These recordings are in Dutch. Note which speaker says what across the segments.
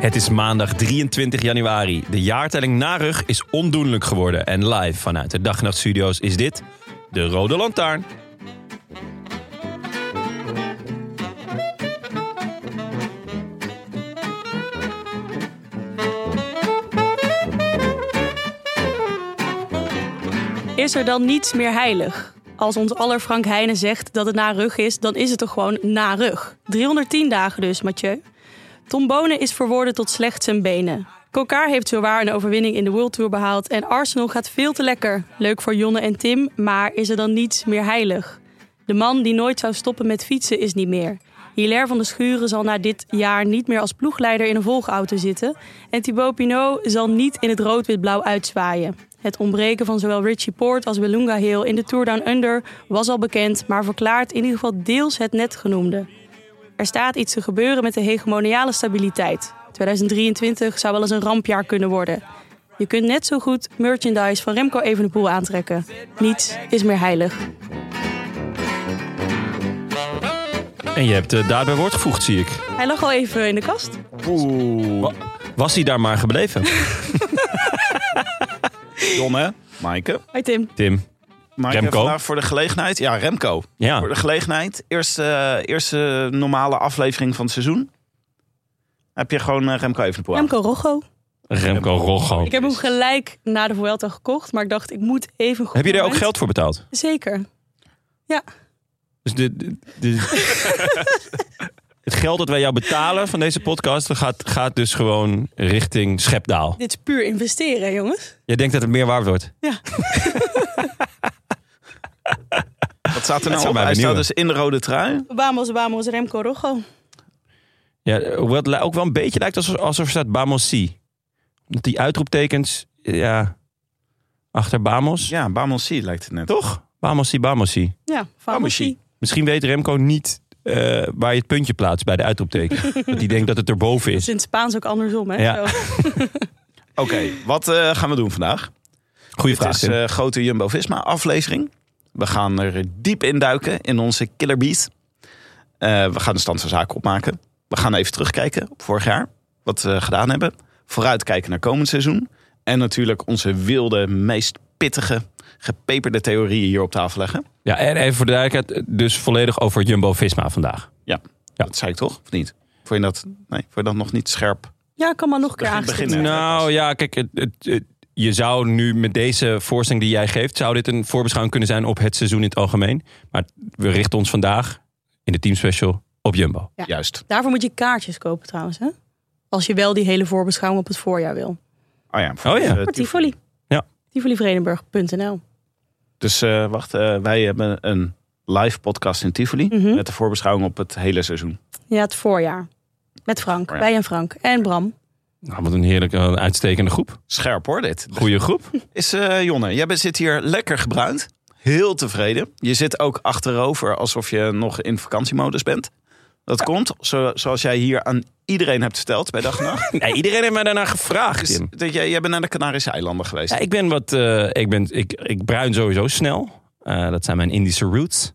Speaker 1: Het is maandag 23 januari. De jaartelling Narug is ondoenlijk geworden. En live vanuit de Dag en Nacht Studio's is dit... De Rode Lantaarn.
Speaker 2: Is er dan niets meer heilig? Als ons aller Frank Heijnen zegt dat het na rug is, dan is het toch gewoon na rug. 310 dagen dus, Mathieu. Tombone is verworden tot slechts zijn benen. Kokaar heeft zowaar een overwinning in de World Tour behaald en Arsenal gaat veel te lekker. Leuk voor Jonne en Tim, maar is er dan niets meer heilig? De man die nooit zou stoppen met fietsen is niet meer. Hilaire van de Schuren zal na dit jaar niet meer als ploegleider in een volgauto zitten. En Thibaut Pinot zal niet in het rood-wit-blauw uitzwaaien. Het ontbreken van zowel Richie Poort als Belunga Hill in de Tour Down Under was al bekend, maar verklaart in ieder geval deels het net genoemde. Er staat iets te gebeuren met de hegemoniale stabiliteit. 2023 zou wel eens een rampjaar kunnen worden. Je kunt net zo goed merchandise van Remco Evenepoel aantrekken. Niets is meer heilig.
Speaker 1: En je hebt het daarbij woord gevoegd, zie ik.
Speaker 2: Hij lag al even in de kast.
Speaker 1: Wa- Was hij daar maar gebleven?
Speaker 3: Jon, hè? Maaike.
Speaker 2: Hi Tim.
Speaker 1: Tim.
Speaker 3: Maaike
Speaker 1: Remco.
Speaker 3: vandaag voor de gelegenheid. Ja, Remco. Voor
Speaker 1: Ja.
Speaker 3: de gelegenheid. Eerste, eh, eerste normale aflevering van het seizoen. Heb je gewoon eh, Remco even de
Speaker 2: Remco Rocco.
Speaker 1: Remco Rocco.
Speaker 2: Ik heb hem gelijk na de Vuelta gekocht, maar ik dacht ik moet even goed
Speaker 1: Heb je daar ook
Speaker 2: moment-
Speaker 1: geld voor betaald?
Speaker 2: Zeker. Ja.
Speaker 1: Dus de, de- de- het geld dat wij jou betalen van deze podcast dat gaat, gaat dus gewoon richting Schepdaal.
Speaker 2: Dit is puur investeren, hè, jongens.
Speaker 1: Jij denkt dat het meer waard wordt?
Speaker 3: Wat staat
Speaker 1: Dat
Speaker 3: er nou
Speaker 1: zou
Speaker 3: op?
Speaker 1: mij
Speaker 3: Hij staat
Speaker 1: benieuwen.
Speaker 3: dus in de rode trui.
Speaker 2: Vamos, vamos, Remco Rocco.
Speaker 1: Ja, hoewel het li- ook wel een beetje lijkt alsof, alsof er staat Bamos Si. Omdat die uitroeptekens, ja, achter Bamos.
Speaker 3: Ja, Bamos C lijkt het net.
Speaker 1: Toch? Bamos Si, Bamos Si.
Speaker 2: Ja, famosie.
Speaker 1: Misschien weet Remco niet eh, waar je het puntje plaatst bij de uitroepteken. dat hij denkt dat het erboven
Speaker 2: Dat is
Speaker 1: is.
Speaker 2: in het Spaans ook andersom, hè?
Speaker 1: Ja.
Speaker 2: Zo.
Speaker 3: Oké, wat eh, gaan we doen vandaag?
Speaker 1: Goeie
Speaker 3: Het
Speaker 1: vraag,
Speaker 3: is
Speaker 1: Tim.
Speaker 3: eh, grote Jumbo-Visma-aflevering. We gaan er diep in duiken in onze Killer Beat. Eh, we gaan de stand van zaken opmaken. We gaan even terugkijken op vorig jaar. Wat we gedaan hebben. Vooruitkijken naar komend seizoen. En natuurlijk onze wilde, meest pittige, gepeperde theorieën hier op tafel leggen.
Speaker 1: Ja, en even voor de duidelijkheid, dus volledig over Jumbo-Visma vandaag. Ja.
Speaker 3: Dat zei ik toch, of niet? Vond je dat, nee, vond je dat nog niet scherp?
Speaker 2: ja, kan maar nog een keer
Speaker 3: Begin-
Speaker 2: aangestipt.
Speaker 3: begin, hè?
Speaker 1: Nou ja, kijk, het, het- het- je zou nu met deze voorstelling die jij geeft, zou dit een voorbeschouwing kunnen zijn op het seizoen in het algemeen. Maar we richten ons vandaag in de teamspecial op Jumbo.
Speaker 2: Ja.
Speaker 3: Juist.
Speaker 2: Daarvoor moet je kaartjes kopen trouwens, hè? Als je wel die hele voorbeschouwing op het voorjaar wil.
Speaker 3: Oh ja.
Speaker 1: Oh ja.
Speaker 3: eh,
Speaker 2: Voor Tivoli.
Speaker 1: Ja.
Speaker 2: TivoliVredenburg.nl
Speaker 3: Dus eh, wacht, eh, wij hebben een live podcast in Tivoli.
Speaker 2: Mhm.
Speaker 3: Met de voorbeschouwing op het hele seizoen.
Speaker 2: Ja, het voorjaar. Met Frank.
Speaker 3: Voorjaar.
Speaker 2: Wij en Frank. En Bram.
Speaker 1: Nou, wat een heerlijke, een uitstekende groep.
Speaker 3: Scherp hoor, dit.
Speaker 1: Goeie groep.
Speaker 3: Is eh, Jonne, jij bent, zit hier lekker gebruind. Heel tevreden. Je zit ook achterover alsof je nog in vakantiemodus bent. Dat komt, zo, zoals jij hier aan iedereen hebt verteld bij dag en nacht.
Speaker 1: Nee, iedereen heeft mij daarna gevraagd,
Speaker 3: Is
Speaker 1: Tim.
Speaker 3: dat jij, jij bent naar de Canarische eilanden geweest.
Speaker 1: Dus- Ja, ik ben wat. eh, ik, ben, ik, ik bruin sowieso snel. Eh, dat zijn mijn Indische roots.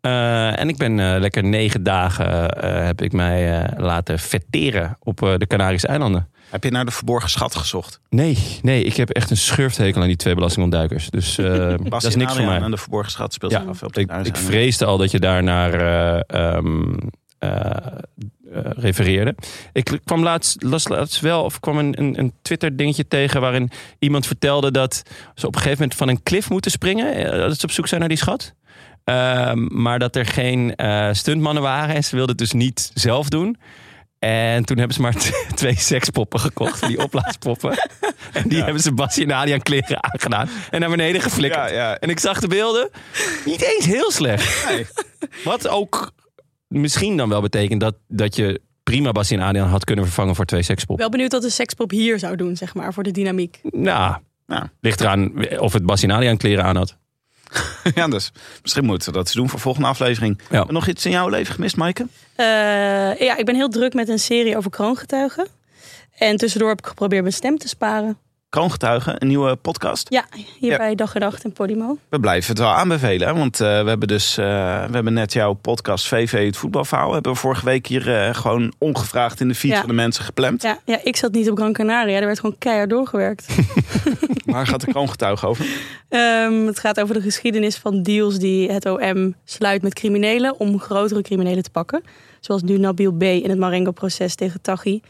Speaker 1: Eh, en ik ben eh, lekker negen dagen eh, heb ik mij eh, laten vetteren op eh, de Canarische eilanden.
Speaker 3: Heb je naar de verborgen schat gezocht?
Speaker 1: Nee, nee, ik heb echt een schurfthekel aan die twee belastingontduikers. Dus eh, dat is
Speaker 3: en
Speaker 1: niks voor
Speaker 3: Adriaan
Speaker 1: mij.
Speaker 3: En de verborgen schat speelt
Speaker 1: Ja,
Speaker 3: zich af op de
Speaker 1: Ik,
Speaker 3: Canarische
Speaker 1: ik
Speaker 3: eilanden.
Speaker 1: vreesde al dat je daar naar eh, ehm, eh, eh, refereerde. Ik kwam laatst, las laatst wel, of kwam een, een, een Twitter-dingetje tegen waarin iemand vertelde dat ze op een gegeven moment van een klif moeten springen. eh, Dat ze op zoek zijn naar die schat. Ehm, maar dat er geen eh, stuntmannen waren en ze wilden het dus niet zelf doen. En toen hebben ze maar t- twee sekspoppen gekocht, van die opblaaspoppen. En die
Speaker 3: Ja.
Speaker 1: hebben ze Bassie en Adriaan kleren aangedaan en naar beneden geflikkerd.
Speaker 3: Ja, ja.
Speaker 1: En ik zag de beelden. Niet eens heel slecht.
Speaker 3: Nee.
Speaker 1: Wat ook misschien dan wel betekent dat, dat je prima Bassie en Adriaan had kunnen vervangen voor twee sekspop.
Speaker 2: Wel benieuwd wat de sekspop hier zou doen, zeg maar, voor de dynamiek.
Speaker 1: Nou,
Speaker 3: Ja.
Speaker 1: ligt eraan of het Bassie en Adriaan kleren aan had.
Speaker 3: ja, dus misschien moeten we dat eens doen voor volgende aflevering.
Speaker 1: Ja.
Speaker 3: Nog iets in jouw leven gemist, Maaike?
Speaker 2: Eh, ja, ik ben heel druk met een serie over kroongetuigen. En tussendoor heb ik geprobeerd mijn stem te sparen.
Speaker 3: Kroongetuigen, een nieuwe podcast.
Speaker 2: Ja, hier bij Dag en Nacht en Podimo.
Speaker 3: We blijven het wel aanbevelen, hè, want eh, we hebben dus eh, we hebben net jouw podcast VV het voetbalverhaal hebben we vorige week hier eh, gewoon ongevraagd in de feed
Speaker 2: Ja.
Speaker 3: van de mensen gepland.
Speaker 2: Ja, ja, ik zat niet op Gran Canaria, daar werd gewoon keihard doorgewerkt.
Speaker 3: Waar gaat de kroongetuige over?
Speaker 2: Ehm, het gaat over de geschiedenis van deals die het OM sluit met criminelen om grotere criminelen te pakken. Zoals nu Nabil B. in het Marengo-proces tegen Taghi.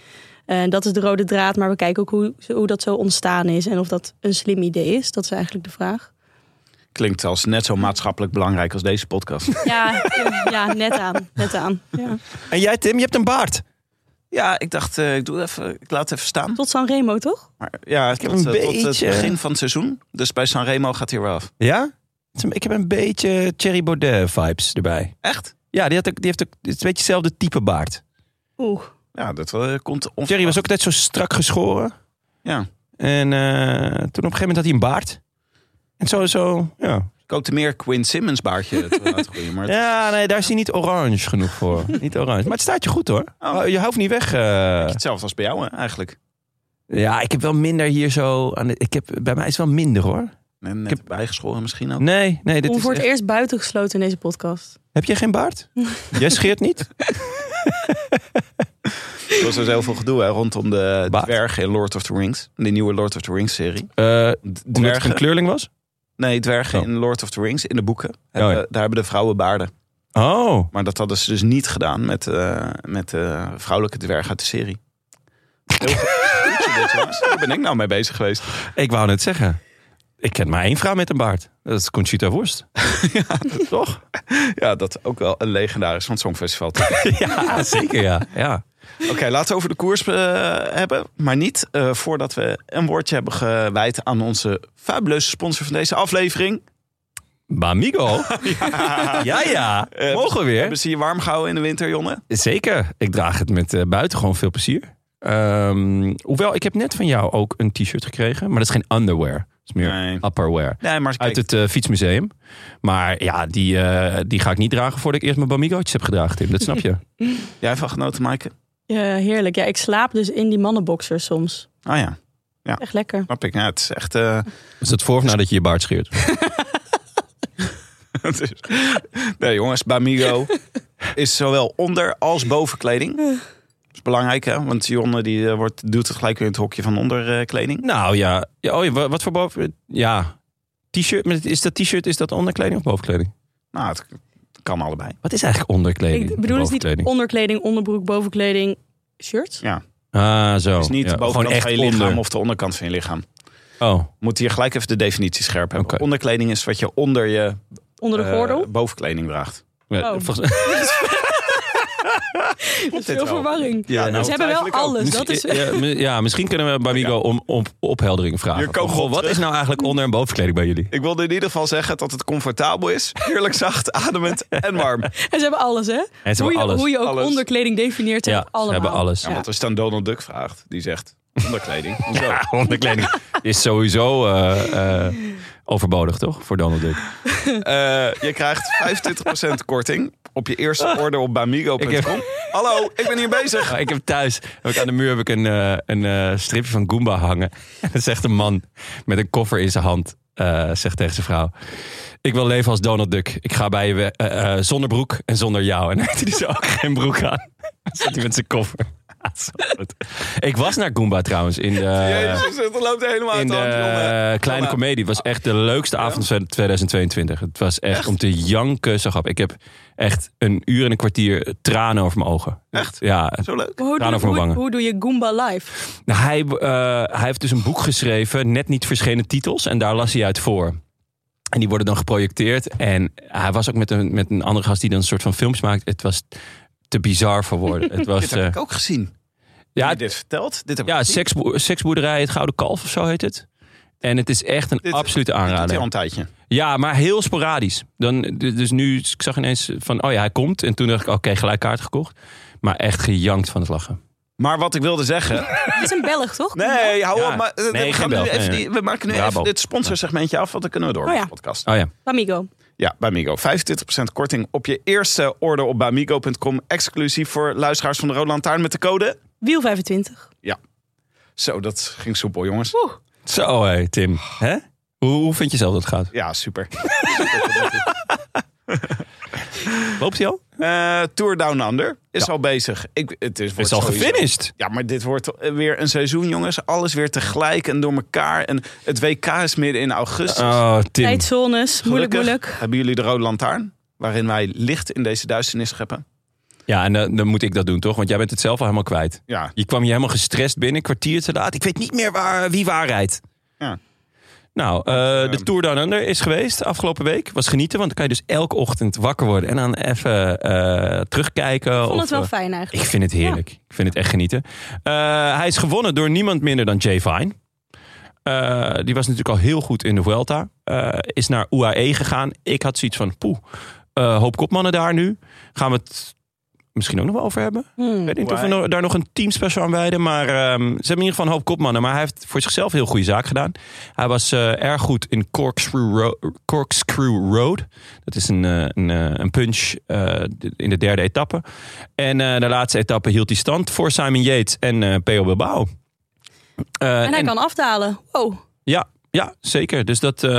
Speaker 2: Eh, dat is de rode draad, maar we kijken ook hoe, hoe dat zo ontstaan is en of dat een slim idee is. Dat is eigenlijk de vraag.
Speaker 3: Klinkt als net zo maatschappelijk belangrijk als deze podcast.
Speaker 2: Ja, ja net aan. Net aan. Ja.
Speaker 1: En jij Tim, je hebt een baard.
Speaker 3: ja, ik dacht, eh, ik, doe het even, ik laat het even staan.
Speaker 2: Tot Sanremo, toch?
Speaker 3: Maar ja,
Speaker 1: heb
Speaker 3: tot,
Speaker 1: een
Speaker 3: eh, tot
Speaker 1: beetje-
Speaker 3: het begin van het seizoen. Dus bij Sanremo gaat hij wel af.
Speaker 1: Ja? Ik heb een beetje Thierry Baudet vibes erbij.
Speaker 3: Echt?
Speaker 1: Ja, die, had ook, die heeft ook het is een beetje hetzelfde type baard.
Speaker 2: Oeh.
Speaker 3: Ja, dat eh, komt on...
Speaker 1: Thierry was ook net zo strak geschoren.
Speaker 3: Ja.
Speaker 1: En eh, toen op een gegeven moment had hij een baard. En zo, zo, ja.
Speaker 3: Ik hoopte meer Quinn Simmons baardje eh, te laten groeien. Maar
Speaker 1: Ja, nee, daar is hij niet orange genoeg voor. niet orange. Maar het staat je goed hoor.
Speaker 3: Oh.
Speaker 1: Je hoeft niet weg. eh.
Speaker 3: hetzelfde als bij jou hè, eigenlijk.
Speaker 1: Ja, ik heb wel minder hier zo. Aan de, ik heb, bij mij is het wel minder hoor.
Speaker 3: Net, net
Speaker 1: Ik heb-
Speaker 3: bijgeschoren misschien ook.
Speaker 1: Nee, nee. Dit
Speaker 2: Om
Speaker 1: is
Speaker 2: voor het
Speaker 1: echt-
Speaker 2: eerst buiten gesloten in deze podcast.
Speaker 1: Heb je geen baard? Jij scheert niet?
Speaker 3: Er was dus heel veel gedoe hè, rondom de
Speaker 1: Baard.
Speaker 3: dwergen in Lord of the Rings. De nieuwe Lord of the Rings serie.
Speaker 1: Eh omdat het
Speaker 3: Dwergen?
Speaker 1: een kleurling was?
Speaker 3: Nee, dwergen
Speaker 1: Oh.
Speaker 3: in Lord of the Rings, in de boeken. Hebben,
Speaker 1: ja.
Speaker 3: Daar hebben de vrouwen baarden.
Speaker 1: Oh,
Speaker 3: Maar dat hadden ze dus niet gedaan met, eh, met de vrouwelijke dwerg uit de serie. Heel goed. Goed zo dit, jongens. Daar ben ik nou mee bezig geweest.
Speaker 1: ik wou net zeggen. Ik ken maar één vrouw met een baard. Dat is Conchita Worst. Toch?
Speaker 3: Ja, dat is ook wel een legendarisch van het Songfestival.
Speaker 1: Ja, zeker ja. ja.
Speaker 3: Oké, laten we over de koers eh, hebben. Maar niet eh, voordat we een woordje hebben gewijd aan onze fabuleuze sponsor van deze aflevering.
Speaker 1: Bamigo? Ja, ja.
Speaker 3: Eh,
Speaker 1: Mogen we weer?
Speaker 3: Hebben ze je warm gehouden in de winter, Jonne?
Speaker 1: Zeker. Ik draag het met eh, buitengewoon veel plezier. Ehm, hoewel, ik heb net van jou ook een t-shirt gekregen. Maar dat is geen underwear. Dat is meer
Speaker 3: Nee.
Speaker 1: upperwear.
Speaker 3: Nee, maar
Speaker 1: Uit
Speaker 3: kijk,
Speaker 1: het eh, fietsmuseum. Maar ja, die, eh, die ga ik niet dragen voordat ik eerst mijn Bamigootjes heb gedragen, Tim. Dat snap je.
Speaker 3: jij hebt van genoten, Maaike?
Speaker 2: Ja, heerlijk. Ja, ik slaap dus in die mannenboxers soms.
Speaker 3: Ah ja,
Speaker 2: Echt lekker.
Speaker 3: snap ik. Ja, het is echt... eh,
Speaker 1: Is dat voor of nadat je je baard scheert?
Speaker 3: het is- nee, jongens, Bamigo is zowel onder- als bovenkleding. Dat is belangrijk, hè? Want Jonne die eh, wordt, doet het gelijk weer in het hokje van eh, onderkleding.
Speaker 1: Nou ja. ja oh, ja, wa- wat voor boven... Ja. T-shirt. maar Is dat t-shirt, is dat onderkleding of bovenkleding?
Speaker 3: Nou, het kan allebei.
Speaker 1: Wat is eigenlijk onderkleding?
Speaker 2: Ik bedoel dus niet
Speaker 1: Bovenkleding.
Speaker 2: onderkleding, onderbroek, bovenkleding, shirts.
Speaker 3: Ja,
Speaker 1: Ah, zo.
Speaker 3: het is niet
Speaker 1: Ja,
Speaker 3: de bovenkant van je lichaam
Speaker 1: onder.
Speaker 3: of de onderkant van je lichaam.
Speaker 1: Oh,
Speaker 3: Moet hier gelijk even de definitie scherp hebben.
Speaker 1: Oké.
Speaker 3: Onderkleding is wat je onder je
Speaker 2: Onder de
Speaker 3: eh,
Speaker 2: gordel.
Speaker 3: bovenkleding draagt.
Speaker 1: Ja,
Speaker 2: Oh.
Speaker 1: volgens-
Speaker 2: Dus
Speaker 3: dit
Speaker 2: veel
Speaker 3: wel.
Speaker 2: verwarring.
Speaker 3: Ja, nou,
Speaker 2: Ze hebben wel
Speaker 3: eigenlijk ook.
Speaker 2: alles. Dat is,
Speaker 1: Misschien- ja, mi- ja, misschien kunnen we bij Migo om, om opheldering vragen.
Speaker 3: Oh, Hier komen we
Speaker 1: Goh,
Speaker 3: op
Speaker 1: wat
Speaker 3: terug.
Speaker 1: is nou eigenlijk onder- en bovenkleding bij jullie?
Speaker 3: Ik wilde in ieder geval zeggen dat het comfortabel is, heerlijk zacht, ademend en warm.
Speaker 2: En ze hebben alles, hè?
Speaker 1: hebben
Speaker 2: hoe, je,
Speaker 1: alles.
Speaker 2: hoe je ook
Speaker 3: Alles.
Speaker 2: onderkleding definieert, ze
Speaker 1: Ja,
Speaker 2: hebben allemaal.
Speaker 1: ze hebben alles.
Speaker 3: Ja, want als je dan Donald Duck vraagt, die zegt onderkleding. Hoezo?
Speaker 1: Ja, onderkleding is sowieso eh, eh, overbodig, toch? Voor Donald Duck.
Speaker 3: Eh, je krijgt 25% korting op je eerste order op bamigo.com.
Speaker 1: Ah. Ik
Speaker 3: Hallo, ik ben hier bezig.
Speaker 1: Maar ik heb thuis, heb ik aan de muur heb ik een, eh, een eh, stripje van Goomba hangen. En dan zegt een man met een koffer in zijn hand. eh, eh, zegt tegen zijn vrouw: Ik wil leven als Donald Duck. Ik ga bij je we- eh, eh, zonder broek en zonder jou. En dan heeft hij dus ook geen broek aan. Dan zit hij met zijn koffer. Ah, zo goed. Ik was naar Goomba trouwens in de
Speaker 3: Jezus, het loopt helemaal
Speaker 1: in
Speaker 3: uit de hand,
Speaker 1: de
Speaker 3: jongen.
Speaker 1: Kleine
Speaker 3: Kom maar.
Speaker 1: Comedie. Het was echt de leukste avond van 2022. Het was echt, om te janken, zo grappig. Ik heb echt een uur en een kwartier tranen over mijn ogen.
Speaker 3: Echt?
Speaker 1: Ja.
Speaker 3: Zo leuk.
Speaker 2: Hoe
Speaker 1: Tranen voor
Speaker 2: doe,
Speaker 1: mijn
Speaker 2: hoe,
Speaker 1: wangen.
Speaker 2: hoe doe je Goomba live?
Speaker 1: Nou, hij, eh, hij heeft dus een boek geschreven, net niet verschenen titels. En daar las hij uit voor. En die worden dan geprojecteerd. En hij was ook met een, met een andere gast die dan een soort van films maakt. Het was te bizar voor woorden. Het was,
Speaker 3: Dit heb
Speaker 1: eh,
Speaker 3: ik ook gezien. Ja,
Speaker 1: ja,
Speaker 3: dit verteld. Dit heb ik
Speaker 1: ja
Speaker 3: gezien.
Speaker 1: seksboe- seksboerderij, het Gouden Kalf of zo heet het. En het is echt een
Speaker 3: Dit-
Speaker 1: absolute
Speaker 3: Dit doet hij
Speaker 1: aanrader.
Speaker 3: al een tijdje.
Speaker 1: Ja, maar heel sporadisch. Dan, dus nu, ik zag ineens van, oh ja, hij komt. En toen dacht ik, oké, gelijk kaart gekocht. Maar echt gejankt van het lachen.
Speaker 3: Maar wat ik wilde zeggen,
Speaker 2: Het is een Belg, toch?
Speaker 3: Nee, hou
Speaker 1: Ja.
Speaker 3: op. Maar, eh,
Speaker 1: Nee,
Speaker 3: we,
Speaker 1: geen
Speaker 3: gaan nu
Speaker 1: bel.
Speaker 3: even
Speaker 1: Nee, nee.
Speaker 3: die- we maken nu
Speaker 1: Brabo.
Speaker 3: even dit sponsorsegmentje af, want dan kunnen we door
Speaker 2: Oh ja.
Speaker 3: met de podcast.
Speaker 1: Oh ja,
Speaker 2: Amigo.
Speaker 3: Ja, Bamigo. 25% korting op je eerste order op bamigo.com. Exclusief voor luisteraars van de Rode Lantaarn met de code.
Speaker 2: Wiel 25.
Speaker 3: Zo, dat ging soepel, jongens.
Speaker 1: zo hé, Tim. Hè? Hoe, hoe vind je zelf dat het gaat?
Speaker 3: Ja, super.
Speaker 1: Loopt hij al?
Speaker 3: Eh, Tour Down Under is al bezig. Ik, het is,
Speaker 1: Het
Speaker 3: wordt
Speaker 1: is al
Speaker 3: sowieso-
Speaker 1: gefinished.
Speaker 3: Ja, maar dit wordt weer een seizoen, jongens. Alles weer tegelijk en door elkaar. En het WK is midden in augustus.
Speaker 1: Oh, Tim.
Speaker 2: Tijdzones. Moeilijk,
Speaker 3: Gelukkig
Speaker 2: moeilijk.
Speaker 3: Hebben jullie de Rode Lantaarn? Waarin wij licht in deze duisternis scheppen.
Speaker 1: Ja, en eh, dan, dan moet ik dat doen, toch? Want jij bent het zelf al helemaal kwijt.
Speaker 3: Ja,
Speaker 1: Je kwam je helemaal gestrest binnen, een kwartier te laat. Ik weet niet meer waar, wie waar rijdt.
Speaker 3: Ja.
Speaker 1: Nou, eh,
Speaker 3: eh,
Speaker 1: de Tour Down Under is geweest afgelopen week. Was genieten, want dan kan je dus elke ochtend wakker worden. En dan even eh, terugkijken.
Speaker 2: Ik vond
Speaker 1: of,
Speaker 2: het wel
Speaker 1: eh,
Speaker 2: fijn eigenlijk.
Speaker 1: Ik vind het heerlijk. Ik vind het echt genieten. Eh, hij is gewonnen door niemand minder dan Jay Vine. Eh, die was natuurlijk al heel goed in de Vuelta. Eh, is naar UAE gegaan. Ik had zoiets van, poeh, eh, hoop kopmannen daar nu. Gaan we het misschien ook nog wel over hebben?
Speaker 2: Hmm.
Speaker 1: Ik weet niet of we
Speaker 3: UAE.
Speaker 1: no- daar nog een teamspecial aan wijden. Maar ehm, ze hebben in ieder geval een hoop kopmannen. Maar hij heeft voor zichzelf heel goede zaak gedaan. Hij was eh, erg goed in Corkscrew, Ro- Corkscrew Road. Dat is een, eh, een, eh, een punch eh, in de derde etappe. En eh, de laatste etappe hield hij stand voor Simon Yates en eh P.O. Bilbao. Eh,
Speaker 2: En hij kan afdalen. Wow.
Speaker 1: ja, ja, zeker. Dus dat, eh,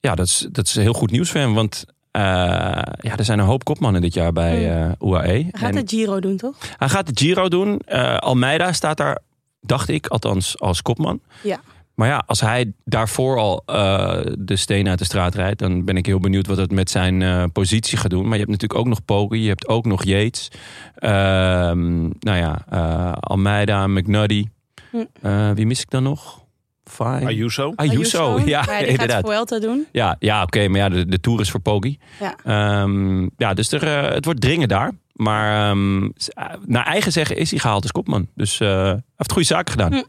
Speaker 1: ja, dat, is, dat is heel goed nieuws voor hem. Want eh, ja, er zijn een hoop kopmannen dit jaar bij eh, UAE.
Speaker 2: Hmm. Hij gaat
Speaker 1: En-
Speaker 2: het Giro doen, toch?
Speaker 1: hij gaat de Giro doen. Eh, Almeida staat daar, dacht ik, althans als kopman.
Speaker 2: Ja.
Speaker 1: Maar ja, als hij daarvoor al eh, de steen uit de straat rijdt, dan ben ik heel benieuwd wat het met zijn eh, positie gaat doen. Maar je hebt natuurlijk ook nog Poggi, je hebt ook nog Yates. Ehm, nou ja, eh, Almeida, McNuddy.
Speaker 2: Hm.
Speaker 1: Eh, wie mis ik dan nog? Fine.
Speaker 3: Ayuso.
Speaker 1: Ayuso, ja,
Speaker 2: Maar die gaat
Speaker 1: inderdaad.
Speaker 2: Vuelta doen.
Speaker 1: Ja, ja oké, maar ja, de, de Tour is voor Poggi.
Speaker 2: Ja.
Speaker 1: Ehm, ja, dus er, eh, het wordt dringen daar. Maar ehm, s- eh, naar eigen zeggen is hij gehaald als kopman. Dus eh, hij heeft goede zaken gedaan.
Speaker 2: Hm.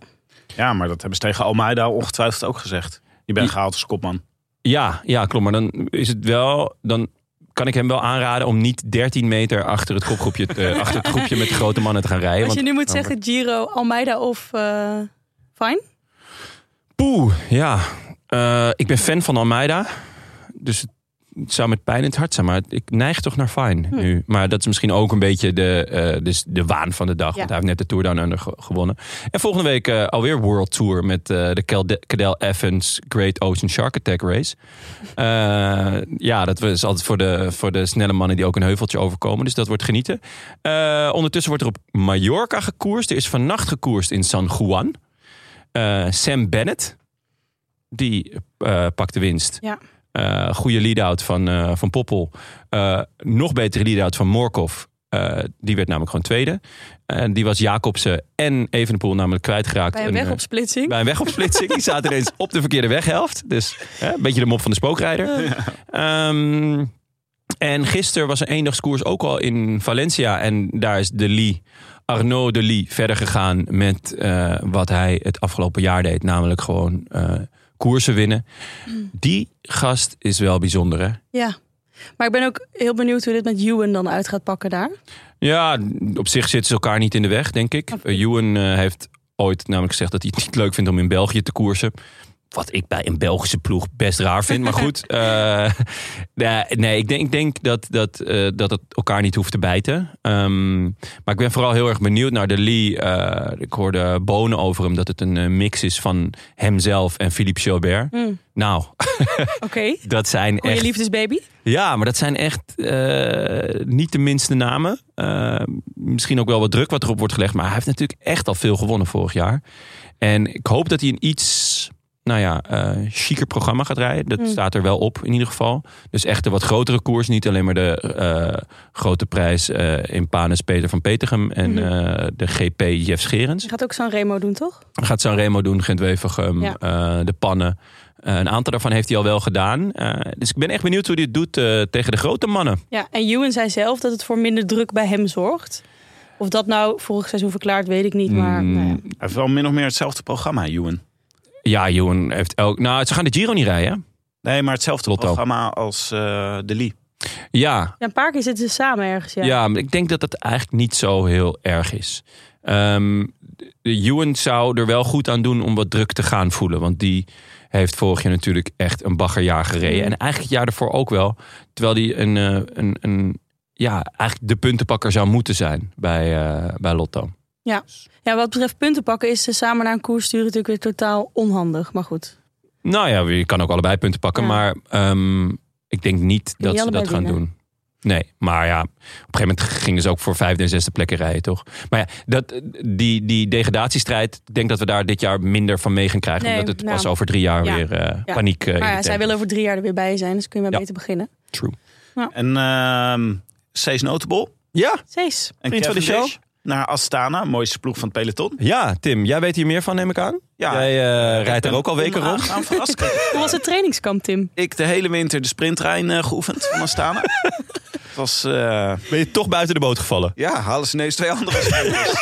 Speaker 3: Ja, maar dat hebben ze tegen Almeida ongetwijfeld ook gezegd. Je bent gehaald als kopman.
Speaker 1: Ja, ja, klopt. Maar dan is het wel... Dan kan ik hem wel aanraden om niet 13 meter achter het, kopgroepje te- eh, achter het groepje met de grote mannen te gaan rijden.
Speaker 2: Als je
Speaker 1: Want,
Speaker 2: nu moet
Speaker 1: dan
Speaker 2: zeggen Giro, Almeida of eh Fine.
Speaker 1: poeh, ja. Eh, ik ben fan van Almeida. Dus het het zou met pijn in het hart zijn. Maar ik neig toch naar Fine
Speaker 2: Hm.
Speaker 1: nu. Maar dat is misschien ook een beetje de, eh, dus de waan van de dag.
Speaker 2: Ja.
Speaker 1: Want hij heeft net de Tour Down Under ge- gewonnen. En volgende week eh, alweer World Tour met eh, de Cal- Cadel Evans Great Ocean Shark Attack Race. Eh, ja, dat is altijd voor de, voor de snelle mannen die ook een heuveltje overkomen. Dus dat wordt genieten. Eh, ondertussen wordt er op Mallorca gekoerst. Er is vannacht gekoerst in San Juan. Eh, Sam Bennett, die eh, pakt de winst.
Speaker 2: Ja.
Speaker 1: Eh, goede lead-out van, eh, van Poppel. Eh, nog betere lead-out van Morkov. Eh, die werd namelijk gewoon tweede. En die was Jacobsen en Evenepoel namelijk kwijtgeraakt.
Speaker 2: Bij een
Speaker 1: En, eh,
Speaker 2: wegopsplitsing.
Speaker 1: bij een wegopsplitsing. Die zaten ineens op de verkeerde weghelft. Dus hè, een beetje de mop van de spookrijder. Ehm, en gisteren was een eendagskoers ook al in Valencia. En daar is de Lee, Arnaud de Lee, verder gegaan met eh, wat hij het afgelopen jaar deed. Namelijk gewoon eh, koersen winnen. Die gast is wel bijzonder, hè?
Speaker 2: Ja. Maar ik ben ook heel benieuwd hoe dit met Ewan dan uit gaat pakken daar.
Speaker 1: Ja, op zich zitten ze elkaar niet in de weg, denk ik.
Speaker 2: Of-
Speaker 1: Eh, Ewan eh, heeft ooit namelijk gezegd dat hij het niet leuk vindt om in België te koersen. Wat ik bij een Belgische ploeg best raar vind. Maar goed, eh, nee, nee, ik denk, ik denk dat, dat, eh, dat het elkaar niet hoeft te bijten. Ehm, maar ik ben vooral heel erg benieuwd naar de Lee. Eh, ik hoorde bonen over hem dat het een eh, mix is van hemzelf en Philippe Gilbert.
Speaker 2: Hm,
Speaker 1: Nou,
Speaker 2: Oké,
Speaker 1: dat zijn
Speaker 2: goeie
Speaker 1: echt
Speaker 2: liefdesbaby.
Speaker 1: ja, maar dat zijn echt eh, niet de minste namen. Eh, misschien ook wel wat druk wat erop wordt gelegd. Maar hij heeft natuurlijk echt al veel gewonnen vorig jaar. En ik hoop dat hij een iets, nou ja, eh chiquer programma gaat rijden. Dat
Speaker 2: Mm.
Speaker 1: staat er wel op in ieder geval. Dus echt een wat grotere koers. Niet alleen maar de eh, grote prijs eh, in Panes Peter van Petergem. En
Speaker 2: Mhm.
Speaker 1: eh, de GP Jeff Scherens.
Speaker 2: Ze gaat ook Sanremo doen, toch?
Speaker 1: Gaat Sanremo doen, Gent-Wevergem,
Speaker 2: Ja.
Speaker 1: eh, de pannen. Eh, een aantal daarvan heeft hij al wel gedaan. Eh, dus ik ben echt benieuwd hoe hij het doet eh, tegen de grote mannen.
Speaker 2: Ja, en Ewan zei zelf dat het voor minder druk bij hem zorgt. Of dat nou vorig seizoen verklaart, weet ik niet. Maar
Speaker 1: Mm,
Speaker 2: nou ja.
Speaker 3: Hij heeft wel min of meer hetzelfde programma, Ewan.
Speaker 1: Ja, Johan heeft elk... Nou, ze gaan de Giro niet rijden.
Speaker 3: Nee, maar hetzelfde
Speaker 1: Lotto.
Speaker 3: programma als eh, de Lee.
Speaker 1: hè? Ja,
Speaker 2: Ja, een paar keer zitten ze samen ergens. Ja.
Speaker 1: ja. maar ik denk dat dat eigenlijk niet zo heel erg is. Ehm de- de Ewan zou er wel goed aan doen om wat druk te gaan voelen. Want die heeft vorig jaar natuurlijk echt een baggerjaar gereden. En eigenlijk het jaar daarvoor ook wel. Terwijl die een, eh, een, een, ja, eigenlijk de puntenpakker zou moeten zijn bij, eh, bij Lotto.
Speaker 2: Ja, wat betreft punten pakken is ze samen naar een koers sturen natuurlijk weer totaal onhandig. Maar goed.
Speaker 1: Nou ja, je kan ook allebei punten pakken.
Speaker 2: Ja.
Speaker 1: Maar ehm, ik denk niet dat
Speaker 2: niet
Speaker 1: ze dat
Speaker 2: allebei
Speaker 1: gaan
Speaker 2: winnen.
Speaker 1: doen. Nee, maar ja, op een gegeven moment gingen ze ook voor vijfde en zesde plekken rijden, toch? Maar ja, dat, die, die degradatiestrijd, ik denk dat we daar dit jaar minder van mee gaan krijgen.
Speaker 2: Nee,
Speaker 1: omdat het
Speaker 2: nou.
Speaker 1: pas over drie jaar
Speaker 2: Ja.
Speaker 1: weer eh,
Speaker 2: Ja.
Speaker 1: paniek eh, in
Speaker 2: Maar
Speaker 1: de
Speaker 2: ja, zij
Speaker 1: tent
Speaker 2: willen
Speaker 1: is.
Speaker 2: over drie jaar er weer bij zijn, dus kun je maar
Speaker 1: Ja.
Speaker 2: beter beginnen.
Speaker 1: True.
Speaker 3: En ehm Sees Notable.
Speaker 1: Ja,
Speaker 2: Cees.
Speaker 3: En
Speaker 1: Vriend van de
Speaker 3: Cavendish Naar Astana, mooiste ploeg van het peloton.
Speaker 1: ja, Tim, jij weet hier meer van, neem ik aan?
Speaker 3: Ja.
Speaker 1: Jij eh, rijdt er ook al weken rond.
Speaker 3: Onaangenaam verrast.
Speaker 2: Hoe was het trainingskamp, Tim?
Speaker 3: Ik de hele winter de sprinttrein eh, geoefend van Astana. het was, eh,
Speaker 1: Ben je toch buiten de boot gevallen?
Speaker 3: ja, halen ze ineens twee andere sprinters.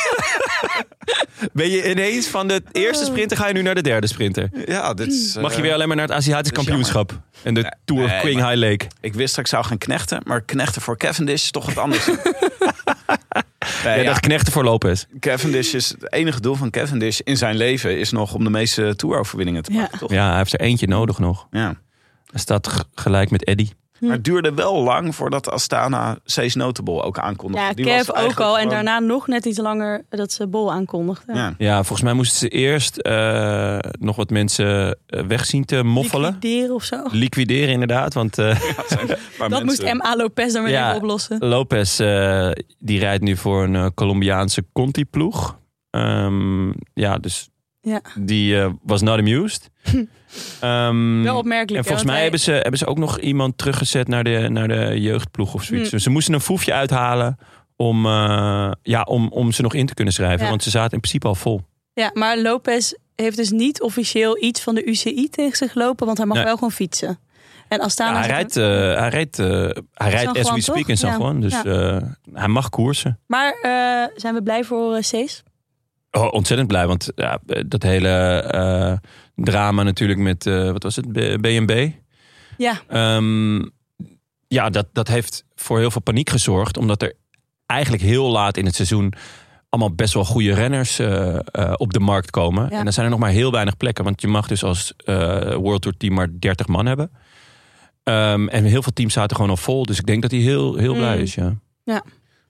Speaker 1: Ben je ineens van de eerste sprinter ga je nu naar de derde sprinter?
Speaker 3: ja, dit is, eh,
Speaker 1: Mag je weer alleen maar naar het Aziatisch
Speaker 3: dat is jammer.
Speaker 1: kampioenschap? En de Tour
Speaker 3: nee,
Speaker 1: Queen
Speaker 3: maar-
Speaker 1: High Lake?
Speaker 3: Ik wist dat ik zou gaan knechten, maar knechten voor Cavendish is toch wat anders. Nee,
Speaker 1: Ja,
Speaker 3: ja,
Speaker 1: dat knechten voor Lopez.
Speaker 3: Cavendish is het enige doel van Cavendish in zijn leven is nog om de meeste toeroverwinningen te
Speaker 2: Ja.
Speaker 3: pakken, toch?
Speaker 1: Ja, hij heeft er eentje nodig nog.
Speaker 3: Ja.
Speaker 1: Hij staat g- gelijk met Eddy.
Speaker 2: Hm.
Speaker 3: Maar het duurde wel lang voordat Astana Sees Notable ook aankondigde.
Speaker 2: Ja,
Speaker 3: Die was
Speaker 2: Kev ook
Speaker 3: eigenlijk
Speaker 2: al. En
Speaker 3: gewoon-
Speaker 2: daarna nog net iets langer dat ze Bol aankondigde.
Speaker 3: Ja.
Speaker 1: Ja, volgens mij moesten ze eerst eh, nog wat mensen eh, weg zien te moffelen.
Speaker 2: Liquideren of zo.
Speaker 1: Liquideren inderdaad, want eh,
Speaker 3: Maar
Speaker 2: Dat moest
Speaker 3: mensen-
Speaker 2: M.A. Lopez dan weer
Speaker 1: Ja.
Speaker 2: even
Speaker 1: Mm.
Speaker 2: oplossen.
Speaker 1: Lopez eh, die rijdt nu voor een eh, Colombiaanse Conti-ploeg. Ehm, ja, dus
Speaker 2: Ja. Hm.
Speaker 1: die eh, was not amused. Ehm,
Speaker 2: Wel opmerkelijk.
Speaker 1: en volgens mij hebben, ze, hebben ze ook nog iemand teruggezet naar de, naar de jeugdploeg of zoiets.
Speaker 2: Hmm.
Speaker 1: Dus ze moesten een foefje uithalen om, eh, ja, om, om ze nog in te kunnen schrijven.
Speaker 2: Ja.
Speaker 1: Want ze zaten in principe al vol.
Speaker 2: Ja, maar Lopez heeft dus niet officieel iets van de UCI tegen zich lopen, want hij mag
Speaker 1: Nee.
Speaker 2: wel gewoon fietsen. En Astana...
Speaker 1: Ja, hij
Speaker 2: zit-
Speaker 1: rijdt, eh, hij rijdt, eh, hij rijdt as
Speaker 2: Juan,
Speaker 1: we speak
Speaker 2: toch?
Speaker 1: in San
Speaker 2: Ja.
Speaker 1: Juan. Dus
Speaker 2: Ja.
Speaker 1: eh, hij mag koersen.
Speaker 2: Maar eh, zijn we blij voor eh, Cees?
Speaker 1: Oh, ontzettend blij, want ja, dat hele eh, drama natuurlijk met, eh, wat was het, B- BNB?
Speaker 2: Ja.
Speaker 1: Ehm, ja, dat, dat heeft voor heel veel paniek gezorgd. Omdat er eigenlijk heel laat in het seizoen allemaal best wel goede renners eh, eh, op de markt komen.
Speaker 2: Ja.
Speaker 1: En dan zijn er nog maar heel weinig plekken. Want je mag dus als eh, World Tour team maar 30 man hebben. Ehm, en heel veel teams zaten gewoon al vol. Dus ik denk dat hij heel, heel
Speaker 2: Mm.
Speaker 1: blij is, ja.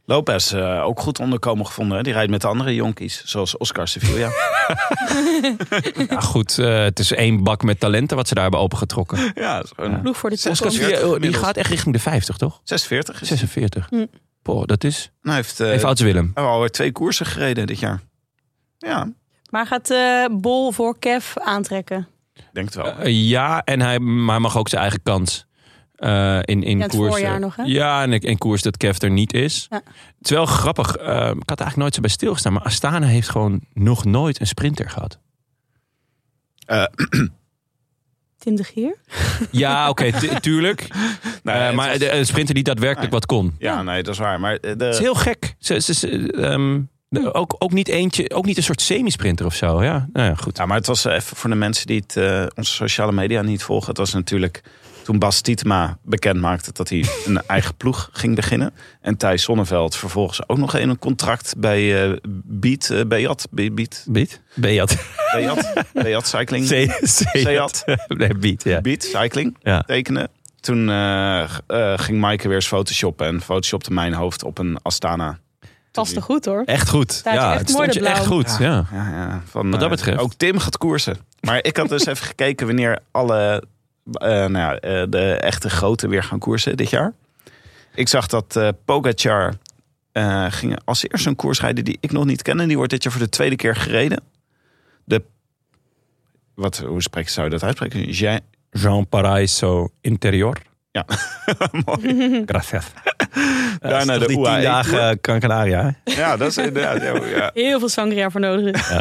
Speaker 3: Lopez eh, ook goed onderkomen gevonden. hè? Die rijdt met de andere jonkies, zoals Oscar Sevilla.
Speaker 1: Ja, goed, eh, het is één bak met talenten wat ze daar hebben opengetrokken.
Speaker 3: ja, zo'n
Speaker 1: Ja.
Speaker 2: Ploeg voor de
Speaker 1: Oscar
Speaker 3: Oscar
Speaker 2: toekomst.
Speaker 3: Sierra.
Speaker 1: Sevilla, oh, die
Speaker 3: inmiddels.
Speaker 1: gaat echt richting de 50, toch?
Speaker 3: 46 is. hij.
Speaker 1: 46.
Speaker 2: Mm.
Speaker 1: Boah, dat is...
Speaker 3: Nou, hij heeft eh,
Speaker 1: Even ouds Willem.
Speaker 3: hij heeft alweer twee koersen gereden dit jaar. Ja,
Speaker 2: Maar gaat eh, Bol voor Kev aantrekken?
Speaker 3: ik denk het wel.
Speaker 1: Eh, ja, en hij, maar hij mag ook zijn eigen kans. eh, in, in
Speaker 2: Ja, het
Speaker 1: koers,
Speaker 2: voorjaar nog, hè?
Speaker 1: Ja, en in koers dat Kev er niet is.
Speaker 2: Ja.
Speaker 1: Het is wel grappig. eh, ik had er eigenlijk nooit zo bij stilgestaan. Maar Astana heeft gewoon nog nooit een sprinter gehad.
Speaker 3: nou
Speaker 2: Tim de Gier?
Speaker 1: Ja, oké, tu- tuurlijk.
Speaker 3: Nou,
Speaker 1: Eh,
Speaker 3: het
Speaker 1: maar
Speaker 3: was-
Speaker 1: de- een sprinter die daadwerkelijk
Speaker 3: Nee.
Speaker 1: wat kon.
Speaker 3: ja, nee, dat is waar. Maar eh,
Speaker 1: Het is
Speaker 3: de,
Speaker 1: heel gek. Ze, ze, ze- ehm,
Speaker 2: Hm.
Speaker 1: de- ook, ook niet eentje, ook niet een soort semi-sprinter of zo. Ja, nou ja, goed.
Speaker 3: eh, ja, maar het was even voor de mensen die het, eh, onze sociale media niet volgen. Het was natuurlijk Toen Bas Tietema bekend maakte dat hij een eigen ploeg ging beginnen. En Thijs Sonneveld vervolgens ook nog in een contract bij eh Beat, eh, Beat, Be- Beat,
Speaker 1: Biet? Beat.
Speaker 3: Beat, Beat Cycling.
Speaker 1: Seat.
Speaker 3: Seat.
Speaker 1: Nee, Biet, ja.
Speaker 3: Beat Cycling
Speaker 1: Ja.
Speaker 3: tekenen. Toen eh, g- eh, ging Maaike weer eens photoshoppen. En photoshopte mijn hoofd op een Astana.
Speaker 2: Past er goed hoor.
Speaker 1: Echt goed.
Speaker 2: Daar is
Speaker 1: Ja,
Speaker 2: echt
Speaker 1: het
Speaker 2: mooi
Speaker 1: stond
Speaker 2: de
Speaker 1: je echt
Speaker 2: blauw.
Speaker 1: goed. Ja.
Speaker 3: Ja, ja, van,
Speaker 1: Wat dat
Speaker 3: eh,
Speaker 1: betreft.
Speaker 3: ook Tim gaat koersen. Maar ik had dus even gekeken wanneer alle eh, nou ja, eh, de echte grote weer gaan koersen dit jaar. Ik zag dat eh Pogacar eh, ging als eerste een koers rijden die ik nog niet ken. En die wordt dit jaar voor de tweede keer gereden. De, wat, hoe spreek, zou je dat uitspreken? Jean,
Speaker 1: Jean Paraiso Interior.
Speaker 3: mooi.
Speaker 1: Gracias.
Speaker 3: Daarna
Speaker 1: Daarna
Speaker 3: de
Speaker 1: Hm. de die
Speaker 3: UAE
Speaker 1: tien dagen Gran Canaria. hè?
Speaker 3: Ja, dat is inderdaad. Ja, ja.
Speaker 2: Heel veel sangria voor nodig. is.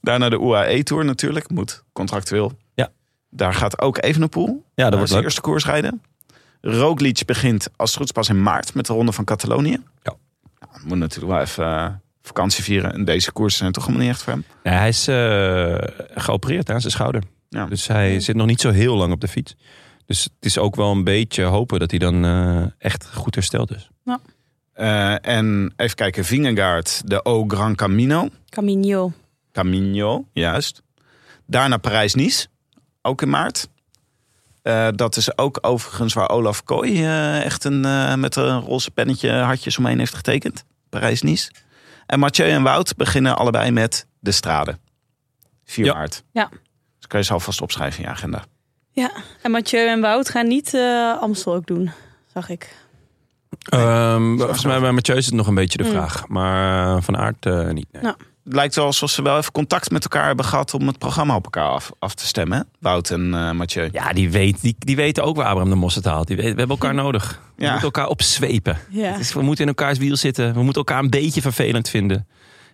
Speaker 3: Daarna de UAE-tour natuurlijk. Moet contractueel.
Speaker 1: Ja.
Speaker 3: Daar gaat ook Evenepoel.
Speaker 1: Ja, dat
Speaker 3: Dat
Speaker 1: wordt
Speaker 3: wordt de
Speaker 1: leuk.
Speaker 3: eerste koers rijden. Roglic begint als het goed is pas in maart met de Ronde van Catalonië.
Speaker 1: Ja.
Speaker 3: Nou, moet natuurlijk wel even eh, vakantie vieren. En deze koersen zijn toch helemaal niet echt voor hem.
Speaker 1: Nee, hij is eh, geopereerd aan zijn schouder.
Speaker 3: Ja.
Speaker 1: Dus hij zit nog niet zo heel lang op de fiets. Dus het is ook wel een beetje hopen dat hij dan eh, echt goed hersteld is.
Speaker 3: Eh, en even kijken, Vingegaard, de O Gran Camino.
Speaker 2: Camino.
Speaker 3: Camino, juist. Daarna Parijs-Nice, ook in maart. Eh, dat is ook overigens waar Olaf Kooi eh, echt een, eh, met een roze pennetje hartjes omheen heeft getekend. Parijs-Nice. En Mathieu en Wout beginnen allebei met de strade. 4
Speaker 1: Ja.
Speaker 3: maart.
Speaker 2: Ja.
Speaker 3: Dus kan je ze alvast opschrijven in je agenda.
Speaker 2: En Mathieu en Wout gaan niet eh, Amstel ook doen, zag ik.
Speaker 1: Ehm, volgens mij bij Mathieu is het nog een beetje de
Speaker 2: Mm.
Speaker 1: vraag. Maar van aard eh, niet. nee.
Speaker 2: Nou.
Speaker 3: Het lijkt wel alsof ze wel even contact met elkaar hebben gehad om het programma op elkaar af, af te stemmen. hè? Wout en eh, Mathieu.
Speaker 1: Ja, die, weet, die, die weten ook waar Abraham de Mos het haalt. Die weet- we hebben elkaar nodig. We
Speaker 3: Ja.
Speaker 1: moeten elkaar opzwepen.
Speaker 2: Ja.
Speaker 1: Dus we moeten in elkaars wiel zitten. We moeten elkaar een beetje vervelend vinden.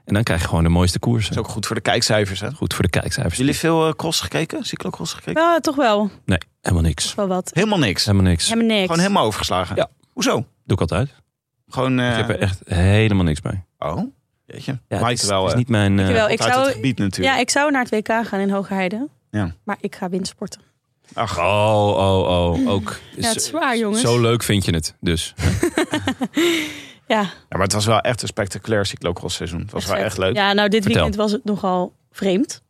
Speaker 1: En dan krijg je gewoon de mooiste koersen.
Speaker 3: Dat is ook goed voor de kijkcijfers. Hè?
Speaker 1: Goed voor de kijkcijfers.
Speaker 3: Jullie veel eh, cross gekeken? Cyclocross gekeken?
Speaker 2: Ja, toch wel.
Speaker 1: Nee, helemaal niks.
Speaker 2: Wel wat.
Speaker 3: Helemaal niks.
Speaker 1: Helemaal niks.
Speaker 2: Helemaal niks.
Speaker 3: Gewoon helemaal overgeslagen.
Speaker 1: Ja.
Speaker 3: Hoezo?
Speaker 1: Doe ik altijd.
Speaker 3: Gewoon. eh,
Speaker 1: Ik heb er echt helemaal niks bij.
Speaker 3: Oh, weet je.
Speaker 1: Ja, het
Speaker 3: Mike
Speaker 1: is,
Speaker 3: wel.
Speaker 1: het is
Speaker 3: eh,
Speaker 1: niet mijn... eh,
Speaker 2: Dankjewel. Ik
Speaker 3: uit
Speaker 2: zou-
Speaker 3: het gebied natuurlijk.
Speaker 2: Ja, ik zou naar het WK gaan in Hoogheide.
Speaker 3: Ja.
Speaker 2: Maar ik ga windsporten.
Speaker 3: Ach,
Speaker 1: Oh, oh, oh. Ook.
Speaker 2: Ja, het is zwaar, jongens.
Speaker 1: Zo leuk vind je het, dus.
Speaker 2: Ja,
Speaker 3: ja, maar het was wel echt een spectaculair cyclocross seizoen. Het was wel
Speaker 2: vet.
Speaker 3: echt leuk.
Speaker 2: Ja, nou, dit
Speaker 1: Vertel.
Speaker 2: weekend was het nogal vreemd.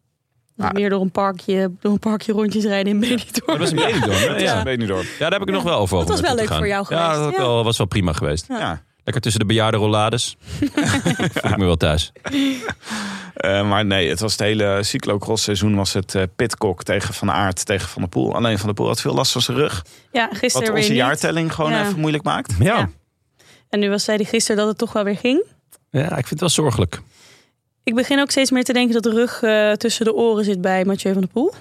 Speaker 3: Ah.
Speaker 2: Meer door een, parkje, door een parkje rondjes rijden in Benidorm.
Speaker 1: Dat was een Benidorm, hè?
Speaker 3: Het is
Speaker 1: Ja.
Speaker 3: een Benidorm.
Speaker 1: Ja, daar heb ik nog wel over.
Speaker 2: Dat was
Speaker 1: om
Speaker 2: wel
Speaker 1: naartoe te
Speaker 2: leuk
Speaker 1: gaan.
Speaker 2: voor jou
Speaker 1: Ja,
Speaker 2: geweest.
Speaker 1: dat had
Speaker 2: Ja.
Speaker 1: wel- was wel prima geweest.
Speaker 3: Ja.
Speaker 1: Lekker tussen de bejaarde rollades. Voel ik me wel thuis.
Speaker 3: Eh, maar nee, het was het hele cyclocross seizoen was het eh Pitcock tegen Van Aert tegen Van der Poel. Alleen Van der Poel had veel last van zijn rug.
Speaker 2: Ja,
Speaker 3: Wat
Speaker 2: gisteren weer
Speaker 3: onze
Speaker 2: niet.
Speaker 3: jaartelling gewoon
Speaker 2: Ja.
Speaker 3: even moeilijk maakt.
Speaker 1: Ja.
Speaker 2: Ja. En nu was zij die gisteren dat het toch wel weer ging.
Speaker 1: ja, ik vind het wel zorgelijk.
Speaker 2: Ik begin ook steeds meer te denken dat de rug eh, tussen de oren zit bij Mathieu van der Poel.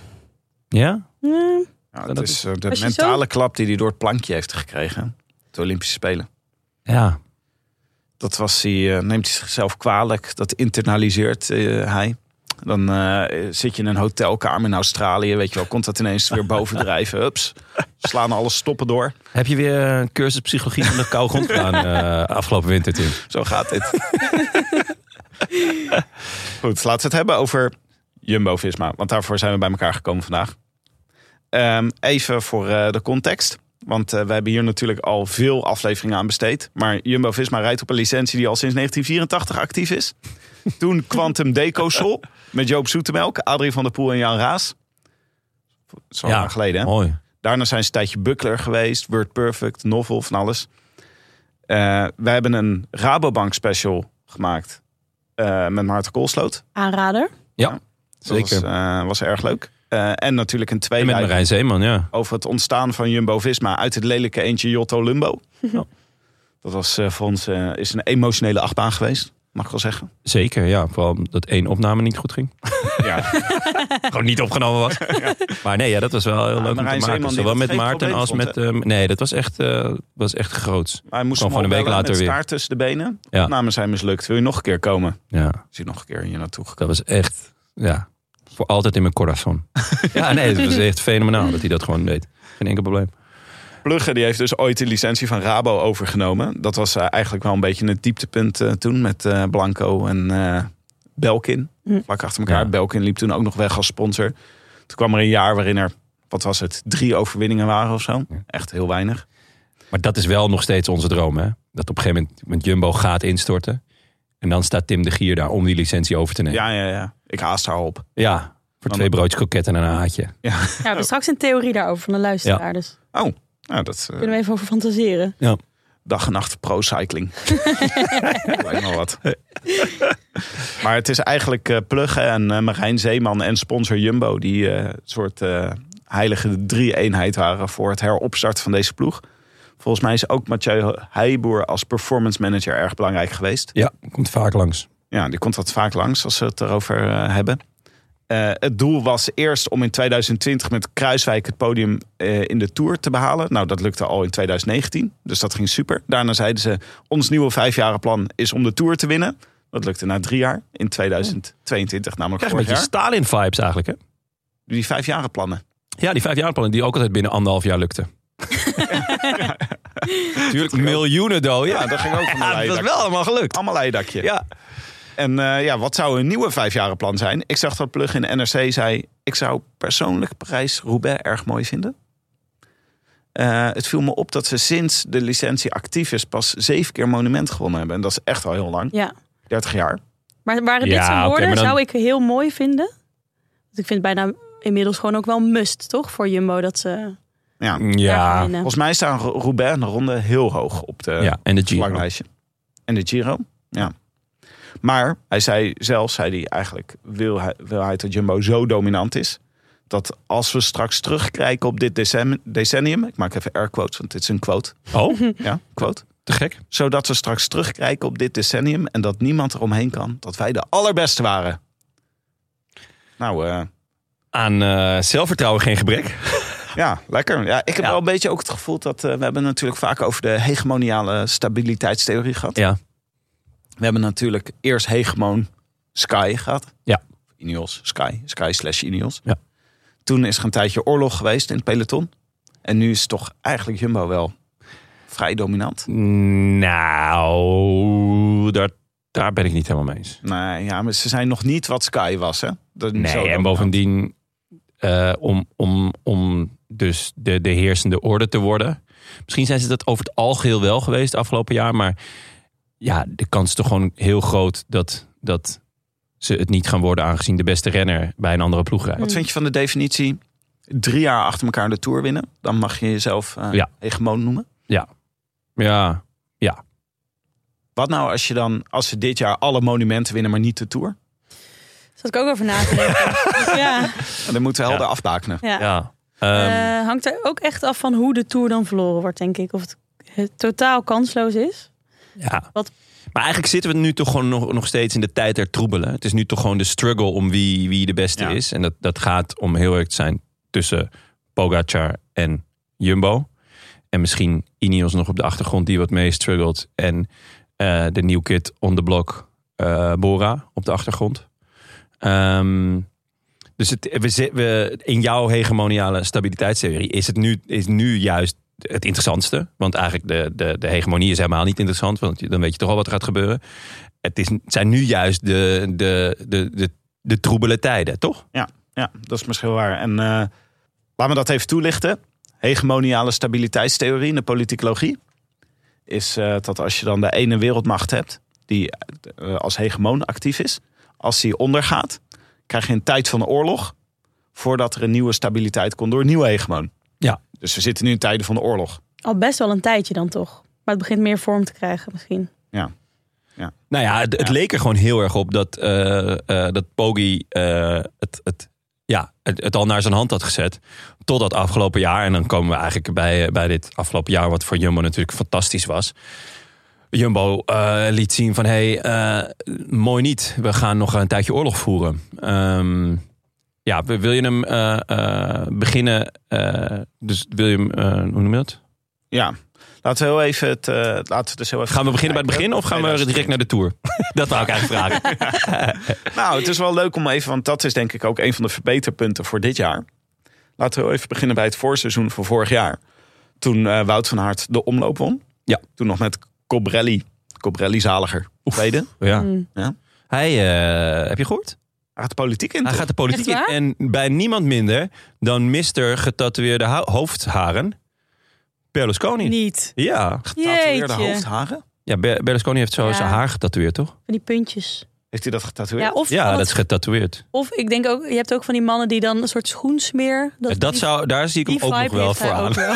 Speaker 1: Ja?
Speaker 2: Ja,
Speaker 3: Ja,
Speaker 1: dat
Speaker 3: het is eh, de
Speaker 2: Als je
Speaker 3: mentale klap die hij door het plankje heeft gekregen. De Olympische Spelen.
Speaker 1: Ja.
Speaker 3: Dat was hij, eh, neemt hij zichzelf kwalijk. Dat internaliseert eh, hij. Dan eh, zit je in een hotelkamer in Australië. Weet je wel, komt dat ineens weer bovendrijven. Ups, slaan alle stoppen door.
Speaker 1: Heb je weer een cursus psychologie van de koude grond gedaan eh, afgelopen winter, Tim?
Speaker 3: Zo gaat dit. Goed, laten we het hebben over Jumbo-Visma. Want daarvoor zijn we bij elkaar gekomen vandaag. Ehm, even voor eh, de context. Want eh, we hebben hier natuurlijk al veel afleveringen aan besteed. Maar Jumbo-Visma rijdt op een licentie die al sinds 1984 actief is. Toen Quantum Deco Sol met Joop Zoetemelk, Adrie van der Poel en Jan Raas. Zo
Speaker 1: Ja,
Speaker 3: lang geleden, hè?
Speaker 1: Mooi.
Speaker 3: Daarna zijn ze een tijdje Buckler geweest, Word Perfect, Novel, van alles. Eh, we hebben een Rabobank special gemaakt eh, met Maarten Koolsloot.
Speaker 2: aanrader.
Speaker 1: Zeker.
Speaker 3: Dat was, eh, was erg leuk. Eh, en natuurlijk een
Speaker 1: en met
Speaker 3: tweede
Speaker 1: Marijn Zeeman, ja.
Speaker 3: over het ontstaan van Jumbo-Visma uit het lelijke eentje Jotto Lumbo.
Speaker 1: Ja.
Speaker 3: Dat was eh, voor ons eh, is een emotionele achtbaan geweest, mag ik wel zeggen.
Speaker 1: Zeker, ja. Vooral dat één opname niet goed ging.
Speaker 3: Ja,
Speaker 1: Gewoon niet opgenomen was. Maar nee, ja, dat was wel heel leuk om te
Speaker 3: Marijn Zeeman
Speaker 1: maken.
Speaker 3: die
Speaker 1: Zowel
Speaker 3: dat
Speaker 1: met
Speaker 3: geen
Speaker 1: Maarten
Speaker 3: probleem
Speaker 1: als
Speaker 3: vond,
Speaker 1: met... ehm, nee, dat was echt, eh, was echt groots.
Speaker 3: hij moest
Speaker 1: Kwam
Speaker 3: hem
Speaker 1: gewoon een week
Speaker 3: opbellen
Speaker 1: later
Speaker 3: met
Speaker 1: weer.
Speaker 3: staart tussen de benen.
Speaker 1: Ja.
Speaker 3: Namen zijn mislukt. Wil je nog een keer komen?
Speaker 1: Ja.
Speaker 3: Is hij nog een keer hier naartoe gekomen?
Speaker 1: Dat was echt, ja, voor altijd in mijn corazon. ja, nee, het was echt fenomenaal dat hij dat gewoon deed. Geen enkel probleem.
Speaker 3: Plugge die heeft dus ooit de licentie van Rabo overgenomen. Dat was eh, eigenlijk wel een beetje het dieptepunt eh, toen met eh, Blanco en eh, Belkin.
Speaker 2: Hm.
Speaker 3: Vlak achter elkaar.
Speaker 1: Ja.
Speaker 3: Belkin liep toen ook nog weg als sponsor. Toen kwam er een jaar waarin er wat was het, drie overwinningen waren of zo. Echt heel weinig.
Speaker 1: Maar dat is wel nog steeds onze droom, hè? Dat op een gegeven moment met Jumbo gaat instorten. En dan staat Tim de Gier daar om die licentie over te nemen. Ja,
Speaker 3: Ja, ja, ja. Ik haast haar op.
Speaker 1: voor twee broodjes koketten en een haatje.
Speaker 2: we hebben straks een theorie daarover van de luisteraar.
Speaker 1: Ja.
Speaker 2: Dus
Speaker 3: Oh, nou, dat eh,
Speaker 2: kunnen we even over fantaseren.
Speaker 3: dag en nacht pro-cycling. Lijkt me wat. maar het is eigenlijk eh Plugge en eh, Marijn Zeeman en sponsor Jumbo... die eh, een soort eh, heilige drie-eenheid waren voor het heropstart van deze ploeg. Volgens mij is ook Mathieu Heijboer als performance manager erg belangrijk geweest.
Speaker 1: Ja, komt vaak langs.
Speaker 3: Ja, die komt dat vaak langs als ze het erover eh, hebben. Eh, het doel was eerst om in 2020 met Kruiswijk het podium eh, in de Tour te behalen. Nou, dat lukte al in 2019, dus dat ging super. Daarna zeiden ze, ons nieuwe vijfjarenplan is om de Tour te winnen. Dat lukte na drie jaar, in 2022, namelijk
Speaker 1: Krijg een
Speaker 3: vorig
Speaker 1: beetje
Speaker 3: jaar.
Speaker 1: Stalin-vibes eigenlijk, hè?
Speaker 3: Die vijfjarenplannen.
Speaker 1: Ja, die vijfjaarplannen die ook altijd binnen anderhalf jaar lukte. Natuurlijk miljoenen doden.
Speaker 3: Ja,
Speaker 1: Ja,
Speaker 3: dat ging ook van een
Speaker 1: dat is
Speaker 3: leidakje.
Speaker 1: wel allemaal gelukt.
Speaker 3: Allemaal leidakje.
Speaker 1: Ja,
Speaker 3: En eh, ja, wat zou een nieuwe vijfjarenplan zijn? Ik zag dat Plug in NRC zei... ik zou persoonlijk Parijs-Roubaix erg mooi vinden. Eh, het viel me op dat ze sinds de licentie actief is... pas zeven keer monument gewonnen hebben. En dat is echt al heel lang.
Speaker 2: Ja.
Speaker 3: 30 jaar.
Speaker 2: Maar waren
Speaker 1: Ja,
Speaker 2: dit zijn
Speaker 1: oké,
Speaker 2: woorden,
Speaker 1: maar dan-
Speaker 2: zou ik heel mooi vinden. Want ik vind het bijna inmiddels gewoon ook wel must, toch? Voor Jumbo dat ze
Speaker 3: Ja.
Speaker 2: daar gaan
Speaker 1: ja. eh,
Speaker 2: winnen.
Speaker 3: Volgens mij staan Rou- Roubaix en de ronde heel hoog op de
Speaker 1: ja en de Giro.
Speaker 3: verlanglijstje. En de Giro, ja. Maar hij zei zelf, zei hij eigenlijk... wil hij, wil hij dat Jumbo zo dominant is... dat als we straks terugkijken op dit decem- decennium... ik maak even air quotes, want dit is een quote.
Speaker 1: Oh,
Speaker 3: Ja, quote.
Speaker 1: te gek.
Speaker 3: Zodat we straks terugkijken op dit decennium... en dat niemand eromheen kan dat wij de allerbeste waren. Nou, eh,
Speaker 1: Aan eh, zelfvertrouwen geen gebrek.
Speaker 3: ja, lekker. Ja, ik heb
Speaker 1: Ja.
Speaker 3: wel een beetje ook het gevoel dat... eh, we hebben natuurlijk vaak over de hegemoniale stabiliteitstheorie gehad.
Speaker 1: Ja.
Speaker 3: We hebben natuurlijk eerst hegemoon Sky gehad.
Speaker 1: Ja.
Speaker 3: Ineos, Sky, Sky slash Ineos.
Speaker 1: Ja.
Speaker 3: Toen is er een tijdje oorlog geweest in het peloton. En nu is toch eigenlijk Jumbo wel vrij dominant.
Speaker 1: Nou, daar, daar ben ik niet helemaal mee eens.
Speaker 3: Nee, ja, maar ze zijn nog niet wat Sky was, hè? Dat is zo
Speaker 1: Nee, en
Speaker 3: dominant.
Speaker 1: bovendien, eh, om, om, om dus de, de heersende orde te worden. Misschien zijn ze dat over het algeheel wel geweest afgelopen jaar. Maar ja, de kans is toch gewoon heel groot dat, dat ze het niet gaan worden. Aangezien de beste renner bij een andere ploeg rijdt.
Speaker 3: Wat vind je van de definitie? Drie jaar achter elkaar de Tour winnen. Dan mag je jezelf eh
Speaker 1: Ja.
Speaker 3: hegemoon noemen.
Speaker 1: Ja,
Speaker 3: Wat nou als je dan, als ze dit jaar alle monumenten winnen, maar niet de Tour?
Speaker 2: Zat ik ook over na te denken. ja,
Speaker 3: Dan moeten we helder
Speaker 1: Ja.
Speaker 3: afbakenen.
Speaker 2: ja.
Speaker 1: ja. Ehm,
Speaker 2: Eh, hangt er ook echt af van hoe de Tour dan verloren wordt, denk ik. Of het, het totaal kansloos is.
Speaker 1: Ja.
Speaker 2: Wat-
Speaker 1: Maar eigenlijk zitten we nu toch gewoon nog, nog steeds in de tijd der troebelen. Het is nu toch gewoon de struggle om wie, wie de beste
Speaker 3: Ja.
Speaker 1: is. En dat, dat gaat om heel erg te zijn tussen Pogacar en Jumbo. En misschien Ineos nog op de achtergrond die wat mee struggelt. En eh, de new kid on the block, eh, Bora, op de achtergrond. Ehm, dus het, we, zi- we, in jouw hegemoniale stabiliteitstheorie is het nu, is nu juist het interessantste. Want eigenlijk de, de, de hegemonie is helemaal niet interessant. Want je- dan weet je toch al wat er gaat gebeuren. Het, is, het zijn nu juist de, de, de, de, de troebele tijden, toch?
Speaker 3: Ja, dat is misschien waar. En eh laten we dat even toelichten. Hegemoniale stabiliteitstheorie in de politicologie is eh, dat als je dan de ene wereldmacht hebt die eh, als hegemoon actief is, als die ondergaat, krijg je een tijd van oorlog voordat er een nieuwe stabiliteit komt door een nieuwe hegemoon.
Speaker 1: Ja.
Speaker 3: Dus we zitten nu in tijden van de oorlog.
Speaker 2: Al best wel een tijdje dan toch. Maar het begint meer vorm te krijgen misschien.
Speaker 1: Nou ja, het, het
Speaker 3: Ja.
Speaker 1: leek er gewoon heel erg op dat, eh eh, dat Poggi eh, het, het, ja, het, het al naar zijn hand had gezet. Tot dat afgelopen jaar. En dan komen we eigenlijk bij, eh, bij dit afgelopen jaar, wat voor Jumbo natuurlijk fantastisch was. Jumbo eh, liet zien van, hé, hey, eh, mooi niet. We gaan nog een tijdje oorlog voeren. Ehm, ja, wil wil je hem eh, eh, beginnen? eh, dus wil je hem, eh, hoe noem je dat?
Speaker 3: Ja, laten we heel even het. eh, laten we dus heel even
Speaker 1: Gaan we beginnen bij het begin of gaan we direct naar de Tour? dat wou ik eigenlijk vragen.
Speaker 3: Nou, het is wel leuk om even, want dat is denk ik ook een van de verbeterpunten voor dit jaar. Laten we heel even beginnen bij het voorseizoen van vorig jaar. Toen eh, Wout van Aert de omloop won.
Speaker 1: Ja.
Speaker 3: Toen nog met Cobrelli. Cobrelli zaliger. Tweede.
Speaker 1: Ja.
Speaker 2: Mm.
Speaker 3: Ja.
Speaker 1: Hij, eh, heb je gehoord?
Speaker 3: Hij gaat de politiek in.
Speaker 1: Hij
Speaker 3: toch?
Speaker 1: gaat de politiek
Speaker 2: Echt
Speaker 1: in.
Speaker 2: waar?
Speaker 1: En bij niemand minder dan Mr. getatoeëerde ho- hoofdharen. Berlusconi.
Speaker 2: Niet.
Speaker 1: Ja.
Speaker 3: Getatoeëerde
Speaker 2: Jeetje.
Speaker 3: hoofdharen?
Speaker 1: ja, Ber- Berlusconi heeft zo
Speaker 2: Ja.
Speaker 1: zijn haar getatoeëerd, toch?
Speaker 2: Van die puntjes.
Speaker 3: Heeft hij dat getatoeëerd?
Speaker 2: Ja, of,
Speaker 1: Ja,
Speaker 2: van
Speaker 1: dat is
Speaker 2: het-
Speaker 1: getatoeëerd.
Speaker 2: of ik denk ook, je hebt ook van die mannen die dan een soort schoensmeer.
Speaker 1: Dat,
Speaker 2: die-
Speaker 1: zou, daar zie ik hem
Speaker 2: die
Speaker 1: ook nog
Speaker 2: vibe
Speaker 1: wel
Speaker 2: heeft
Speaker 1: voor
Speaker 2: hij
Speaker 1: aan.
Speaker 2: ook wel.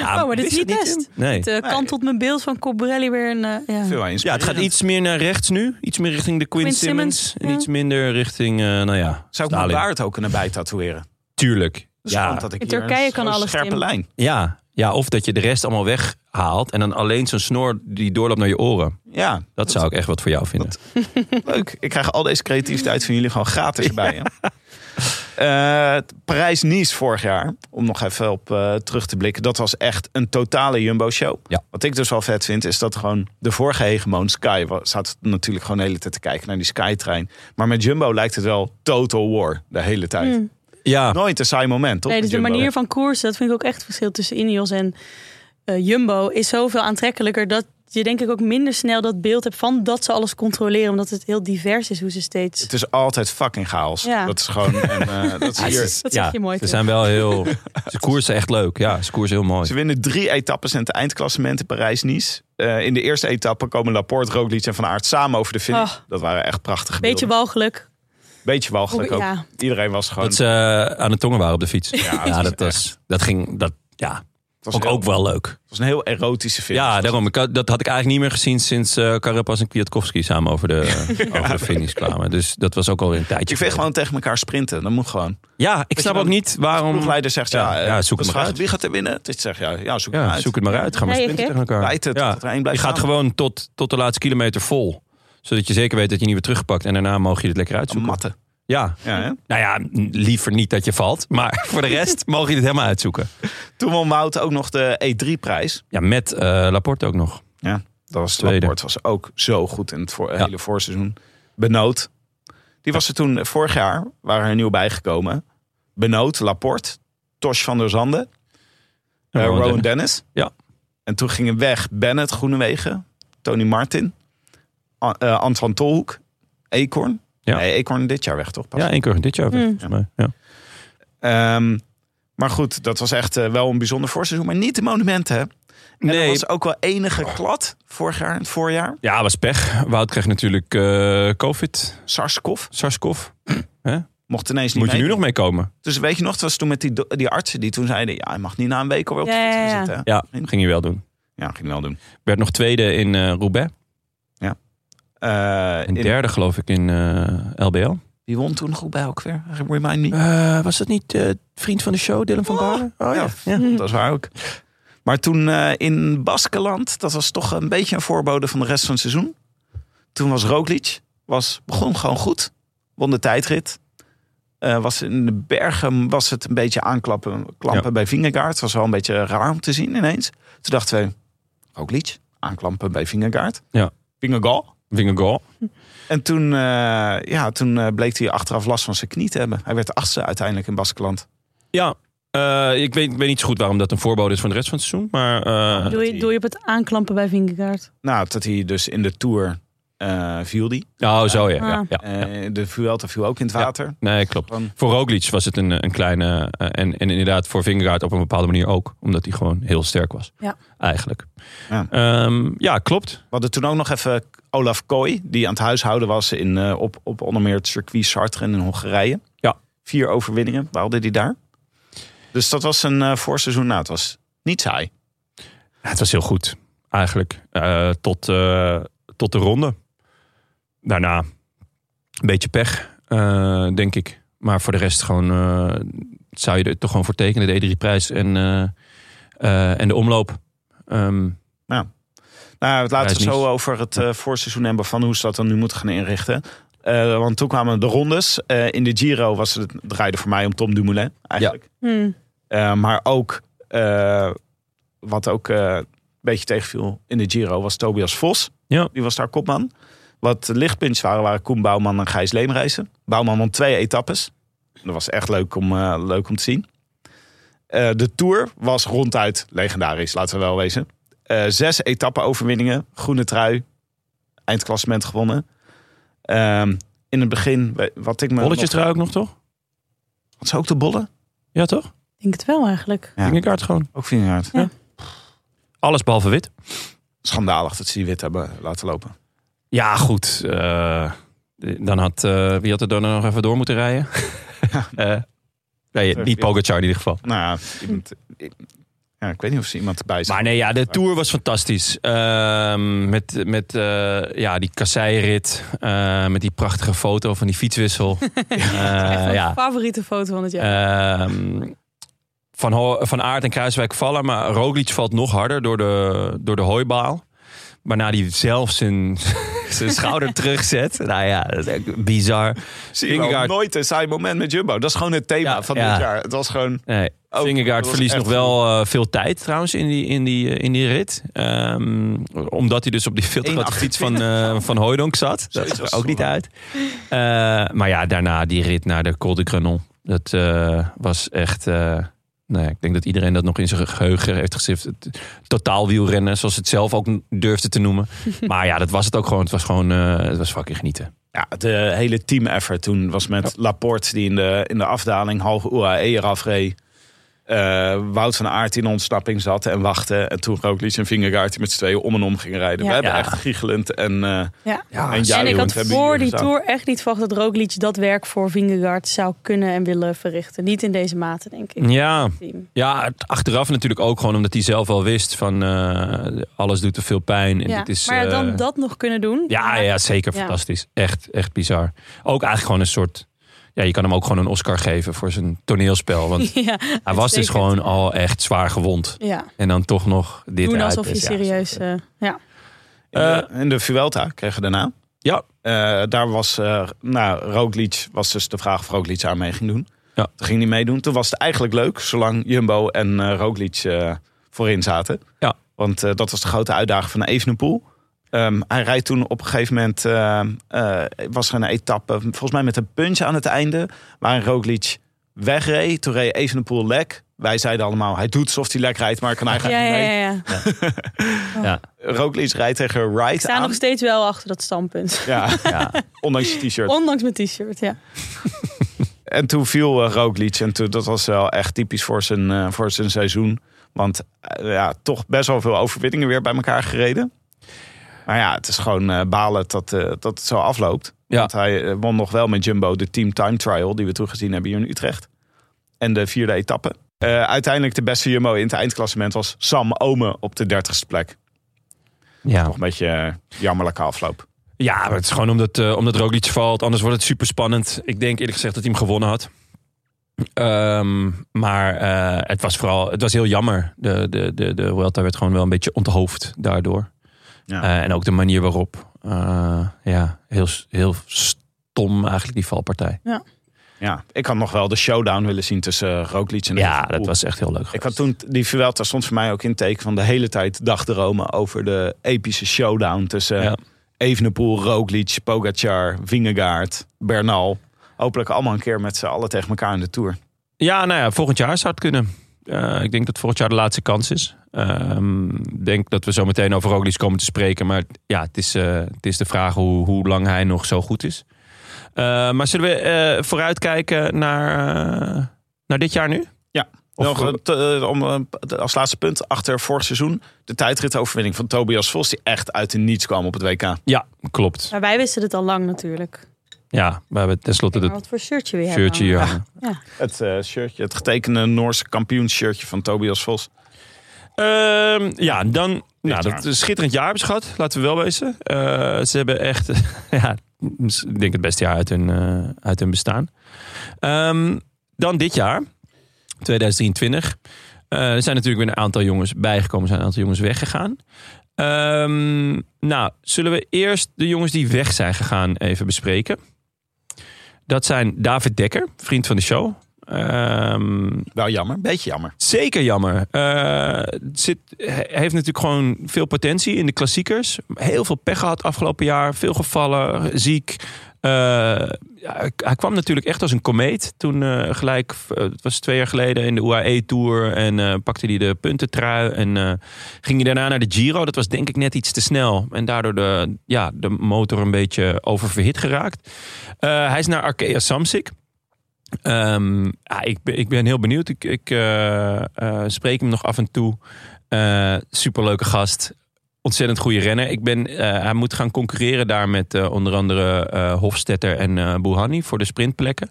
Speaker 1: Ja,
Speaker 2: Oh, maar dit is
Speaker 1: wist
Speaker 2: niet
Speaker 1: het
Speaker 2: best.
Speaker 1: Tim? Nee.
Speaker 2: Het eh, kantelt mijn beeld van Cobrelli weer een... eh, ja.
Speaker 3: Veel wel
Speaker 1: Ja, het gaat
Speaker 3: inspirerend.
Speaker 1: iets meer naar rechts nu. Iets meer richting de Quinn
Speaker 2: Quinn
Speaker 1: Simmons.
Speaker 2: Simmons,
Speaker 1: En
Speaker 2: ja.
Speaker 1: iets minder richting, eh, nou ja,
Speaker 3: Zou ik mijn
Speaker 1: Stalin.
Speaker 3: baard ook kunnen bijtatoeëren?
Speaker 1: Tuurlijk.
Speaker 3: Dus
Speaker 1: Ja.
Speaker 3: gewoon dat ik
Speaker 2: In
Speaker 3: hier
Speaker 2: Turkije
Speaker 3: een
Speaker 2: kan
Speaker 3: zo'n
Speaker 2: alles,
Speaker 3: scherpe
Speaker 2: Tim.
Speaker 3: lijn.
Speaker 1: Ja. ja, of dat je de rest allemaal weghaalt. En dan alleen zo'n snor die doorloopt naar je oren.
Speaker 3: Ja,
Speaker 1: Dat zou ik echt wat voor jou vinden.
Speaker 3: Leuk. Ik krijg al deze creativiteit van jullie gewoon gratis erbij. hè? Eh, Parijs-Nice vorig jaar, om nog even op eh, terug te blikken. Dat was echt een totale Jumbo-show.
Speaker 1: Ja.
Speaker 3: Wat ik dus wel vet vind, is dat gewoon de vorige hegemoon Sky... wa- zaten natuurlijk gewoon de hele tijd te kijken naar die Skytrein. Maar met Jumbo lijkt het wel Total War de hele tijd.
Speaker 2: Mm.
Speaker 1: Ja,
Speaker 3: Nooit een saai moment, toch?
Speaker 2: Nee, dus
Speaker 3: met
Speaker 2: de
Speaker 3: Jumbo?
Speaker 2: manier van koersen, dat vind ik ook echt het verschil tussen Ineos en eh, Jumbo, is zoveel aantrekkelijker dat je denk ik ook minder snel dat beeld hebt van dat ze alles controleren, omdat het heel divers is hoe ze steeds...
Speaker 3: Het is altijd fucking chaos.
Speaker 2: Ja.
Speaker 3: Dat is gewoon... En, eh, dat is
Speaker 1: Ja,
Speaker 3: hier.
Speaker 1: ze-
Speaker 2: Dat zeg
Speaker 1: ja,
Speaker 2: je mooi,
Speaker 1: Ze
Speaker 2: Tim.
Speaker 1: zijn wel heel. Ze koersen echt leuk. Ja, ze koersen heel mooi.
Speaker 3: Ze winnen drie etappes in het eindklassement in Parijs-Nice. Eh, in de eerste etappe komen Laporte, Roglic en Van Aert samen over de finish.
Speaker 2: Ah.
Speaker 3: Dat waren echt prachtige
Speaker 2: Beetje
Speaker 3: beelden.
Speaker 2: walgelijk.
Speaker 3: Beetje walgelijk ook.
Speaker 2: Ja.
Speaker 3: Iedereen was gewoon...
Speaker 1: Dat ze eh, aan de tongen waren op de fiets. Ja,
Speaker 3: dat is
Speaker 1: dat, was, dat ging. Dat, ja,
Speaker 3: het was
Speaker 1: vond ik
Speaker 3: heel-
Speaker 1: ook wel leuk.
Speaker 3: Het was een heel erotische finish.
Speaker 1: Ja, daarom. Ik had- dat had ik eigenlijk niet meer gezien sinds eh Carapaz en Kwiatkowski samen over de, over de finish kwamen. Dus dat was ook alweer een tijdje.
Speaker 3: Ik vind
Speaker 1: geleden.
Speaker 3: gewoon tegen elkaar sprinten. Dat moet gewoon.
Speaker 1: Ja, ik
Speaker 3: je
Speaker 1: snap
Speaker 3: dan-
Speaker 1: ook niet waarom.
Speaker 3: Om... leider zegt,
Speaker 1: Ja,
Speaker 3: ja, eh,
Speaker 1: ja, zoek
Speaker 3: dat
Speaker 1: het
Speaker 3: is
Speaker 1: maar
Speaker 3: vraag,
Speaker 1: uit.
Speaker 3: Wie gaat er winnen? Dit zegt, ja, ja zoek het maar
Speaker 1: Ja,
Speaker 3: uit.
Speaker 1: zoek het maar uit. Ga maar
Speaker 2: Nee,
Speaker 1: sprinten
Speaker 2: gek.
Speaker 1: tegen elkaar.
Speaker 3: Bijten tot
Speaker 1: ja.
Speaker 3: er één
Speaker 1: Je
Speaker 3: blijft
Speaker 1: gaat
Speaker 3: staan.
Speaker 1: gewoon tot, tot de laatste kilometer vol. Zodat je zeker weet dat je niet weer teruggepakt. En daarna mogen je het lekker
Speaker 3: Een
Speaker 1: uitzoeken.
Speaker 3: matte.
Speaker 1: Ja.
Speaker 3: Ja, hè?
Speaker 1: Nou ja, n- liever niet dat je valt. Maar voor de rest mogen je het helemaal uitzoeken.
Speaker 3: Toen won Wout ook nog de E E3-prijs.
Speaker 1: Ja, met eh, Laporte ook nog.
Speaker 3: Dat was
Speaker 1: Tweede.
Speaker 3: Laporte was ook zo goed in het voor,
Speaker 1: Ja.
Speaker 3: hele voorseizoen. Benoot. Die was er toen eh, vorig jaar, waren er nieuw bijgekomen. Benoot, Laporte, Tosh van der Zanden, eh,
Speaker 1: Rowan
Speaker 3: Rowan
Speaker 1: Dennis.
Speaker 3: Dennis.
Speaker 1: Ja.
Speaker 3: En toen gingen weg Bennett, Groenewegen, Tony Martin, A- eh, Antoine Tolhoek, Eekhoorn.
Speaker 1: Ja.
Speaker 3: Nee, Eekhoorn dit jaar weg toch? Pas.
Speaker 1: Ja, één keer dit jaar.
Speaker 2: Mm.
Speaker 1: volgens mij. Ja.
Speaker 3: Ehm, maar goed, dat was echt eh, wel een bijzonder voorseizoen. Maar niet de monumenten, hè? En
Speaker 1: Nee.
Speaker 3: er was ook wel enige klad vorig jaar, in het voorjaar.
Speaker 1: Ja, was pech. Wout kreeg natuurlijk eh, COVID,
Speaker 3: Sarskov
Speaker 1: SARS-CoV.
Speaker 3: mocht ineens niet
Speaker 1: Moet je
Speaker 3: mee.
Speaker 1: nu nog meekomen?
Speaker 3: Dus weet je nog, het was toen met die, do- die artsen die toen zeiden... ja, hij mag niet na een week alweer op de
Speaker 2: Ja,
Speaker 3: fiets gaan
Speaker 2: ja, ja.
Speaker 3: zitten. hè?
Speaker 1: Ja, ging je wel doen.
Speaker 3: Ja, ging wel doen.
Speaker 1: Werd nog tweede in eh Roubaix.
Speaker 3: Eh,
Speaker 1: En
Speaker 3: in-
Speaker 1: derde geloof ik in eh, LBL.
Speaker 3: Wie won toen goed bij elkaar? Remind me.
Speaker 1: Eh, was dat niet eh, vriend van de show, Dylan van Baarle? Oh
Speaker 3: ja. Dat is waar ook. Maar toen eh, in Baskeland, dat was toch een beetje een voorbode van de rest van het seizoen. Toen was Roglic, was, begon gewoon goed. Won de tijdrit. Eh, was in de bergen was het een beetje aanklappen klampen
Speaker 1: Ja.
Speaker 3: bij Vingegaard. Was wel een beetje raar om te zien ineens. Toen dachten we, Roglic, aanklampen bij Vingegaard.
Speaker 1: Ja.
Speaker 3: Vingegaard.
Speaker 1: Vingegaard.
Speaker 3: En toen, eh, ja, toen eh, bleek hij achteraf last van zijn knie te hebben. Hij werd de achtste uiteindelijk in Baskeland.
Speaker 1: Ja, eh, ik, weet, ik weet niet zo goed waarom dat een voorbode is van de rest van het seizoen. Maar eh,
Speaker 2: Doe je,
Speaker 3: die-
Speaker 2: doe je op het aanklampen bij Vingegaard.
Speaker 3: Nou, dat hij dus in de Tour eh, viel die.
Speaker 1: Oh, zo ja. ja,
Speaker 2: Ah.
Speaker 1: ja, ja.
Speaker 3: Eh, De Vuelta viel ook in het
Speaker 1: Ja.
Speaker 3: water.
Speaker 1: Nee, klopt.
Speaker 3: Van,
Speaker 1: Voor Roglic was het een, een kleine... eh, en, en inderdaad voor Vingegaard op een bepaalde manier ook. Omdat hij gewoon heel sterk was.
Speaker 2: Ja.
Speaker 1: Eigenlijk.
Speaker 3: Ja.
Speaker 1: Ehm, ja, klopt.
Speaker 3: we hadden toen ook nog even Olaf Kooi, die aan het huishouden was in, eh, op, op onder meer het circuit Sartre in Hongarije.
Speaker 1: Ja.
Speaker 3: Vier overwinningen behaalde hij daar. Dus dat was een eh, voorseizoen. Nou, het was niet saai.
Speaker 1: Ja, het was heel goed. Eigenlijk. Eh, tot, eh, tot de ronde. Daarna een beetje pech, eh, denk ik. Maar voor de rest gewoon... eh, zou je er toch gewoon voor tekenen. De E3-prijs en, eh, eh, en de omloop. Ehm,
Speaker 3: Nou,
Speaker 1: Ja,
Speaker 3: laten
Speaker 1: het
Speaker 3: we
Speaker 1: is
Speaker 3: zo
Speaker 1: niet-
Speaker 3: over het eh, voorseizoen hebben van hoe ze dat dan nu moeten gaan inrichten. Eh, want toen kwamen de rondes. Eh, in de Giro was het, het draaide voor mij om Tom Dumoulin eigenlijk.
Speaker 2: Hmm.
Speaker 3: Eh, maar ook eh, wat ook eh, een beetje tegenviel in de Giro was Tobias Vos.
Speaker 1: Ja.
Speaker 3: Die was daar kopman. Wat de lichtpunts waren, waren Koen Bouwman en Gijs Leemreizen. Bouwman won twee etappes. Dat was echt leuk om, eh, leuk om te zien. Eh, de Tour was ronduit legendarisch, laten we wel wezen. Eh, zes etappe overwinningen, groene trui, eindklassement gewonnen. Ehm, in het begin, we- wat ik me...
Speaker 1: Bolletjes
Speaker 3: nog-
Speaker 1: trui ook nog, toch?
Speaker 3: Had ze ook de bollen?
Speaker 1: Ja, toch?
Speaker 2: denk het wel eigenlijk.
Speaker 3: Ja.
Speaker 1: Vingerkaart gewoon.
Speaker 3: Ook vingerhard.
Speaker 2: Ja.
Speaker 1: Alles behalve wit.
Speaker 3: Schandalig dat ze die wit hebben laten lopen.
Speaker 1: Ja, goed. eh, dan had, eh, wie had er dan nog even door moeten rijden? Eh, nee, niet Pogacar in ieder geval.
Speaker 3: Nou ja, iemand, ik, ja, ik weet niet of ze iemand bij zijn.
Speaker 1: Maar nee, ja, de Tour was fantastisch. Ehm, met met eh, ja, die kasseirit. eh, met die prachtige foto van die fietswissel. Eh,
Speaker 2: Echt mijn
Speaker 1: ja. Eh,
Speaker 2: favoriete foto van het jaar.
Speaker 1: Ehm, van, Ho- van Aert en Kruiswijk vallen, maar Roglic valt nog harder door de, door de hooibaal. Waarna hij zelf zijn, zijn schouder terugzet. Nou ja, dat is echt bizar.
Speaker 3: Zie je wel,
Speaker 1: Vingegaard-
Speaker 3: nooit een saai moment met Jumbo. Dat is gewoon het thema
Speaker 1: Ja,
Speaker 3: van
Speaker 1: ja.
Speaker 3: dit jaar. Het was gewoon...
Speaker 1: Nee,
Speaker 3: Ook, dat
Speaker 1: Vingegaard
Speaker 3: was
Speaker 1: verliest
Speaker 3: echt
Speaker 1: nog wel eh, veel tijd trouwens in die, in die, eh, in die rit. Ehm, omdat hij dus op die filtergrote fiets van, eh van Hooijdonk zat. Dat
Speaker 3: Zoiets
Speaker 1: is er
Speaker 3: was
Speaker 1: ook
Speaker 3: het
Speaker 1: niet
Speaker 3: wel.
Speaker 1: uit. Eh, maar ja, daarna die rit naar de Col de Granon. Dat eh, was echt... eh nou ja, ik denk dat iedereen dat nog in zijn geheugen heeft gezet. Het Totaal wielrennen, zoals het zelf ook durfde te noemen. Maar ja, dat was het ook gewoon. Het was gewoon eh, het was fucking genieten.
Speaker 3: Ja, de hele team effort toen was met Laporte die in de, in de afdaling halve UAE eraf reed. Eh, Wout van Aert in ontsnapping zat en wachtte. En toen Roglic en Vingegaard die met z'n tweeën om en om gingen rijden.
Speaker 2: Ja.
Speaker 3: We hebben
Speaker 1: Ja.
Speaker 3: echt giechelend en... eh
Speaker 2: ja.
Speaker 3: en
Speaker 2: en ik
Speaker 3: juichend
Speaker 2: had
Speaker 3: hebben jullie
Speaker 2: voor die
Speaker 3: gestaan.
Speaker 2: tour echt niet verwacht dat Roglic dat werk voor Vingegaard zou kunnen en willen verrichten. Niet in deze mate, denk ik.
Speaker 1: Ja,
Speaker 2: Team.
Speaker 1: Ja, het- achteraf natuurlijk ook gewoon omdat hij zelf al wist van eh, alles doet te veel pijn. En
Speaker 2: Ja.
Speaker 1: dit is,
Speaker 2: maar ja, dan
Speaker 1: eh,
Speaker 2: dat nog kunnen doen.
Speaker 1: ja, ja, zeker
Speaker 2: Ja.
Speaker 1: fantastisch. Echt, echt bizar. Ook eigenlijk gewoon een soort... Ja, je kan hem ook gewoon een Oscar geven voor zijn toneelspel. Want
Speaker 2: Ja,
Speaker 1: hij was dus
Speaker 2: uitstekend.
Speaker 1: gewoon al echt zwaar gewond.
Speaker 2: Ja,
Speaker 1: En dan toch nog dit
Speaker 2: doen
Speaker 1: eruit
Speaker 2: alsof je
Speaker 1: is. Ja,
Speaker 2: serieus... eh, ja.
Speaker 3: In de, Eh, in de Vuelta kregen we daarna.
Speaker 1: Ja.
Speaker 3: Eh, daar was, eh nou, Roglic was dus de vraag of Roglic aan mee ging doen.
Speaker 1: Ja.
Speaker 3: Toen ging hij meedoen. Toen was het eigenlijk leuk, zolang Jumbo en eh Roglic eh, voorin zaten.
Speaker 1: Ja.
Speaker 3: Want eh, dat was de grote uitdaging van Evenepoel. Ehm, hij rijdt toen op een gegeven moment, ehm, eh, was er een etappe, volgens mij met een punch aan het einde, waarin Roglic wegreed. Toen reed Evenepoel lek. Wij zeiden allemaal, hij doet alsof hij lek rijdt, maar hij kan
Speaker 2: Ja,
Speaker 3: eigenlijk
Speaker 2: ja,
Speaker 3: niet mee.
Speaker 2: ja, ja.
Speaker 3: Roglic rijdt tegen Wright
Speaker 2: Ik sta
Speaker 3: aan.
Speaker 2: nog steeds wel achter dat standpunt.
Speaker 3: Ja,
Speaker 1: Ja.
Speaker 3: ondanks je t-shirt.
Speaker 2: Ondanks mijn t-shirt, ja.
Speaker 3: En toen viel uh, Roglic. En toen, dat was wel echt typisch voor zijn, eh, voor zijn seizoen. Want eh, ja, toch best wel veel overwinningen weer bij elkaar gereden. Maar ja, het is gewoon eh, balen dat, eh, dat het zo afloopt.
Speaker 1: Ja.
Speaker 3: Want hij eh, won nog wel met Jumbo de Team Time Trial... die we toen gezien hebben hier in Utrecht. En de vierde etappe. Eh, uiteindelijk de beste Jumbo in het eindklassement was Sam Ome op de dertigste plek.
Speaker 1: Ja.
Speaker 3: Nog een beetje eh, jammerlijke afloop.
Speaker 1: Ja, maar het is gewoon omdat, eh omdat Roglic valt. Anders wordt het super spannend. Ik denk eerlijk gezegd dat hij hem gewonnen had. Ehm, maar eh, het was vooral het was heel jammer. De, de, de, de Vuelta werd gewoon wel een beetje onthoofd daardoor.
Speaker 3: Ja.
Speaker 1: Eh, en ook de manier waarop. Eh, ja, heel, heel stom eigenlijk die valpartij.
Speaker 3: Ja, ik had nog wel de showdown willen zien tussen eh, Roglic en
Speaker 1: Ja,
Speaker 3: Evenepoel.
Speaker 1: dat was echt heel leuk.
Speaker 3: Ik
Speaker 1: geweest.
Speaker 3: had toen die Vuelta stond voor mij ook in het teken van de hele tijd dagdromen over de epische showdown tussen
Speaker 1: Ja.
Speaker 3: Evenepoel, Roglic, Pogacar, Vingegaard, Bernal. Hopelijk allemaal een keer met z'n allen tegen elkaar in de Tour.
Speaker 1: Ja, nou ja, volgend jaar zou het kunnen. Eh, ik denk dat volgend jaar de laatste kans is. Ehm, Ik denk dat we zo meteen over Roglic komen te spreken. Maar ja, het is, eh, het is de vraag hoe, hoe lang hij nog zo goed is. Eh, maar zullen we eh, vooruitkijken naar, eh, naar dit jaar nu?
Speaker 3: Ja.
Speaker 1: Of-
Speaker 3: Nog, eh, te- eh, om, eh, als laatste punt, achter vorig seizoen de tijdritoverwinning van Tobias Vos... die echt uit de niets kwam op het WK.
Speaker 1: ja, klopt.
Speaker 2: Maar wij wisten het al lang natuurlijk.
Speaker 1: Ja, we hebben tenslotte
Speaker 2: Maar
Speaker 1: het
Speaker 2: wat voor shirtje weer hebben.
Speaker 1: shirtje hier. hangen.
Speaker 3: Het eh, shirtje, het getekende Noorse kampioensshirtje van Tobias Vos.
Speaker 1: Ehm, ja, dan. Nou,
Speaker 3: jaar.
Speaker 1: dat is een schitterend jaar hebben ze gehad, laten we wel wezen. Eh, ze hebben echt, ja, dus ik denk het beste jaar uit hun, eh, uit hun bestaan. Ehm, dan dit jaar, 2023. Eh, er zijn natuurlijk weer een aantal jongens bijgekomen, er zijn een aantal jongens weggegaan. Ehm, nou, zullen we eerst de jongens die weg zijn gegaan even bespreken? Dat zijn David Dekker, vriend van de show. Ehm,
Speaker 3: Wel jammer, beetje jammer.
Speaker 1: Zeker jammer. Eh, het zit, he- heeft natuurlijk gewoon veel potentie in de klassiekers. Heel veel pech gehad afgelopen jaar. Veel gevallen, ziek. Eh, ja, hij- hij kwam natuurlijk echt als een komeet. Toen eh, gelijk, eh, het was twee jaar geleden in de UAE-tour. En eh, pakte hij de puntentrui. En eh, ging hij daarna naar de Giro. Dat was denk ik net iets te snel. En daardoor de, ja, de motor een beetje oververhit geraakt. Eh, hij is naar Arkea Samsic. Ehm, ja, ik, ben, ik ben heel benieuwd. Ik, ik eh, eh, spreek hem nog af en toe. Eh, superleuke gast. Ontzettend goede renner. Ik ben, eh, hij moet gaan concurreren daar met eh, onder andere eh Hofstetter en eh Bouhanni voor de sprintplekken.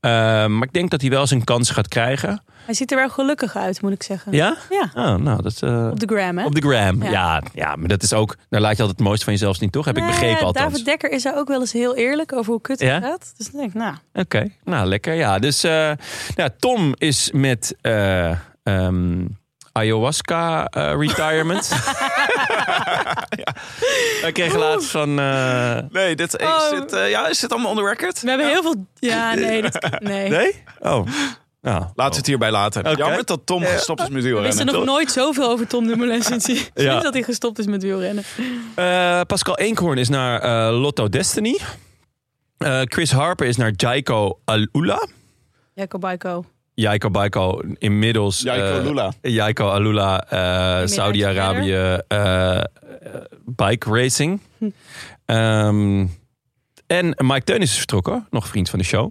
Speaker 1: Eh, maar ik denk dat hij wel zijn kans gaat krijgen.
Speaker 2: Hij ziet er wel gelukkig uit, moet ik zeggen.
Speaker 1: Ja?
Speaker 2: Ja.
Speaker 1: Oh, nou, dat, eh,
Speaker 2: Op de gram, hè?
Speaker 1: op de gram. Ja.
Speaker 2: Ja.
Speaker 1: Ja, maar dat is ook. Daar laat je altijd het mooiste van jezelf niet, toch? Heb ik
Speaker 2: Nee,
Speaker 1: begrepen althans.
Speaker 2: Eh, David Dekker is daar ook wel eens heel eerlijk over hoe kut het
Speaker 1: Ja?
Speaker 2: gaat. Dus dan denk ik, nou,
Speaker 1: Oké, nou lekker. Ja, dus eh, nou, Tom is met eh, ehm, ayahuasca eh, retirement. Ja. Hij kreeg laatst van. eh,
Speaker 3: Nee, dit is,
Speaker 2: Oh.
Speaker 3: dit, eh, ja, is dit allemaal on the record?
Speaker 2: we hebben heel veel... Ja, nee, dit, nee.
Speaker 1: nee? Oh. Nou,
Speaker 3: Laten we het hierbij laten.
Speaker 1: Oké.
Speaker 3: Jammer dat Tom gestopt is met
Speaker 2: Eh, We
Speaker 3: wielrennen.
Speaker 2: wisten nog
Speaker 3: toch?
Speaker 2: nooit zoveel over Tom Dumoulin sinds, hij- sinds
Speaker 1: Ja.
Speaker 2: dat hij gestopt is met wielrennen.
Speaker 1: Eh, Pascal Eenkhoorn is naar eh, Lotto Destiny. Eh, Chris Harper is naar Jaiko Alula.
Speaker 2: Jacob Baiko.
Speaker 1: Jaiko Baiko inmiddels.
Speaker 3: Jaiko
Speaker 1: eh,
Speaker 3: Lula.
Speaker 1: Jaiko Alula, eh, Saudi-Arabië, eh, eh, bike racing.
Speaker 2: Hm.
Speaker 1: Ehm, en Mike Teun is vertrokken, nog vriend van de show.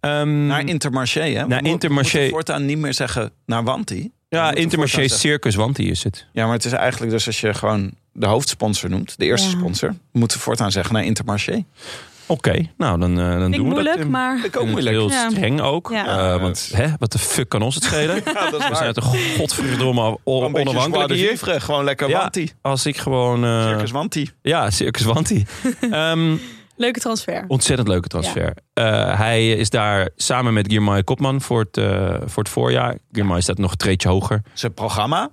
Speaker 1: Ehm,
Speaker 3: Naar Intermarché, hè? We
Speaker 1: Naar
Speaker 3: mo-
Speaker 1: Intermarché.
Speaker 3: moeten voortaan niet meer zeggen naar Wanti.
Speaker 1: ja,
Speaker 3: moeten
Speaker 1: Intermarché
Speaker 3: voortaan zeggen-
Speaker 1: Circus Wanty is het.
Speaker 3: Ja, maar het is eigenlijk dus als je gewoon de hoofdsponsor noemt, de eerste
Speaker 2: Ja.
Speaker 3: sponsor, moeten we voortaan zeggen naar Intermarché.
Speaker 1: Oké, nou dan, eh, dan
Speaker 2: Ik
Speaker 1: doen we
Speaker 2: moeilijk,
Speaker 1: dat.
Speaker 2: maar...
Speaker 3: Ik ook
Speaker 1: En het is
Speaker 3: moeilijk.
Speaker 1: Heel
Speaker 2: Ja.
Speaker 1: streng ook.
Speaker 2: Ja.
Speaker 1: eh, want hè, wat de fuck kan ons het schelen?
Speaker 3: Ja, dat is
Speaker 1: We zijn uit de godverdomme on- onafhankelijk hier.
Speaker 3: Gewoon lekker
Speaker 1: Ja,
Speaker 3: Wanti.
Speaker 1: als ik gewoon... eh,
Speaker 3: Circus Wanti.
Speaker 1: Ja, Circus Wanty. Ehm,
Speaker 2: Leuke transfer.
Speaker 1: Ontzettend leuke transfer. Eh, hij is daar samen met Girmay Kopman voor het, eh, voor het voorjaar. Girmay staat nog een treetje hoger.
Speaker 3: Zijn programma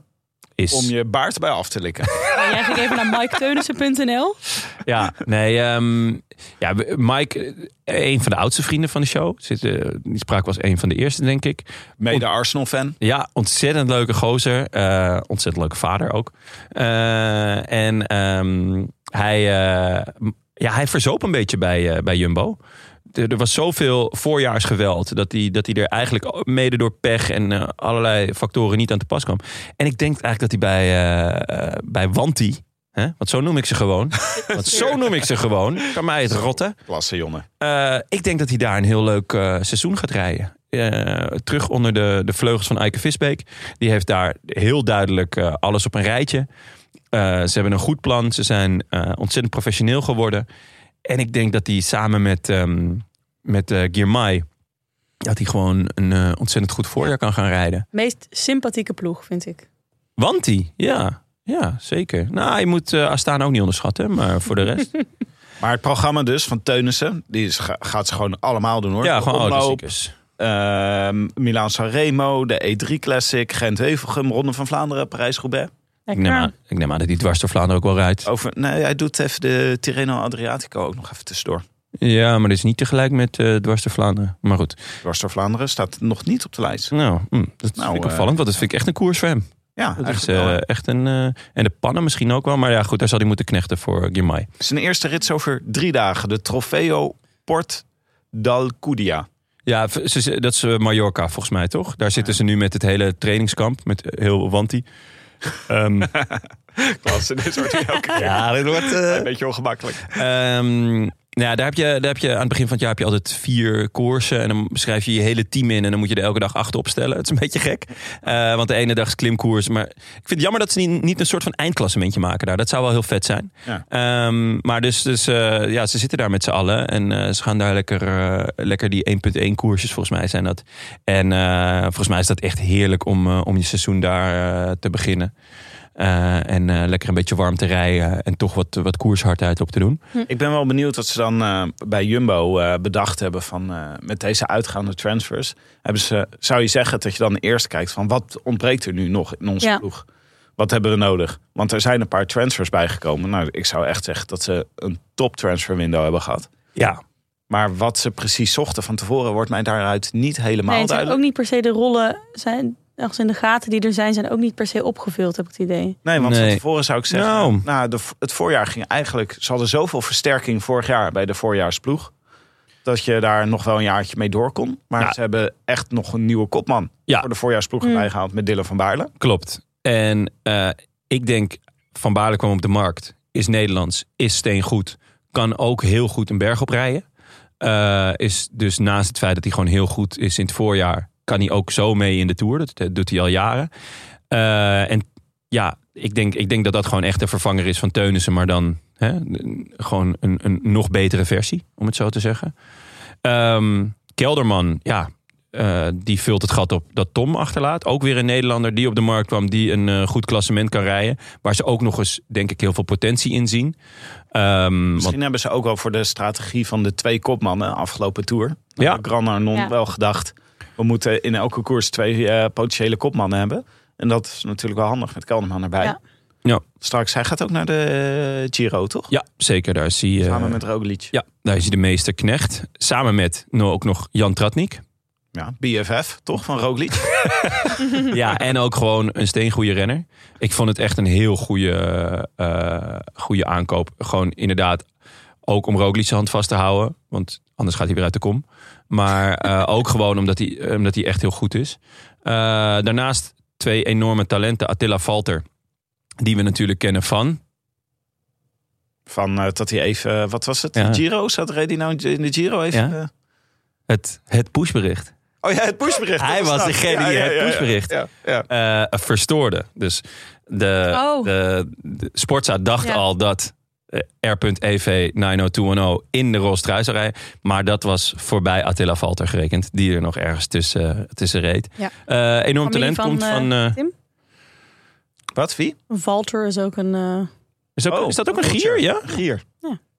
Speaker 1: Is,
Speaker 3: om je baard bij af te likken.
Speaker 2: Maar jij ging even naar miketeunissen.nl.
Speaker 1: Ja, nee. ehm, ja, we- Mike, eh, een van de oudste vrienden van de show. Zit, eh, die spraak was een van de eerste, denk ik.
Speaker 3: Mede Arsenal-fan.
Speaker 1: Ja, ontzettend leuke gozer. Eh, ontzettend leuke vader ook. Eh, en ehm, hij, eh, m- ja, hij verzoop een beetje bij, eh, bij Jumbo. Er, er was zoveel voorjaarsgeweld dat hij, dat hij er eigenlijk mede door pech en eh, allerlei factoren niet aan te pas kwam. En ik denk eigenlijk dat hij bij, eh, eh, bij Wanti, hè, want zo noem ik ze gewoon, want zo noem ik ze gewoon, kan mij het rotten.
Speaker 3: Klasse, jongen.
Speaker 1: Eh, ik denk dat hij daar een heel leuk eh, seizoen gaat rijden. Eh, terug onder de, de vleugels van Eike Visbeek. Die heeft daar heel duidelijk eh, alles op een rijtje. Eh, ze hebben een goed plan. Ze zijn eh, ontzettend professioneel geworden. En ik denk dat hij samen met, ehm met eh, Girmay... dat hij gewoon een eh, ontzettend goed voorjaar kan gaan rijden.
Speaker 2: Meest sympathieke ploeg, vind ik.
Speaker 1: Want hij, ja... Ja, zeker. Nou, je moet eh Astana ook niet onderschatten, maar voor de rest.
Speaker 3: Maar het programma dus van Teunissen, die is, ga- gaat ze gewoon allemaal doen hoor.
Speaker 1: ja, gewoon oude
Speaker 3: Omloop,
Speaker 1: klassiekers.
Speaker 3: Ehm Milaan Sanremo, de E3 Classic, Gent-Wevelgem, Ronde van Vlaanderen, Parijs-Roubaix.
Speaker 1: Ik neem, aan, ik neem aan dat hij dwars door Vlaanderen ook wel rijdt.
Speaker 3: Over, nee, hij doet even de Tirreno Adriatico ook nog even tussendoor.
Speaker 1: Ja, maar dit is niet tegelijk met eh Dwars door Vlaanderen. Maar goed.
Speaker 3: Dwars door Vlaanderen staat nog niet op de lijst.
Speaker 1: Nou, hm, dat
Speaker 3: Nou,
Speaker 1: vind ik
Speaker 3: eh,
Speaker 1: opvallend. want dat vind ik echt een koers voor hem.
Speaker 3: Ja,
Speaker 1: Dat is
Speaker 3: eigenlijk wel,
Speaker 1: eh,
Speaker 3: hè.
Speaker 1: echt een... eh, en de pannen misschien ook wel. Maar ja, goed, daar zal hij moeten knechten voor Girmay.
Speaker 3: Zijn eerste rit is over drie dagen. De Trofeo Port d'Alcudia.
Speaker 1: Ja, v- ze- ze- dat is eh, Mallorca volgens mij, toch? Daar zitten ze nu met het hele trainingskamp. Met heel Wanti. Ehm,
Speaker 3: Klasse, dit wordt elke keer
Speaker 1: ja, dat wordt... eh,
Speaker 3: een beetje ongemakkelijk.
Speaker 1: Ehm, nou ja, daar heb, je, daar heb je aan het begin van het jaar heb je altijd vier koersen. En dan schrijf je je hele team in. En dan moet je er elke dag acht opstellen. Het is een beetje gek. Eh, want de ene dag is klimkoers. Maar ik vind het jammer dat ze niet, niet een soort van eindklassementje maken daar. Dat zou wel heel vet zijn.
Speaker 3: Ja.
Speaker 1: Ehm, maar dus, dus eh, ja, ze zitten daar met z'n allen. En eh, ze gaan daar lekker, eh, lekker die 1.1 koersjes volgens mij zijn dat. En eh, volgens mij is dat echt heerlijk om, eh, om je seizoen daar eh, te beginnen. Eh, en eh, lekker een beetje warm te rijden. En toch wat, wat koershardheid op te doen.
Speaker 3: Ik ben wel benieuwd wat ze dan eh, bij Jumbo eh, bedacht hebben van eh, met deze uitgaande transfers. Hebben ze, zou je zeggen dat je dan eerst kijkt van wat ontbreekt er nu nog in onze
Speaker 2: Ja.
Speaker 3: ploeg? Wat hebben we nodig? Want er zijn een paar transfers bijgekomen. Nou, ik zou echt zeggen dat ze een top transfer window hebben gehad.
Speaker 1: Ja.
Speaker 3: Maar wat ze precies zochten van tevoren wordt mij daaruit niet helemaal
Speaker 2: nee, het zijn
Speaker 3: duidelijk.
Speaker 2: ook niet per se de rollen, zijn, als in de gaten die er zijn, zijn ook niet per se opgevuld, heb ik het idee.
Speaker 3: Nee, want
Speaker 1: Nee.
Speaker 3: van tevoren zou ik zeggen,
Speaker 1: Nou.
Speaker 3: nou, de, het voorjaar ging eigenlijk, ze hadden zoveel versterking vorig jaar bij de voorjaarsploeg, dat je daar nog wel een jaartje mee door kon. Maar
Speaker 1: Ja.
Speaker 3: ze hebben echt nog een nieuwe kopman
Speaker 1: Ja. Mm,
Speaker 3: voor de voorjaarsploeg
Speaker 2: Mm.
Speaker 3: bijgehaald met Dylan van Baarle.
Speaker 1: Klopt. En eh, ik denk, Van Baarle kwam op de markt. Is Nederlands, is steengoed. Kan ook heel goed een berg oprijden. Eh, is dus naast het feit dat hij gewoon heel goed is in het voorjaar... kan hij ook zo mee in de Tour. Dat, dat doet hij al jaren. Eh, en ja, ik denk, ik denk dat dat gewoon echt een vervanger is van Teunissen. Maar dan hè, n- gewoon een, een nog betere versie, om het zo te zeggen. Ehm, Kelderman, ja, eh, die vult het gat op dat Tom achterlaat. Ook weer een Nederlander die op de markt kwam, die een eh, goed klassement kan rijden. Waar ze ook nog eens, denk ik, heel veel potentie in zien. Ehm, want,
Speaker 3: Misschien hebben ze ook wel voor de strategie van de twee kopmannen afgelopen tour.
Speaker 1: Ja.
Speaker 3: Ja. Gran Arnon
Speaker 2: Ja.
Speaker 3: wel gedacht, we moeten in elke koers twee eh, potentiële kopmannen hebben. En dat is natuurlijk wel handig met Kelderman erbij.
Speaker 2: Ja.
Speaker 1: Ja.
Speaker 3: Straks, hij gaat ook naar de Giro, toch?
Speaker 1: ja, zeker. Daar zie je.
Speaker 3: Samen met Roglic.
Speaker 1: Ja, daar is hij de meester Knecht. Samen met nou, ook nog Jan Tratnik.
Speaker 3: Ja, BFF, toch? Van Roglic.
Speaker 1: Ja, en ook gewoon een steengoede renner. Ik vond het echt een heel goede, eh, goede aankoop. Gewoon inderdaad ook om Roglic zijn hand vast te houden. Want anders gaat hij weer uit de kom. Maar eh, ook gewoon omdat hij, omdat hij echt heel goed is. Eh, daarnaast twee enorme talenten. Attila Valter, die we natuurlijk kennen van...
Speaker 3: Van eh, dat hij even, eh, wat was het?
Speaker 1: Ja.
Speaker 3: Giro? Zat Reddy nou in de Giro even?
Speaker 1: Ja.
Speaker 3: eh?
Speaker 1: Het, het pushbericht.
Speaker 3: Oh ja, het pushbericht.
Speaker 1: Hij
Speaker 3: dat
Speaker 1: was
Speaker 3: het.
Speaker 1: degene die het pushbericht-
Speaker 3: Ja, ja.
Speaker 1: eh verstoorde. Dus de,
Speaker 2: Oh.
Speaker 1: de, de Sportza dacht
Speaker 2: Ja.
Speaker 1: al dat eh, R.EV 90210 in de rolstruis zou rijden. Maar dat was voorbij Attila Valter gerekend. Die er nog ergens tussen, tussen reed.
Speaker 2: Ja.
Speaker 1: Eh, enorm
Speaker 2: Familie
Speaker 1: talent
Speaker 2: van,
Speaker 1: komt
Speaker 2: eh,
Speaker 1: van... eh,
Speaker 2: Tim?
Speaker 3: Wat, wie?
Speaker 2: Walter is ook een... eh
Speaker 1: is, ook-
Speaker 3: Oh,
Speaker 1: is dat ook een gier? Ja?
Speaker 3: Gier.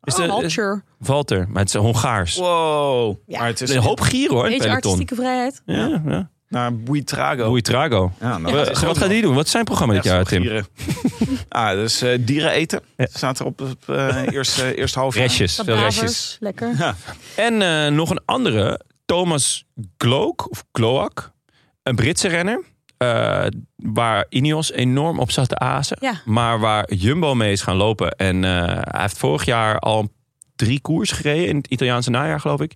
Speaker 1: Is
Speaker 2: oh,
Speaker 1: de-
Speaker 2: Walter.
Speaker 1: Valter, maar het is Hongaars.
Speaker 3: Wow.
Speaker 2: Ja.
Speaker 3: Maar het is
Speaker 1: Een hoop gier hoor, in het
Speaker 2: Beetje
Speaker 1: peloton.
Speaker 2: artistieke vrijheid.
Speaker 1: Ja, ja.
Speaker 3: naar Buitrago.
Speaker 1: Buitrago.
Speaker 3: Ja, nou,
Speaker 1: Eh,
Speaker 3: dat is ook
Speaker 1: wat gaat
Speaker 3: nog
Speaker 1: die doen? Wat is zijn programma dit
Speaker 3: echt
Speaker 1: jaar, Tim?
Speaker 3: zo'n gieren. ah, dus eh dieren eten.
Speaker 1: Ja.
Speaker 3: Staat er op het eh, eerste, eerste half jaar.
Speaker 1: Restjes, veel restjes.
Speaker 2: Kadavers, lekker.
Speaker 1: En eh, nog een andere, Thomas Gloak, of Gloak, een Britse renner. eh, waar Ineos enorm op zat te azen.
Speaker 2: Ja.
Speaker 1: Maar waar Jumbo mee is gaan lopen. En eh, hij heeft vorig jaar al drie koers gereden. In het Italiaanse najaar, geloof ik.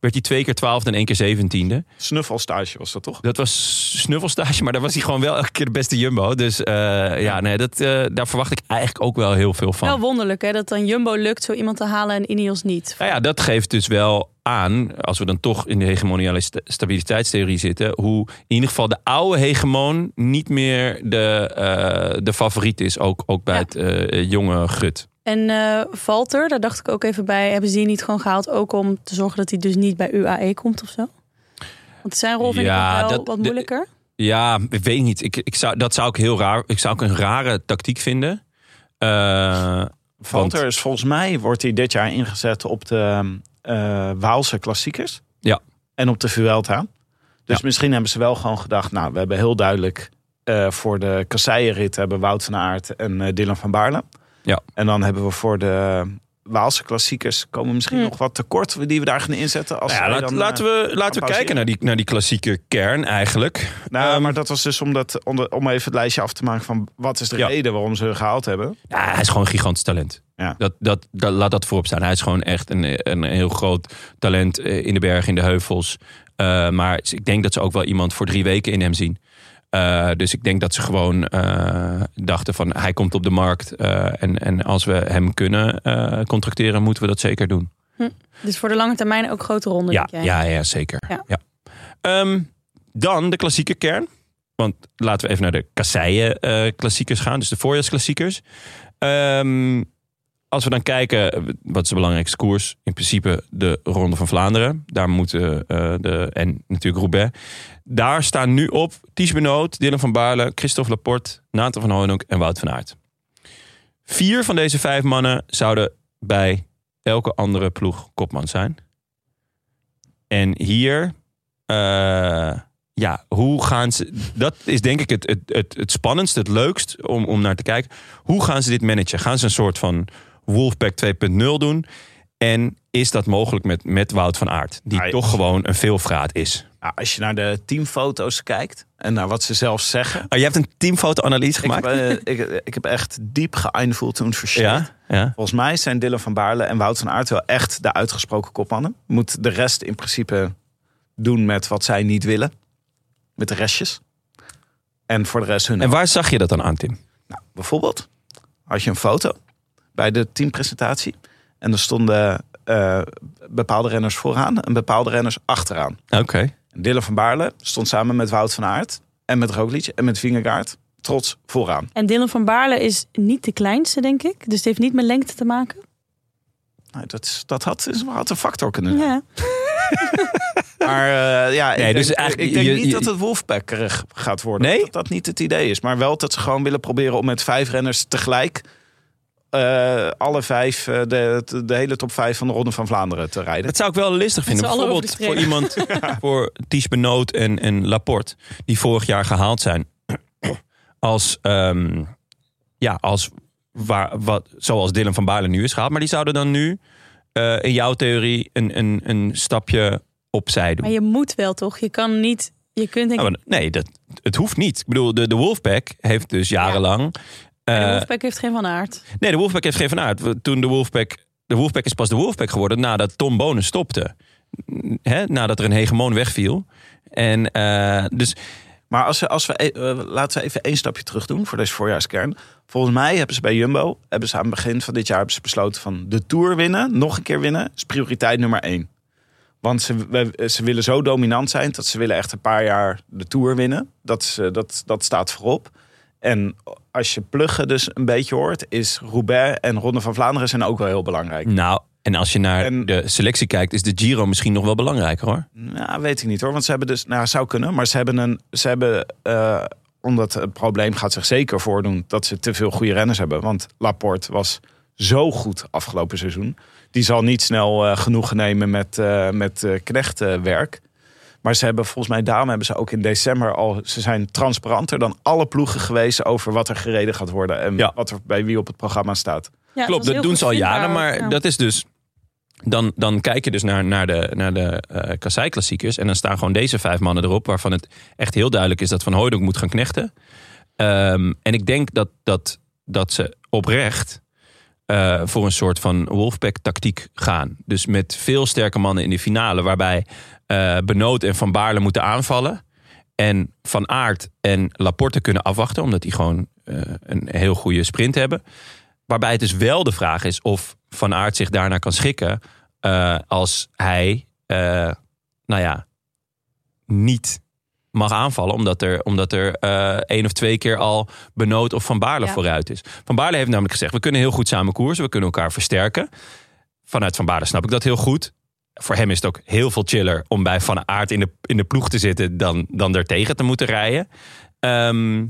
Speaker 1: Werd hij twee keer twaalfde en één keer zeventiende.
Speaker 3: Snuffelstage was dat toch?
Speaker 1: Dat was snuffelstage, maar daar was hij gewoon wel elke keer de beste Jumbo. Dus eh, ja, nee, dat, eh, daar verwacht ik eigenlijk ook wel heel veel van.
Speaker 2: Wel wonderlijk hè, dat dan Jumbo lukt zo iemand te halen en Ineos niet.
Speaker 1: Nou ja, dat geeft dus wel aan, als we dan toch in de hegemoniale sta- stabiliteitstheorie zitten, hoe in ieder geval de oude hegemoon niet meer de, eh, de favoriet is, ook, ook bij
Speaker 2: Ja.
Speaker 1: het eh, jonge gut.
Speaker 2: En eh Valter, daar dacht ik ook even bij, hebben ze die niet gewoon gehaald ook om te zorgen dat hij dus niet bij UAE komt of zo? Want zijn rol vind
Speaker 1: Ja,
Speaker 2: ik ook wel
Speaker 1: dat-
Speaker 2: wat
Speaker 1: de-
Speaker 2: moeilijker.
Speaker 1: Ja, ik weet niet. Ik, ik zou, dat zou ik heel raar. Ik zou ook een rare tactiek vinden. Eh,
Speaker 3: Valter is volgens mij wordt hij dit jaar ingezet op de eh, Waalse klassiekers.
Speaker 1: Ja.
Speaker 3: En op de Vuelta. Dus
Speaker 1: Ja.
Speaker 3: misschien hebben ze wel gewoon gedacht, nou, we hebben heel duidelijk eh, voor de kasseienrit hebben Wout van Aert en eh, Dylan van Baarle.
Speaker 1: Ja.
Speaker 3: En dan hebben we voor de Waalse klassiekers komen we misschien
Speaker 2: Hmm.
Speaker 3: nog wat tekort die we daar gaan inzetten. Als
Speaker 1: nou ja,
Speaker 3: zij
Speaker 1: laat-
Speaker 3: dan, eh,
Speaker 1: laten we, laten we
Speaker 3: pauzeren.
Speaker 1: kijken naar die, naar die klassieke kern eigenlijk.
Speaker 3: eh, nou,
Speaker 1: ehm,
Speaker 3: maar dat was dus om, dat, om, de- om even het lijstje af te maken van wat is de
Speaker 1: Ja.
Speaker 3: reden waarom ze gehaald hebben.
Speaker 1: Ja, hij is gewoon een gigantisch talent.
Speaker 3: Ja.
Speaker 1: Dat, dat, dat, laat dat voorop staan. Hij is gewoon echt een, een heel groot talent eh, in de bergen, in de heuvels. Eh, maar ik denk dat ze ook wel iemand voor drie weken in hem zien. Eh, dus ik denk dat ze gewoon eh, dachten van hij komt op de markt. eh, en, en als we hem kunnen eh, contracteren, moeten we dat zeker doen.
Speaker 2: Dus voor de lange termijn ook grote ronde.
Speaker 1: Ja,
Speaker 2: denk jij.
Speaker 1: ja, ja zeker. Ja.
Speaker 2: Ja.
Speaker 1: Ehm, dan de klassieke kern. Want laten we even naar de kasseien eh, klassiekers gaan. Dus de voorjaarsklassiekers. Ehm, als we dan kijken, eh, wat is de belangrijkste koers? In principe de Ronde van Vlaanderen. Daar moeten eh, de, en natuurlijk Roubaix. Daar staan nu op Ties Benoot, Dylan van Baarle, Christophe Laporte, Nathan van Hoonhoek en Wout van Aert. Vier van deze vijf mannen zouden bij elke andere ploeg kopman zijn. En hier, eh, ja, hoe gaan ze. Dat is denk ik het, het, het, het spannendste, het leukst om, om naar te kijken. Hoe gaan ze dit managen? Gaan ze een soort van Wolfpack 2.0 doen? En is dat mogelijk met, met Wout van Aert? Die
Speaker 3: Hij-
Speaker 1: toch gewoon een veelvraat is.
Speaker 3: Nou, als je naar de teamfoto's kijkt en naar wat ze zelf zeggen.
Speaker 1: Oh, je hebt een teamfoto-analyse
Speaker 3: Ik heb,
Speaker 1: gemaakt?
Speaker 3: eh, ik, ik heb echt diep geëindvoeld toen verschil.
Speaker 1: ja, ja.
Speaker 3: Volgens mij zijn Dylan van Baarle en Wout van Aert wel echt de uitgesproken kopmannen. Moet de rest in principe doen met wat zij niet willen. Met de restjes. En voor de rest hun.
Speaker 1: En waar zag je dat dan aan, Tim?
Speaker 3: Nou, bijvoorbeeld had je een foto bij de teampresentatie. En er stonden eh, bepaalde renners vooraan en bepaalde renners achteraan.
Speaker 1: Oké.
Speaker 3: En Dylan van Baarle stond samen met Wout van Aert en met Roglic en met Vingegaard trots vooraan.
Speaker 2: En Dylan van Baarle is niet de kleinste, denk ik. Dus het heeft niet met lengte te maken.
Speaker 3: Nou, dat, is- dat had, is- had een factor kunnen zijn.
Speaker 2: Ja.
Speaker 3: Maar eh, ja,
Speaker 1: Nee,
Speaker 3: ik,
Speaker 1: dus
Speaker 3: denk,
Speaker 1: eigenlijk-
Speaker 3: ik denk
Speaker 1: je-
Speaker 3: niet
Speaker 1: je-
Speaker 3: dat het wolfpackerig gaat worden.
Speaker 1: Nee?
Speaker 3: Dat dat niet het idee is. Maar wel dat ze gewoon willen proberen om met vijf renners tegelijk... eh, alle vijf eh, de, de, de hele top vijf van de Ronde van Vlaanderen te rijden.
Speaker 1: Dat zou ik wel listig vinden.
Speaker 2: z'n allen
Speaker 1: Bijvoorbeeld voor
Speaker 2: over de
Speaker 1: iemand, voor Ties Benoot en, en Laporte, die vorig jaar gehaald zijn. Als, ehm, ja, als waar, wat, zoals Dylan van Baarle nu is gehaald. Maar die zouden dan nu, eh, in jouw theorie, een, een, een stapje opzij doen.
Speaker 2: Maar je moet wel toch? Je kan niet. Je kunt denk
Speaker 1: Nou,
Speaker 2: ik.
Speaker 1: maar nee, dat, het hoeft niet. Ik bedoel, de, de Wolfpack heeft dus jarenlang...
Speaker 2: de
Speaker 1: eh,
Speaker 2: Wolfpack heeft geen van aard.
Speaker 1: Nee, de Wolfpack heeft geen van aard. Toen de Wolfpack... De Wolfpack is pas de Wolfpack geworden nadat Tom Bonen stopte. Hè, nadat er een hegemoon wegviel. En eh, dus...
Speaker 3: Maar als we, als we, e- eh, laten we even één stapje terug doen voor deze voorjaarskern. Volgens mij hebben ze bij Jumbo, hebben ze aan het begin van dit jaar hebben ze besloten van de Tour winnen, nog een keer winnen, is prioriteit nummer één. Want ze, we- ze willen zo dominant zijn dat ze willen echt een paar jaar de Tour winnen. Dat, ze, dat, dat staat voorop. En als je pluggen dus een beetje hoort, is Roubaix en Ronde van Vlaanderen zijn ook wel heel belangrijk.
Speaker 1: Nou, en als je naar
Speaker 3: En-
Speaker 1: de selectie kijkt... is de Giro misschien nog wel belangrijker, hoor.
Speaker 3: Nou, weet ik niet hoor. Want ze hebben dus, nou zou kunnen, maar ze hebben een, ze hebben, eh, omdat het probleem gaat zich zeker voordoen dat ze te veel goede renners hebben. Want Laporte was zo goed afgelopen seizoen. Die zal niet snel eh, genoegen nemen met, eh met eh, knechtenwerk. Maar ze hebben volgens mij, daarom hebben ze ook in december al, ze zijn transparanter dan alle ploegen geweest over wat er gereden gaat worden en
Speaker 1: Ja.
Speaker 3: wat er bij wie op het programma staat.
Speaker 2: Ja,
Speaker 1: Klopt, dat doen ze al jaren. Maar dat is dus... Dan, dan kijk je dus naar, naar de, naar de eh kasseiklassiekers. En dan staan gewoon deze vijf mannen erop. Waarvan het echt heel duidelijk is dat Van Hooydonk moet gaan knechten. Ehm, en ik denk dat, dat, dat ze oprecht eh, voor een soort van Wolfpack-tactiek gaan. Dus met veel sterke mannen in de finale. Waarbij eh, Benoot en Van Baarle moeten aanvallen. En Van Aert en Laporte kunnen afwachten. Omdat die gewoon eh, een heel goede sprint hebben. Waarbij het dus wel de vraag is of Van Aert zich daarna kan schikken. eh, als hij, eh, nou ja, niet mag aanvallen. Omdat er, omdat er eh, één of twee keer al Benoot of Van Baarle
Speaker 2: Ja.
Speaker 1: vooruit is. Van Baarle heeft namelijk gezegd, we kunnen heel goed samen koersen. We kunnen elkaar versterken. Vanuit Van Baarle snap ik dat heel goed. Voor hem is het ook heel veel chiller om bij Van Aert in de, in de ploeg te zitten... dan, dan daartegen te moeten rijden. Ehm,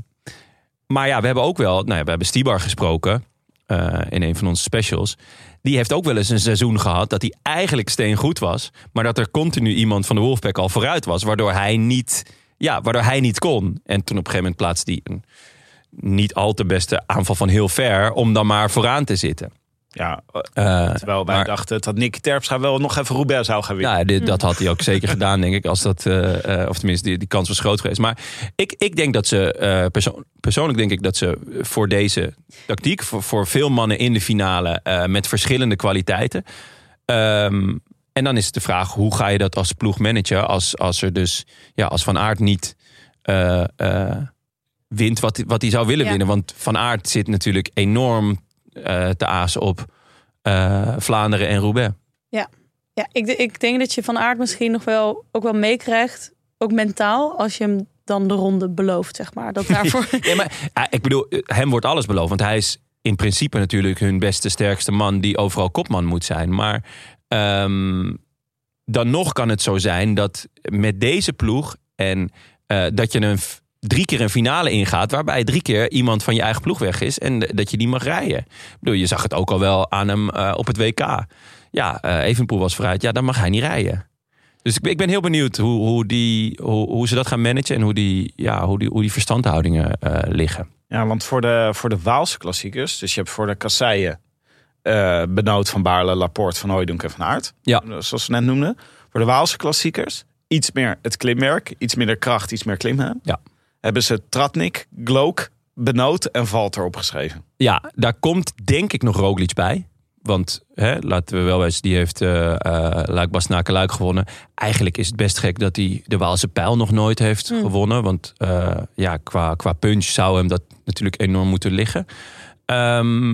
Speaker 1: maar ja, we hebben ook wel... Nou ja, we hebben Stibar gesproken eh, in een van onze specials. Die heeft ook wel eens een seizoen gehad dat hij eigenlijk steengoed was... maar dat er continu iemand van de Wolfpack al vooruit was... waardoor hij niet, ja, waardoor hij niet kon. En toen op een gegeven moment plaatste hij een niet al te beste aanval van heel ver... om dan maar vooraan te zitten.
Speaker 3: Ja, eh,
Speaker 1: Eh,
Speaker 3: terwijl wij
Speaker 1: maar-
Speaker 3: dachten dat Nicky Terpstra wel nog even Roubaix zou gaan winnen.
Speaker 1: nou, ja, dit- dat had hij ook zeker gedaan, denk ik. Als dat, eh, eh, of tenminste, die, die kans was groot geweest. Maar ik, ik denk dat ze, eh, perso- persoonlijk denk ik dat ze voor deze tactiek, voor, voor veel mannen in de finale eh, met verschillende kwaliteiten. ehm, en dan is het de vraag, hoe ga je dat als ploeg managen als, als er dus, ja, als Van Aert niet eh, eh, wint wat, wat hij zou willen
Speaker 4: Ja.
Speaker 1: winnen. Want Van Aert zit natuurlijk enorm eh, te azen op eh, Vlaanderen en Roubaix.
Speaker 2: Ja, ik, de- ik denk dat je van aard misschien nog wel ook wel meekrijgt. Ook mentaal, als je hem dan de ronde belooft, zeg maar. Dat daarvoor.
Speaker 1: Nee, maar eh, ik bedoel, eh, hem wordt alles beloofd. Want hij is in principe natuurlijk hun beste, sterkste man die overal kopman moet zijn. Maar ehm, dan nog kan het zo zijn dat met deze ploeg en eh, dat je een f- drie keer een finale ingaat, waarbij drie keer iemand van je eigen ploeg weg is en eh, dat je die mag rijden. Ik bedoel, je zag het ook al wel aan hem eh, op het WK. Ja, eh Evenpoel was vooruit. Ja, dan mag hij niet rijden. Dus ik, ben- ik ben heel benieuwd hoe, hoe, die, hoe, hoe ze dat gaan managen en hoe die, ja, hoe die, hoe die verstandhoudingen eh, liggen.
Speaker 3: Ja, want voor de, voor de Waalse klassiekers, dus je hebt voor de kasseien eh, Benoot van Baarle, Laporte, Van Hooijdonk en Van Aert.
Speaker 1: Ja.
Speaker 3: Zoals ze net noemden. Voor de Waalse klassiekers iets meer het klimwerk, iets minder kracht, iets meer klimmen.
Speaker 1: Ja.
Speaker 3: Hebben ze Tratnik, Glook, Benoot en Valter opgeschreven.
Speaker 1: Ja, daar komt denk ik nog Roglic bij. Want hè, laten we wel wezen, die heeft eh eh Luik Bastenaken Luik gewonnen. Eigenlijk is het best gek dat hij de Waalse pijl nog nooit heeft gewonnen. Want eh, ja, qua, qua punch zou hem dat natuurlijk enorm moeten liggen. Ehm,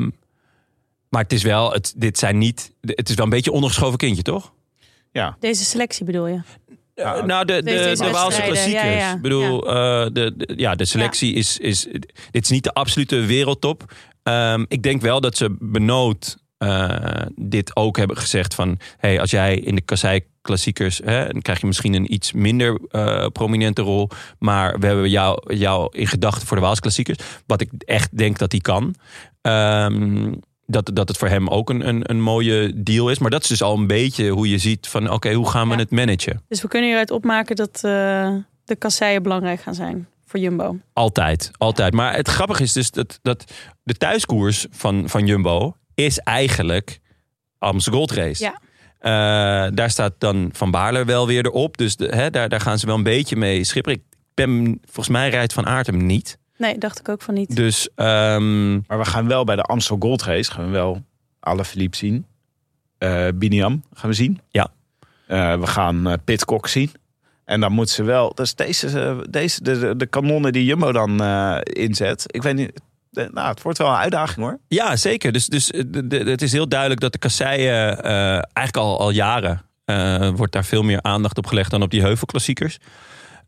Speaker 1: maar het is wel, het, dit zijn niet, het is wel een beetje ondergeschoven kindje, toch?
Speaker 3: Ja.
Speaker 2: Deze selectie bedoel je?
Speaker 3: Ja,
Speaker 1: Eh, nou, de, de,
Speaker 2: deze
Speaker 1: de, Waalse
Speaker 2: wedstrijden,
Speaker 1: klassiekers.
Speaker 2: ja, ja.
Speaker 1: Ik bedoel, ja. de, de- ja, de selectie is, is... Dit is niet de absolute wereldtop. Ehm, ik denk wel dat ze benood eh, dit ook hebben gezegd van... Hey, als jij in de Kassei klassiekers... Hè, dan krijg je misschien een iets minder eh, prominente rol. Maar we hebben jou, jou in gedachten voor de Waalse klassiekers. Wat ik echt denk dat hij kan. Ehm, dat, dat het voor hem ook een, een, een mooie deal is. Maar dat is dus al een beetje hoe je ziet van... Oké, hoe gaan we
Speaker 2: Ja.
Speaker 1: het managen?
Speaker 2: Dus we kunnen hieruit opmaken dat eh, de kasseien belangrijk gaan zijn voor Jumbo.
Speaker 1: Altijd, altijd. Maar het grappige is dus dat, dat de thuiskoers van, van Jumbo is eigenlijk Amstel Gold Race.
Speaker 2: Ja.
Speaker 1: Eh, daar staat dan Van Baarle wel weer erop. Dus de, hè, daar, daar gaan ze wel een beetje mee schipperen. Ik ben, volgens mij rijdt Van Aert hem niet.
Speaker 2: Nee, dacht ik ook van niet.
Speaker 1: Dus ehm,
Speaker 3: Maar we gaan wel bij de Amstel Gold Race, gaan we wel Alaphilippe zien. Eh Biniam gaan we zien.
Speaker 1: Ja.
Speaker 3: Eh, we gaan eh, Pitcock zien. En dan moeten ze wel... Dus deze, eh, deze de, de, de kanonnen die Jumbo dan eh, inzet. Ik weet niet... eh, nou, het wordt wel een uitdaging hoor.
Speaker 1: ja, zeker. Dus, dus eh, de- de- het is heel duidelijk dat de kasseien eh, eigenlijk al, al jaren... eh, wordt daar veel meer aandacht op gelegd dan op die heuvelklassiekers.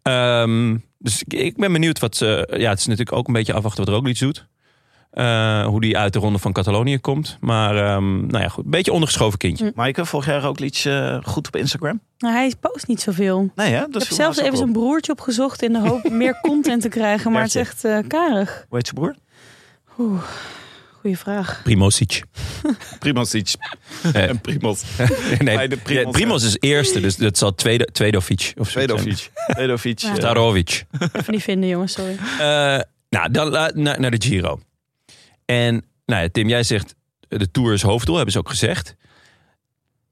Speaker 1: Ehm, dus ik, ik ben benieuwd wat ze... Ja, het is natuurlijk ook een beetje afwachten wat Roglic doet. Eh, hoe die uit de ronde van Catalonië komt. Maar ehm, nou ja, goed. Een beetje ondergeschoven kindje.
Speaker 2: Hm.
Speaker 3: Maaike, volg jij Roglic eh goed op Instagram?
Speaker 2: Nou, hij post niet zoveel.
Speaker 3: Nee hè? Dat
Speaker 2: ik heb zelfs even zijn broertje opgezocht in de hoop meer content te krijgen. Maar het is echt eh, karig.
Speaker 3: Hoe heet zijn broer?
Speaker 2: Goeie vraag.
Speaker 1: Primosic.
Speaker 3: Primozic.
Speaker 1: Eh.
Speaker 3: en Primoz.
Speaker 1: nee,
Speaker 3: Bij de Primoz,
Speaker 1: ja, Primoz is eerste, dus dat zal tweede, tweedovic of zo zijn.
Speaker 3: Vedovic. Vedovic.
Speaker 2: Ja.
Speaker 3: eh,
Speaker 1: Starovic.
Speaker 2: Even niet vinden, jongens, sorry.
Speaker 1: Eh, nou, dan la- naar, naar de Giro. En nou ja, Tim, jij zegt eh, de Tour is hoofddoel, hebben ze ook gezegd.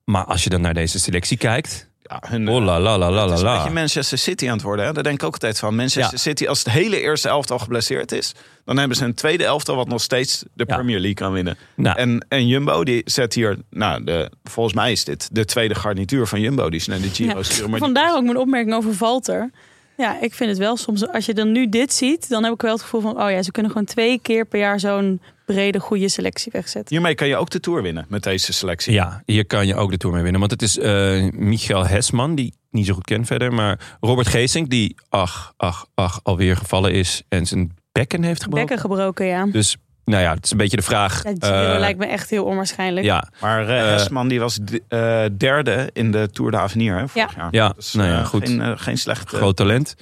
Speaker 1: Maar als je dan naar deze selectie kijkt.
Speaker 3: ja, hun, eh,
Speaker 1: Oh la la la la
Speaker 3: Het
Speaker 1: la
Speaker 3: is een beetje
Speaker 1: la.
Speaker 3: Manchester City aan het worden. Hè? Daar denk ik ook altijd van. Manchester City, als het hele eerste elftal geblesseerd is... dan hebben ze een tweede elftal wat nog steeds de
Speaker 1: Ja.
Speaker 3: Premier League kan winnen.
Speaker 1: Nou,
Speaker 3: En, en Jumbo, die zet hier... Nou, de, volgens mij is dit de tweede garnituur van Jumbo... die ze naar de Giro
Speaker 2: Ja.
Speaker 3: sturen. Maar die-
Speaker 2: Vandaar ook mijn opmerking over Valter. Ja, ik vind het wel soms, als je dan nu dit ziet, dan heb ik wel het gevoel van, oh ja, ze kunnen gewoon twee keer per jaar zo'n brede, goede selectie wegzetten.
Speaker 3: hiermee kan je ook de Tour winnen met deze selectie.
Speaker 1: ja, hier kan je ook de Tour mee winnen. Want het is eh, Michael Hesman, die ik niet zo goed ken verder. Maar Robert Geesink, die ach, ach, ach, alweer gevallen is. En zijn bekken heeft gebroken.
Speaker 2: Bekken gebroken, ja.
Speaker 1: Dus nou ja, het is een beetje de vraag.
Speaker 2: Ja, Giro
Speaker 1: eh,
Speaker 2: lijkt me echt heel onwaarschijnlijk.
Speaker 1: ja,
Speaker 3: Maar eh,
Speaker 1: Eh,
Speaker 3: Hesman die was d- eh, derde in de Tour de Avenir hè, vorig jaar.
Speaker 1: Ja,
Speaker 3: Dus,
Speaker 1: nou ja,
Speaker 3: eh,
Speaker 1: goed.
Speaker 3: Geen, eh, geen slechte...
Speaker 1: groot talent.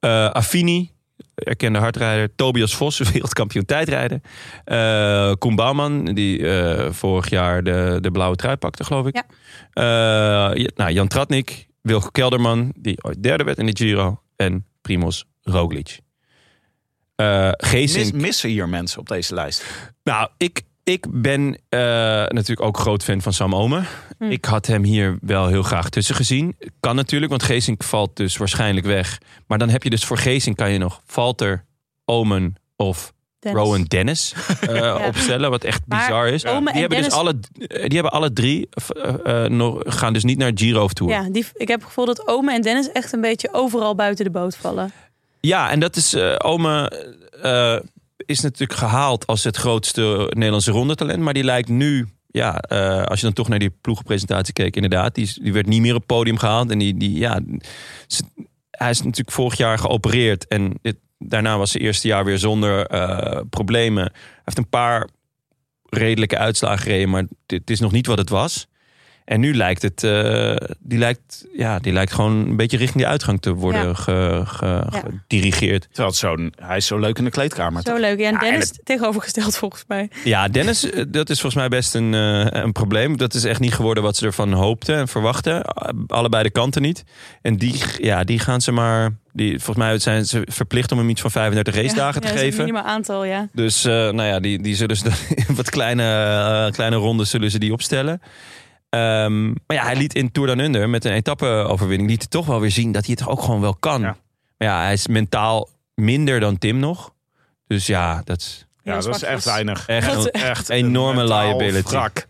Speaker 1: Eh Affini, erkende hardrijder. Tobias Vos, wereldkampioen tijdrijden. Eh Koen Bouwman, die eh, vorig jaar de, de blauwe trui pakte, geloof ik. Ja. nou, Jan Tratnik, Wilco Kelderman, die ooit derde werd in de Giro. En Primoz Roglic. Eh
Speaker 3: Mis-
Speaker 1: Geesink.
Speaker 3: missen hier mensen op deze lijst?
Speaker 1: Nou, ik, ik ben eh, natuurlijk ook groot fan van Sam Omen.
Speaker 2: Hm.
Speaker 1: Ik had hem hier wel heel graag tussen gezien. Kan natuurlijk, want Geesink valt dus waarschijnlijk weg. Maar dan heb je dus voor Geesink kan je nog Valter, Omen of
Speaker 2: Dennis.
Speaker 1: Rowan Dennis eh, opstellen. Wat echt
Speaker 2: Maar
Speaker 1: bizar is.
Speaker 2: Omen en
Speaker 1: die, hebben dus
Speaker 2: Dennis-
Speaker 1: alle, eh, die hebben alle drie eh, eh, nog, gaan dus niet naar Giro of Tour. Ja,
Speaker 2: Ja, die, ik heb het gevoel dat Ome en Dennis echt een beetje overal buiten de boot vallen.
Speaker 1: en dat is eh Omen... eh, is natuurlijk gehaald als het grootste Nederlandse rondetalent. Maar die lijkt nu, ja, eh, als je dan toch naar die ploegenpresentatie keek, inderdaad. Die, is- die werd niet meer op het podium gehaald. En die, die ja, ze- hij is natuurlijk vorig jaar geopereerd. En dit, daarna was zijn eerste jaar weer zonder eh, problemen. Hij heeft een paar redelijke uitslagen gereden, maar dit is nog niet wat het was. En nu lijkt het, eh, die, lijkt, ja, die lijkt gewoon een beetje richting die uitgang te worden
Speaker 2: Ja.
Speaker 1: ge- ge-
Speaker 2: Ja.
Speaker 1: gedirigeerd.
Speaker 3: Terwijl het zo'n, hij is zo leuk in de kleedkamer.
Speaker 2: Zo leuk. Ja, en
Speaker 3: Ja, en
Speaker 2: Dennis tegenovergesteld volgens mij.
Speaker 1: Ja, Dennis, eh, dat is volgens mij best een, eh, een probleem. Dat is echt niet geworden wat ze ervan hoopten en verwachten. A- Allebei de kanten niet. En die, ja, die gaan ze maar. Die, volgens mij zijn ze verplicht om hem iets van 35 race dagen te
Speaker 2: ja, dat is een
Speaker 1: geven.
Speaker 2: minimaal aantal, ja.
Speaker 1: Dus eh, nou ja, die, die zullen ze dan in wat kleine, eh, kleine rondes zullen ze die opstellen. Ehm, maar ja, hij liet in Tour Down Under met een etappe-overwinning... liet hij toch wel weer zien dat hij het ook gewoon wel kan.
Speaker 3: Ja.
Speaker 1: Maar ja, hij is mentaal minder dan Tim nog. Dus ja, dat is
Speaker 3: Ja, dat is echt weinig.
Speaker 1: echt...
Speaker 2: Dat-
Speaker 1: een-
Speaker 3: Echt
Speaker 1: Enorme
Speaker 3: een mentaal
Speaker 1: liability.
Speaker 3: wrak.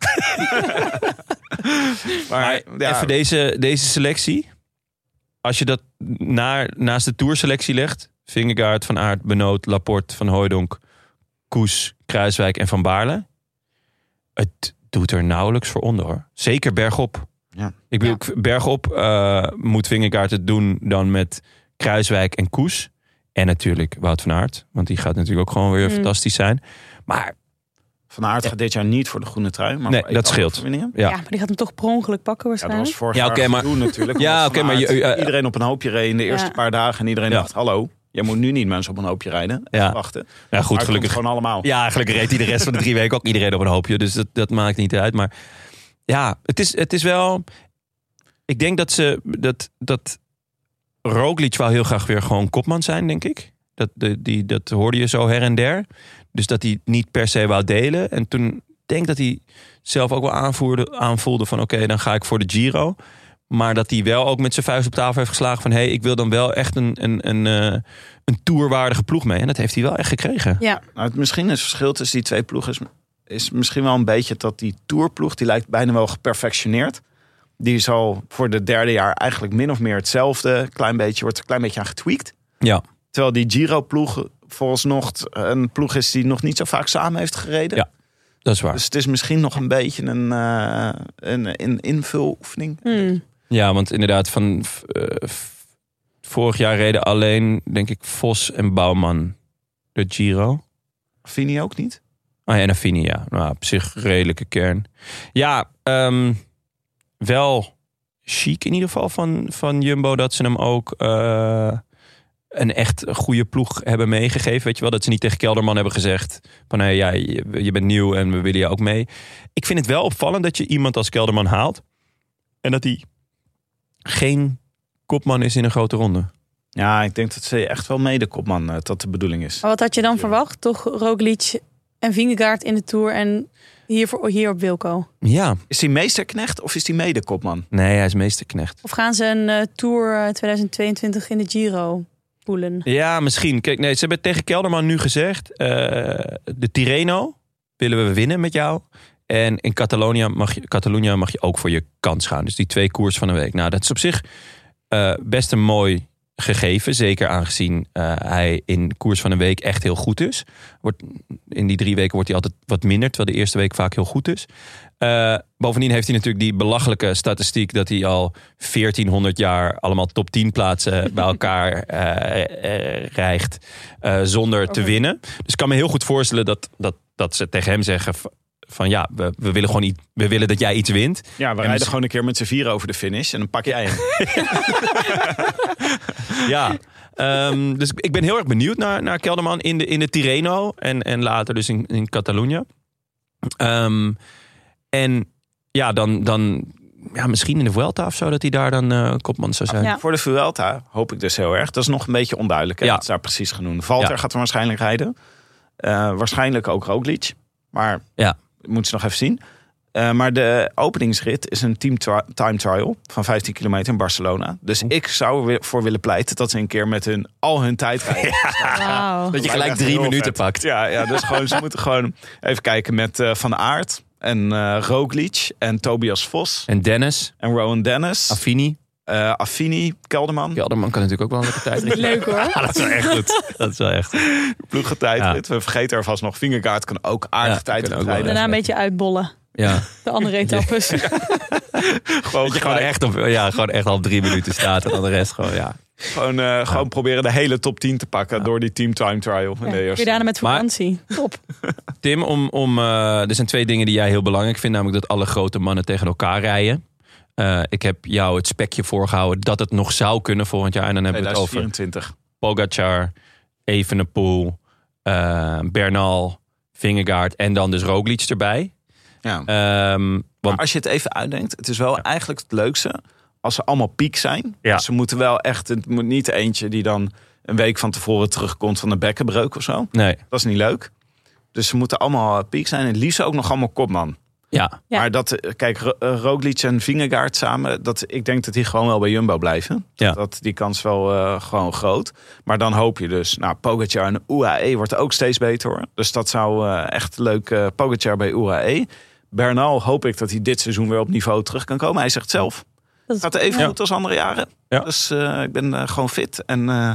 Speaker 3: maar
Speaker 1: Maar
Speaker 3: ja,
Speaker 1: even deze, deze selectie. Als je dat naar, naast de tourselectie legt. Vingegaard, Van Aert, Benoot, Laporte, Van Hooijdonk, Koes, Kruiswijk en Van Baarle. Het doet er nauwelijks voor onder hoor. Zeker bergop.
Speaker 3: Ja.
Speaker 1: Ik bedoel, bergop eh, moet Vingegaard het doen dan met Kruiswijk en Koes. En natuurlijk Wout van Aert. Want die gaat natuurlijk ook gewoon weer
Speaker 2: Mm.
Speaker 1: fantastisch zijn. Maar
Speaker 3: Van Aert gaat dit jaar niet voor de groene trui. Maar
Speaker 1: Nee,
Speaker 3: voor
Speaker 1: dat
Speaker 3: etappe
Speaker 1: scheelt.
Speaker 3: overwinningen.
Speaker 1: Ja.
Speaker 2: Ja. maar die gaat hem toch per ongeluk pakken
Speaker 3: Ja, dat was
Speaker 2: waarschijnlijk.
Speaker 3: vorig
Speaker 1: Ja,
Speaker 3: jaar
Speaker 1: oké, maar-
Speaker 3: gedoe natuurlijk.
Speaker 1: Ja,
Speaker 3: omdat
Speaker 1: oké,
Speaker 3: Van
Speaker 1: maar
Speaker 3: Aert
Speaker 1: je- eh, eh,
Speaker 3: iedereen op een hoopje reed in de eerste
Speaker 2: Ja.
Speaker 3: paar dagen. En iedereen
Speaker 1: Ja.
Speaker 3: dacht, hallo, jij moet nu niet mensen op een hoopje rijden.
Speaker 1: Ja.
Speaker 3: Wachten.
Speaker 1: ja,
Speaker 3: Maar
Speaker 1: goed,
Speaker 3: het
Speaker 1: gelukkig
Speaker 3: komt gewoon allemaal.
Speaker 1: Ja, gelukkig reed hij de rest van de drie weken ook iedereen op een hoopje. Dus dat, dat maakt niet uit. Maar ja, het is, het is wel... Ik denk dat ze... Dat, dat Roglic wel heel graag weer gewoon kopman zijn, denk ik. Dat, de, die, dat hoorde je zo her en der. Dus dat hij niet per se wou delen. En toen denk ik dat hij zelf ook wel aanvoerde, aanvoelde van... oké, dan ga ik voor de Giro. Maar dat hij wel ook met zijn vuist op tafel heeft geslagen van... hé, hey, ik wil dan wel echt een, een, een, eh, een tourwaardige ploeg mee. En dat heeft hij wel echt gekregen.
Speaker 2: Ja,
Speaker 3: Nou, het, misschien het verschil tussen die twee ploegen is, is misschien wel een beetje dat die tourploeg, die lijkt bijna wel geperfectioneerd. Die is al voor het derde jaar eigenlijk min of meer hetzelfde. Klein beetje, wordt er een klein beetje aan getweakt.
Speaker 1: Ja.
Speaker 3: Terwijl die Giro-ploeg vooralsnog een ploeg is die nog niet zo vaak samen heeft gereden.
Speaker 1: Ja. Dat is waar.
Speaker 3: Dus het is misschien nog een beetje een, eh, een, een invuloefening.
Speaker 2: Hmm.
Speaker 1: Ja, want inderdaad, van v- eh, v- vorig jaar reden alleen, denk ik, Vos en Bouwman de Giro.
Speaker 3: Vini ook niet.
Speaker 1: Ah ja, en Affini, ja. Nou, op zich redelijke kern. Ja, ehm, wel chic in ieder geval van, van Jumbo dat ze hem ook eh, een echt goede ploeg hebben meegegeven. Weet je wel, dat ze niet tegen Kelderman hebben gezegd van hé, ja, je, je bent nieuw en we willen je ook mee. Ik vind het wel opvallend dat je iemand als Kelderman haalt en dat hij geen kopman is in een grote ronde.
Speaker 3: Ja, ik denk dat ze echt wel mede kopman eh, dat de bedoeling is.
Speaker 2: Maar wat had je dan verwacht? Toch Roglic en Vingegaard in de Tour en hier, voor, hier op Wilco.
Speaker 1: Ja,
Speaker 3: Is hij meesterknecht of is hij mede kopman?
Speaker 1: nee, hij is meesterknecht.
Speaker 2: Of gaan ze een eh, Tour eh, 2022 in de Giro poelen?
Speaker 1: Ja, misschien. Kijk, nee, ze hebben tegen Kelderman nu gezegd: eh, de Tirreno willen we winnen met jou. En in Catalonia mag, je, Catalonia mag je ook voor je kans gaan. Dus die twee koers van de week. Nou, dat is op zich eh, best een mooi gegeven. Zeker aangezien eh, hij in koers van een week echt heel goed is. Wordt, in die drie weken wordt hij altijd wat minder. Terwijl de eerste week vaak heel goed is. Eh, bovendien heeft hij natuurlijk die belachelijke statistiek dat hij al 1400 jaar allemaal top 10 plaatsen bij elkaar eh, eh, rijgt eh, zonder te
Speaker 2: Oké.
Speaker 1: winnen. Dus ik kan me heel goed voorstellen dat, dat, dat ze tegen hem zeggen v- van ja, we, we willen gewoon iets, we willen dat jij iets wint.
Speaker 3: Ja, we rijden
Speaker 1: misschien-
Speaker 3: gewoon een keer met z'n vier over de finish en dan pak jij hem.
Speaker 1: Ja. Ehm, dus ik ben heel erg benieuwd naar, naar Kelderman in de, in de Tirreno en, en later dus in, in Catalonië. Ehm, en ja, dan, dan ja, misschien in de Vuelta of zo dat hij daar dan eh, kopman zou zijn.
Speaker 2: Ja.
Speaker 3: Voor de Vuelta hoop ik dus heel erg. Dat is nog een beetje onduidelijk. Hè?
Speaker 1: Ja.
Speaker 3: Wat is daar precies genoemd? Valter
Speaker 1: Ja.
Speaker 3: gaat er waarschijnlijk rijden. Eh, waarschijnlijk ook Roglic. Maar
Speaker 1: Ja.
Speaker 3: moet ze nog even zien. Eh, maar de openingsrit is een team tri- time trial van 15 kilometer in Barcelona. Dus ik zou er weer voor willen pleiten dat ze een keer met hun al hun tijd rijden.
Speaker 2: Wauw.
Speaker 1: Dat je gelijk
Speaker 3: Lijkt me
Speaker 1: drie
Speaker 3: heel
Speaker 1: minuten
Speaker 3: vet.
Speaker 1: pakt.
Speaker 3: Ja, ja dus gewoon, ze moeten gewoon even kijken met eh, Van Aert en eh Roglic en Tobias Vos
Speaker 1: En Dennis,
Speaker 3: en Rowan Dennis.
Speaker 1: Affini.
Speaker 3: eh Affini, Kelderman.
Speaker 1: Kelderman kan natuurlijk ook wel een lekker tijd rijden.
Speaker 2: Leuk hoor.
Speaker 1: dat is wel echt goed. Dat is wel echt goed.
Speaker 3: ploegentijdrit. We vergeten er vast nog. Vingergaard kan ook aardig
Speaker 1: Ja, kan
Speaker 3: tijdrit
Speaker 1: ook wel.
Speaker 3: rijden.
Speaker 2: Daarna een beetje uitbollen.
Speaker 1: Ja.
Speaker 2: De andere etappes.
Speaker 3: Gewoon,
Speaker 1: Dat je gewoon
Speaker 3: gelijk-
Speaker 1: echt, op, ja, gewoon echt al op drie minuten staat en dan de rest gewoon, ja.
Speaker 3: gewoon, eh, gewoon proberen de hele top 10 te pakken door die team time trial. in
Speaker 2: Ja,
Speaker 3: de
Speaker 2: Weer
Speaker 3: eerste.
Speaker 2: daarna met
Speaker 1: Maar-
Speaker 2: vakantie. Top.
Speaker 1: Tim, om, om, eh, er zijn twee dingen die jij heel belangrijk vindt. Namelijk dat alle grote mannen tegen elkaar rijden. Eh, ik heb jou het spekje voorgehouden dat het nog zou kunnen volgend jaar. En dan hebben we het over
Speaker 3: 2024.
Speaker 1: Pogacar, Evenepoel, eh, Bernal, Vingegaard en dan dus Roglic erbij.
Speaker 3: Ja.
Speaker 1: Ehm, want
Speaker 3: Maar als je het even uitdenkt, het is wel eigenlijk het leukste als ze allemaal piek zijn.
Speaker 1: Ja.
Speaker 3: Ze moeten wel echt, het moet niet eentje die dan een week van tevoren terugkomt van een bekkenbreuk of zo.
Speaker 1: nee,
Speaker 3: Dat is niet leuk. Dus ze moeten allemaal eh, piek zijn. En het liefst ook nog allemaal kopman.
Speaker 1: ja,
Speaker 2: Ja.
Speaker 3: Maar dat, eh, kijk, Ro- eh, Roglic en Vingegaard samen, dat, ik denk dat die gewoon wel bij Jumbo blijven.
Speaker 1: Ja.
Speaker 3: Dat, die kans wel eh, gewoon groot. Maar dan hoop je dus, nou, Pogacar en UAE wordt ook steeds beter hoor. Dus dat zou eh, echt leuk, eh Pogacar bij UAE. Bernal hoop ik dat hij dit seizoen weer op niveau terug kan komen. Hij zegt zelf,
Speaker 2: Dat
Speaker 3: het
Speaker 2: is-
Speaker 3: gaat even
Speaker 1: Ja.
Speaker 3: goed als andere jaren.
Speaker 1: Ja.
Speaker 3: Dus eh, ik ben eh, gewoon fit. En eh,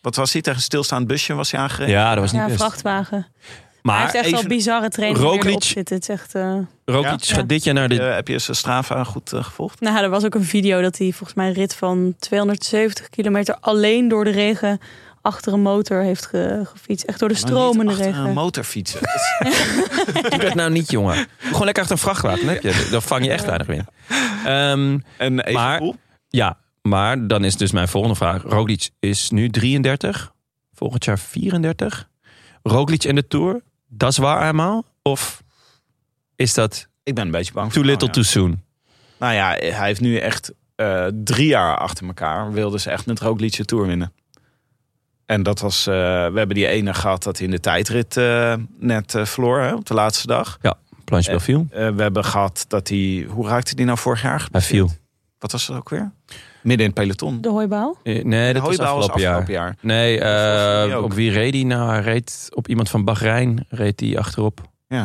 Speaker 3: wat was hij? Tegen een stilstaand busje was hij aangereden.
Speaker 1: ja, dat was niet
Speaker 2: Ja,
Speaker 1: best.
Speaker 2: vrachtwagen. hij heeft
Speaker 1: Maar
Speaker 2: echt wel
Speaker 3: even-
Speaker 2: bizarre trainingen weer
Speaker 1: Roglic-
Speaker 2: erop zitten. Het is echt, eh,
Speaker 1: Roglic
Speaker 2: Ja.
Speaker 1: gaat dit jaar naar de
Speaker 3: Eh, heb je zijn Strava goed eh, gevolgd?
Speaker 2: Nou, er was ook een video dat hij volgens mij een rit van 270 kilometer alleen door de regen achter een motor heeft ge- gefietst. Echt door de stromende
Speaker 3: Maar niet eh, achter
Speaker 2: regen.
Speaker 3: een motorfietsen.
Speaker 1: Doe dat nou niet, jongen. Doe Gewoon lekker achter een vrachtwagen. Dan, heb je, dan vang je echt weinig wind. Ehm,
Speaker 3: en even
Speaker 1: Maar- ja, maar dan is dus mijn volgende vraag. Roglic is nu 33. Volgend jaar 34. Roglic en de Tour. Dat is waar eenmaal? Of is dat
Speaker 3: Ik ben een beetje bang
Speaker 1: too
Speaker 3: voor
Speaker 1: little too
Speaker 3: Arno.
Speaker 1: soon?
Speaker 3: Nou ja, hij heeft nu echt eh, drie jaar achter elkaar. Wilde ze echt met Roglic de Tour winnen. En dat was, eh, we hebben die ene gehad dat hij in de tijdrit eh, net eh, verloor hè, op de laatste dag.
Speaker 1: Planche
Speaker 3: Eh,
Speaker 1: Belfiel.
Speaker 3: Eh, we hebben gehad dat hij, hoe raakte die nou vorig jaar?
Speaker 1: Hij viel.
Speaker 3: Wat was dat ook weer? Midden in het peloton.
Speaker 2: De hooibaal?
Speaker 1: Eh, Nee, dat was
Speaker 3: Hooibaal
Speaker 1: afgelopen, jaar.
Speaker 3: jaar.
Speaker 1: Nee,
Speaker 3: volgens mij
Speaker 1: eh,
Speaker 3: ook.
Speaker 1: op wie reed hij nou? Hij reed op iemand van Bahrein. Reed hij achterop.
Speaker 3: Ja.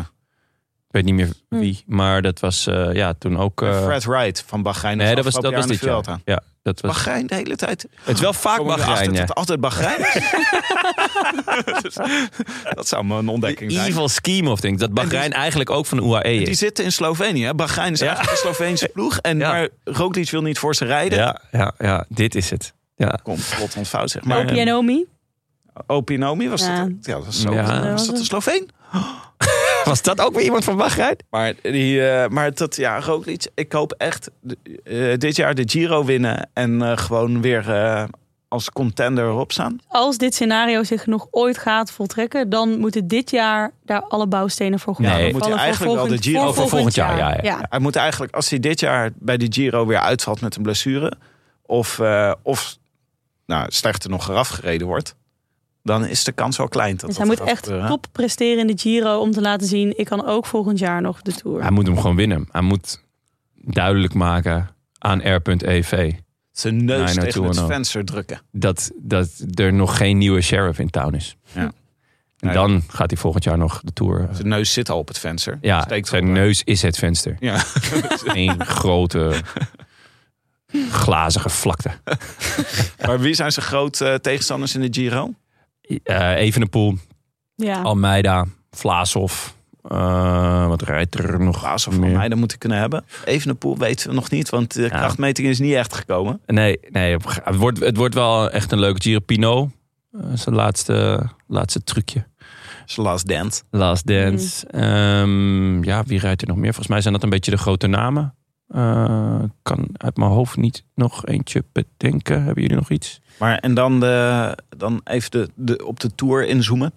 Speaker 1: Ik weet niet meer wie. Maar dat was eh, ja, toen ook... eh,
Speaker 3: En Fred Wright van Bahrein.
Speaker 1: nee, dat was, dat was
Speaker 3: afgelopen
Speaker 1: dit
Speaker 3: jaar in
Speaker 1: jaar.
Speaker 3: de Vuelta.
Speaker 1: Ja, dat was...
Speaker 3: Bahrein de hele tijd.
Speaker 1: Het is wel vaak
Speaker 3: Komen we erachter
Speaker 1: Bahrein,
Speaker 3: dat
Speaker 1: ja.
Speaker 3: het altijd Bahrein is? dat zou me een ontdekking zijn.
Speaker 1: Evil scheme of things. Dat Bahrein
Speaker 3: En die-
Speaker 1: eigenlijk ook van de UAE
Speaker 3: Die
Speaker 1: is.
Speaker 3: zitten in Slovenië. hè? Bahrein is
Speaker 1: Ja.
Speaker 3: eigenlijk een Sloveense ploeg. En
Speaker 1: Ja.
Speaker 3: maar Roglic wil niet voor ze rijden.
Speaker 1: Ja, ja, ja, dit is het. Ja.
Speaker 3: Komt vlot van fout, zeg maar. eh,
Speaker 2: Maar, Opinomi?
Speaker 3: Opinomi was
Speaker 2: Ja.
Speaker 3: dat. Ja, dat was zo.
Speaker 1: Ja.
Speaker 3: Was dat een Sloveen?
Speaker 1: Was dat ook weer iemand van Bahrein?
Speaker 3: Maar, die, eh, maar dat, ja, Roglic, ik hoop echt eh, dit jaar de Giro winnen. En eh, gewoon weer eh, als contender erop staan.
Speaker 2: Als dit scenario zich nog ooit gaat voltrekken, dan moeten dit jaar daar alle bouwstenen voor
Speaker 1: Nee.
Speaker 2: gaan
Speaker 1: Dan
Speaker 3: moet hij eigenlijk wel de Giro-
Speaker 1: Oh, voor volgend jaar, ja, ja.
Speaker 3: Hij moet eigenlijk, als hij dit jaar bij de Giro weer uitvalt met een blessure. Of, eh, of nou, slechter nog eraf gereden wordt. Dan is de kans wel klein. Dat
Speaker 2: Dus
Speaker 3: dat
Speaker 2: hij moet
Speaker 3: gaat
Speaker 2: echt
Speaker 3: gebeuren.
Speaker 2: top presteren in de Giro om te laten zien, ik kan ook volgend jaar nog de Tour.
Speaker 1: Hij moet hem gewoon winnen. Hij moet duidelijk maken aan R.EV
Speaker 3: zijn
Speaker 1: Nee,
Speaker 3: neus
Speaker 1: no
Speaker 3: tegen het
Speaker 1: two, no.
Speaker 3: venster drukken.
Speaker 1: dat, dat er nog geen nieuwe sheriff in town is.
Speaker 3: Ja.
Speaker 1: En dan gaat hij volgend jaar nog de tour. eh,
Speaker 3: Zijn neus zit al op het venster.
Speaker 1: Ja,
Speaker 3: Steekt
Speaker 1: zijn
Speaker 3: erop.
Speaker 1: neus is het venster.
Speaker 3: Ja.
Speaker 1: Een grote glazige vlakte.
Speaker 3: Maar wie zijn zijn grote eh, tegenstanders in de Giro?
Speaker 1: Eh Evenepoel,
Speaker 2: Ja.
Speaker 1: Oh, Almeida, Vlaashoff. eh, wat rijdt er nog?
Speaker 3: Klaas of van
Speaker 1: meer?
Speaker 3: mij, dat moet ik kunnen hebben. Even een poel weten we nog niet, want de krachtmeting is niet echt gekomen.
Speaker 1: Nee, nee op- het, wordt, het wordt wel echt een leuke Giro. Pinot, eh, zijn laatste, laatste trucje.
Speaker 3: Zijn last dance.
Speaker 1: Last Dance. Ehm, ja, wie rijdt er nog meer? Volgens mij zijn dat een beetje de grote namen. Eh, kan uit mijn hoofd niet nog eentje bedenken. Hebben jullie nog iets?
Speaker 3: Maar en dan, de, dan even de, de, op de tour inzoomen.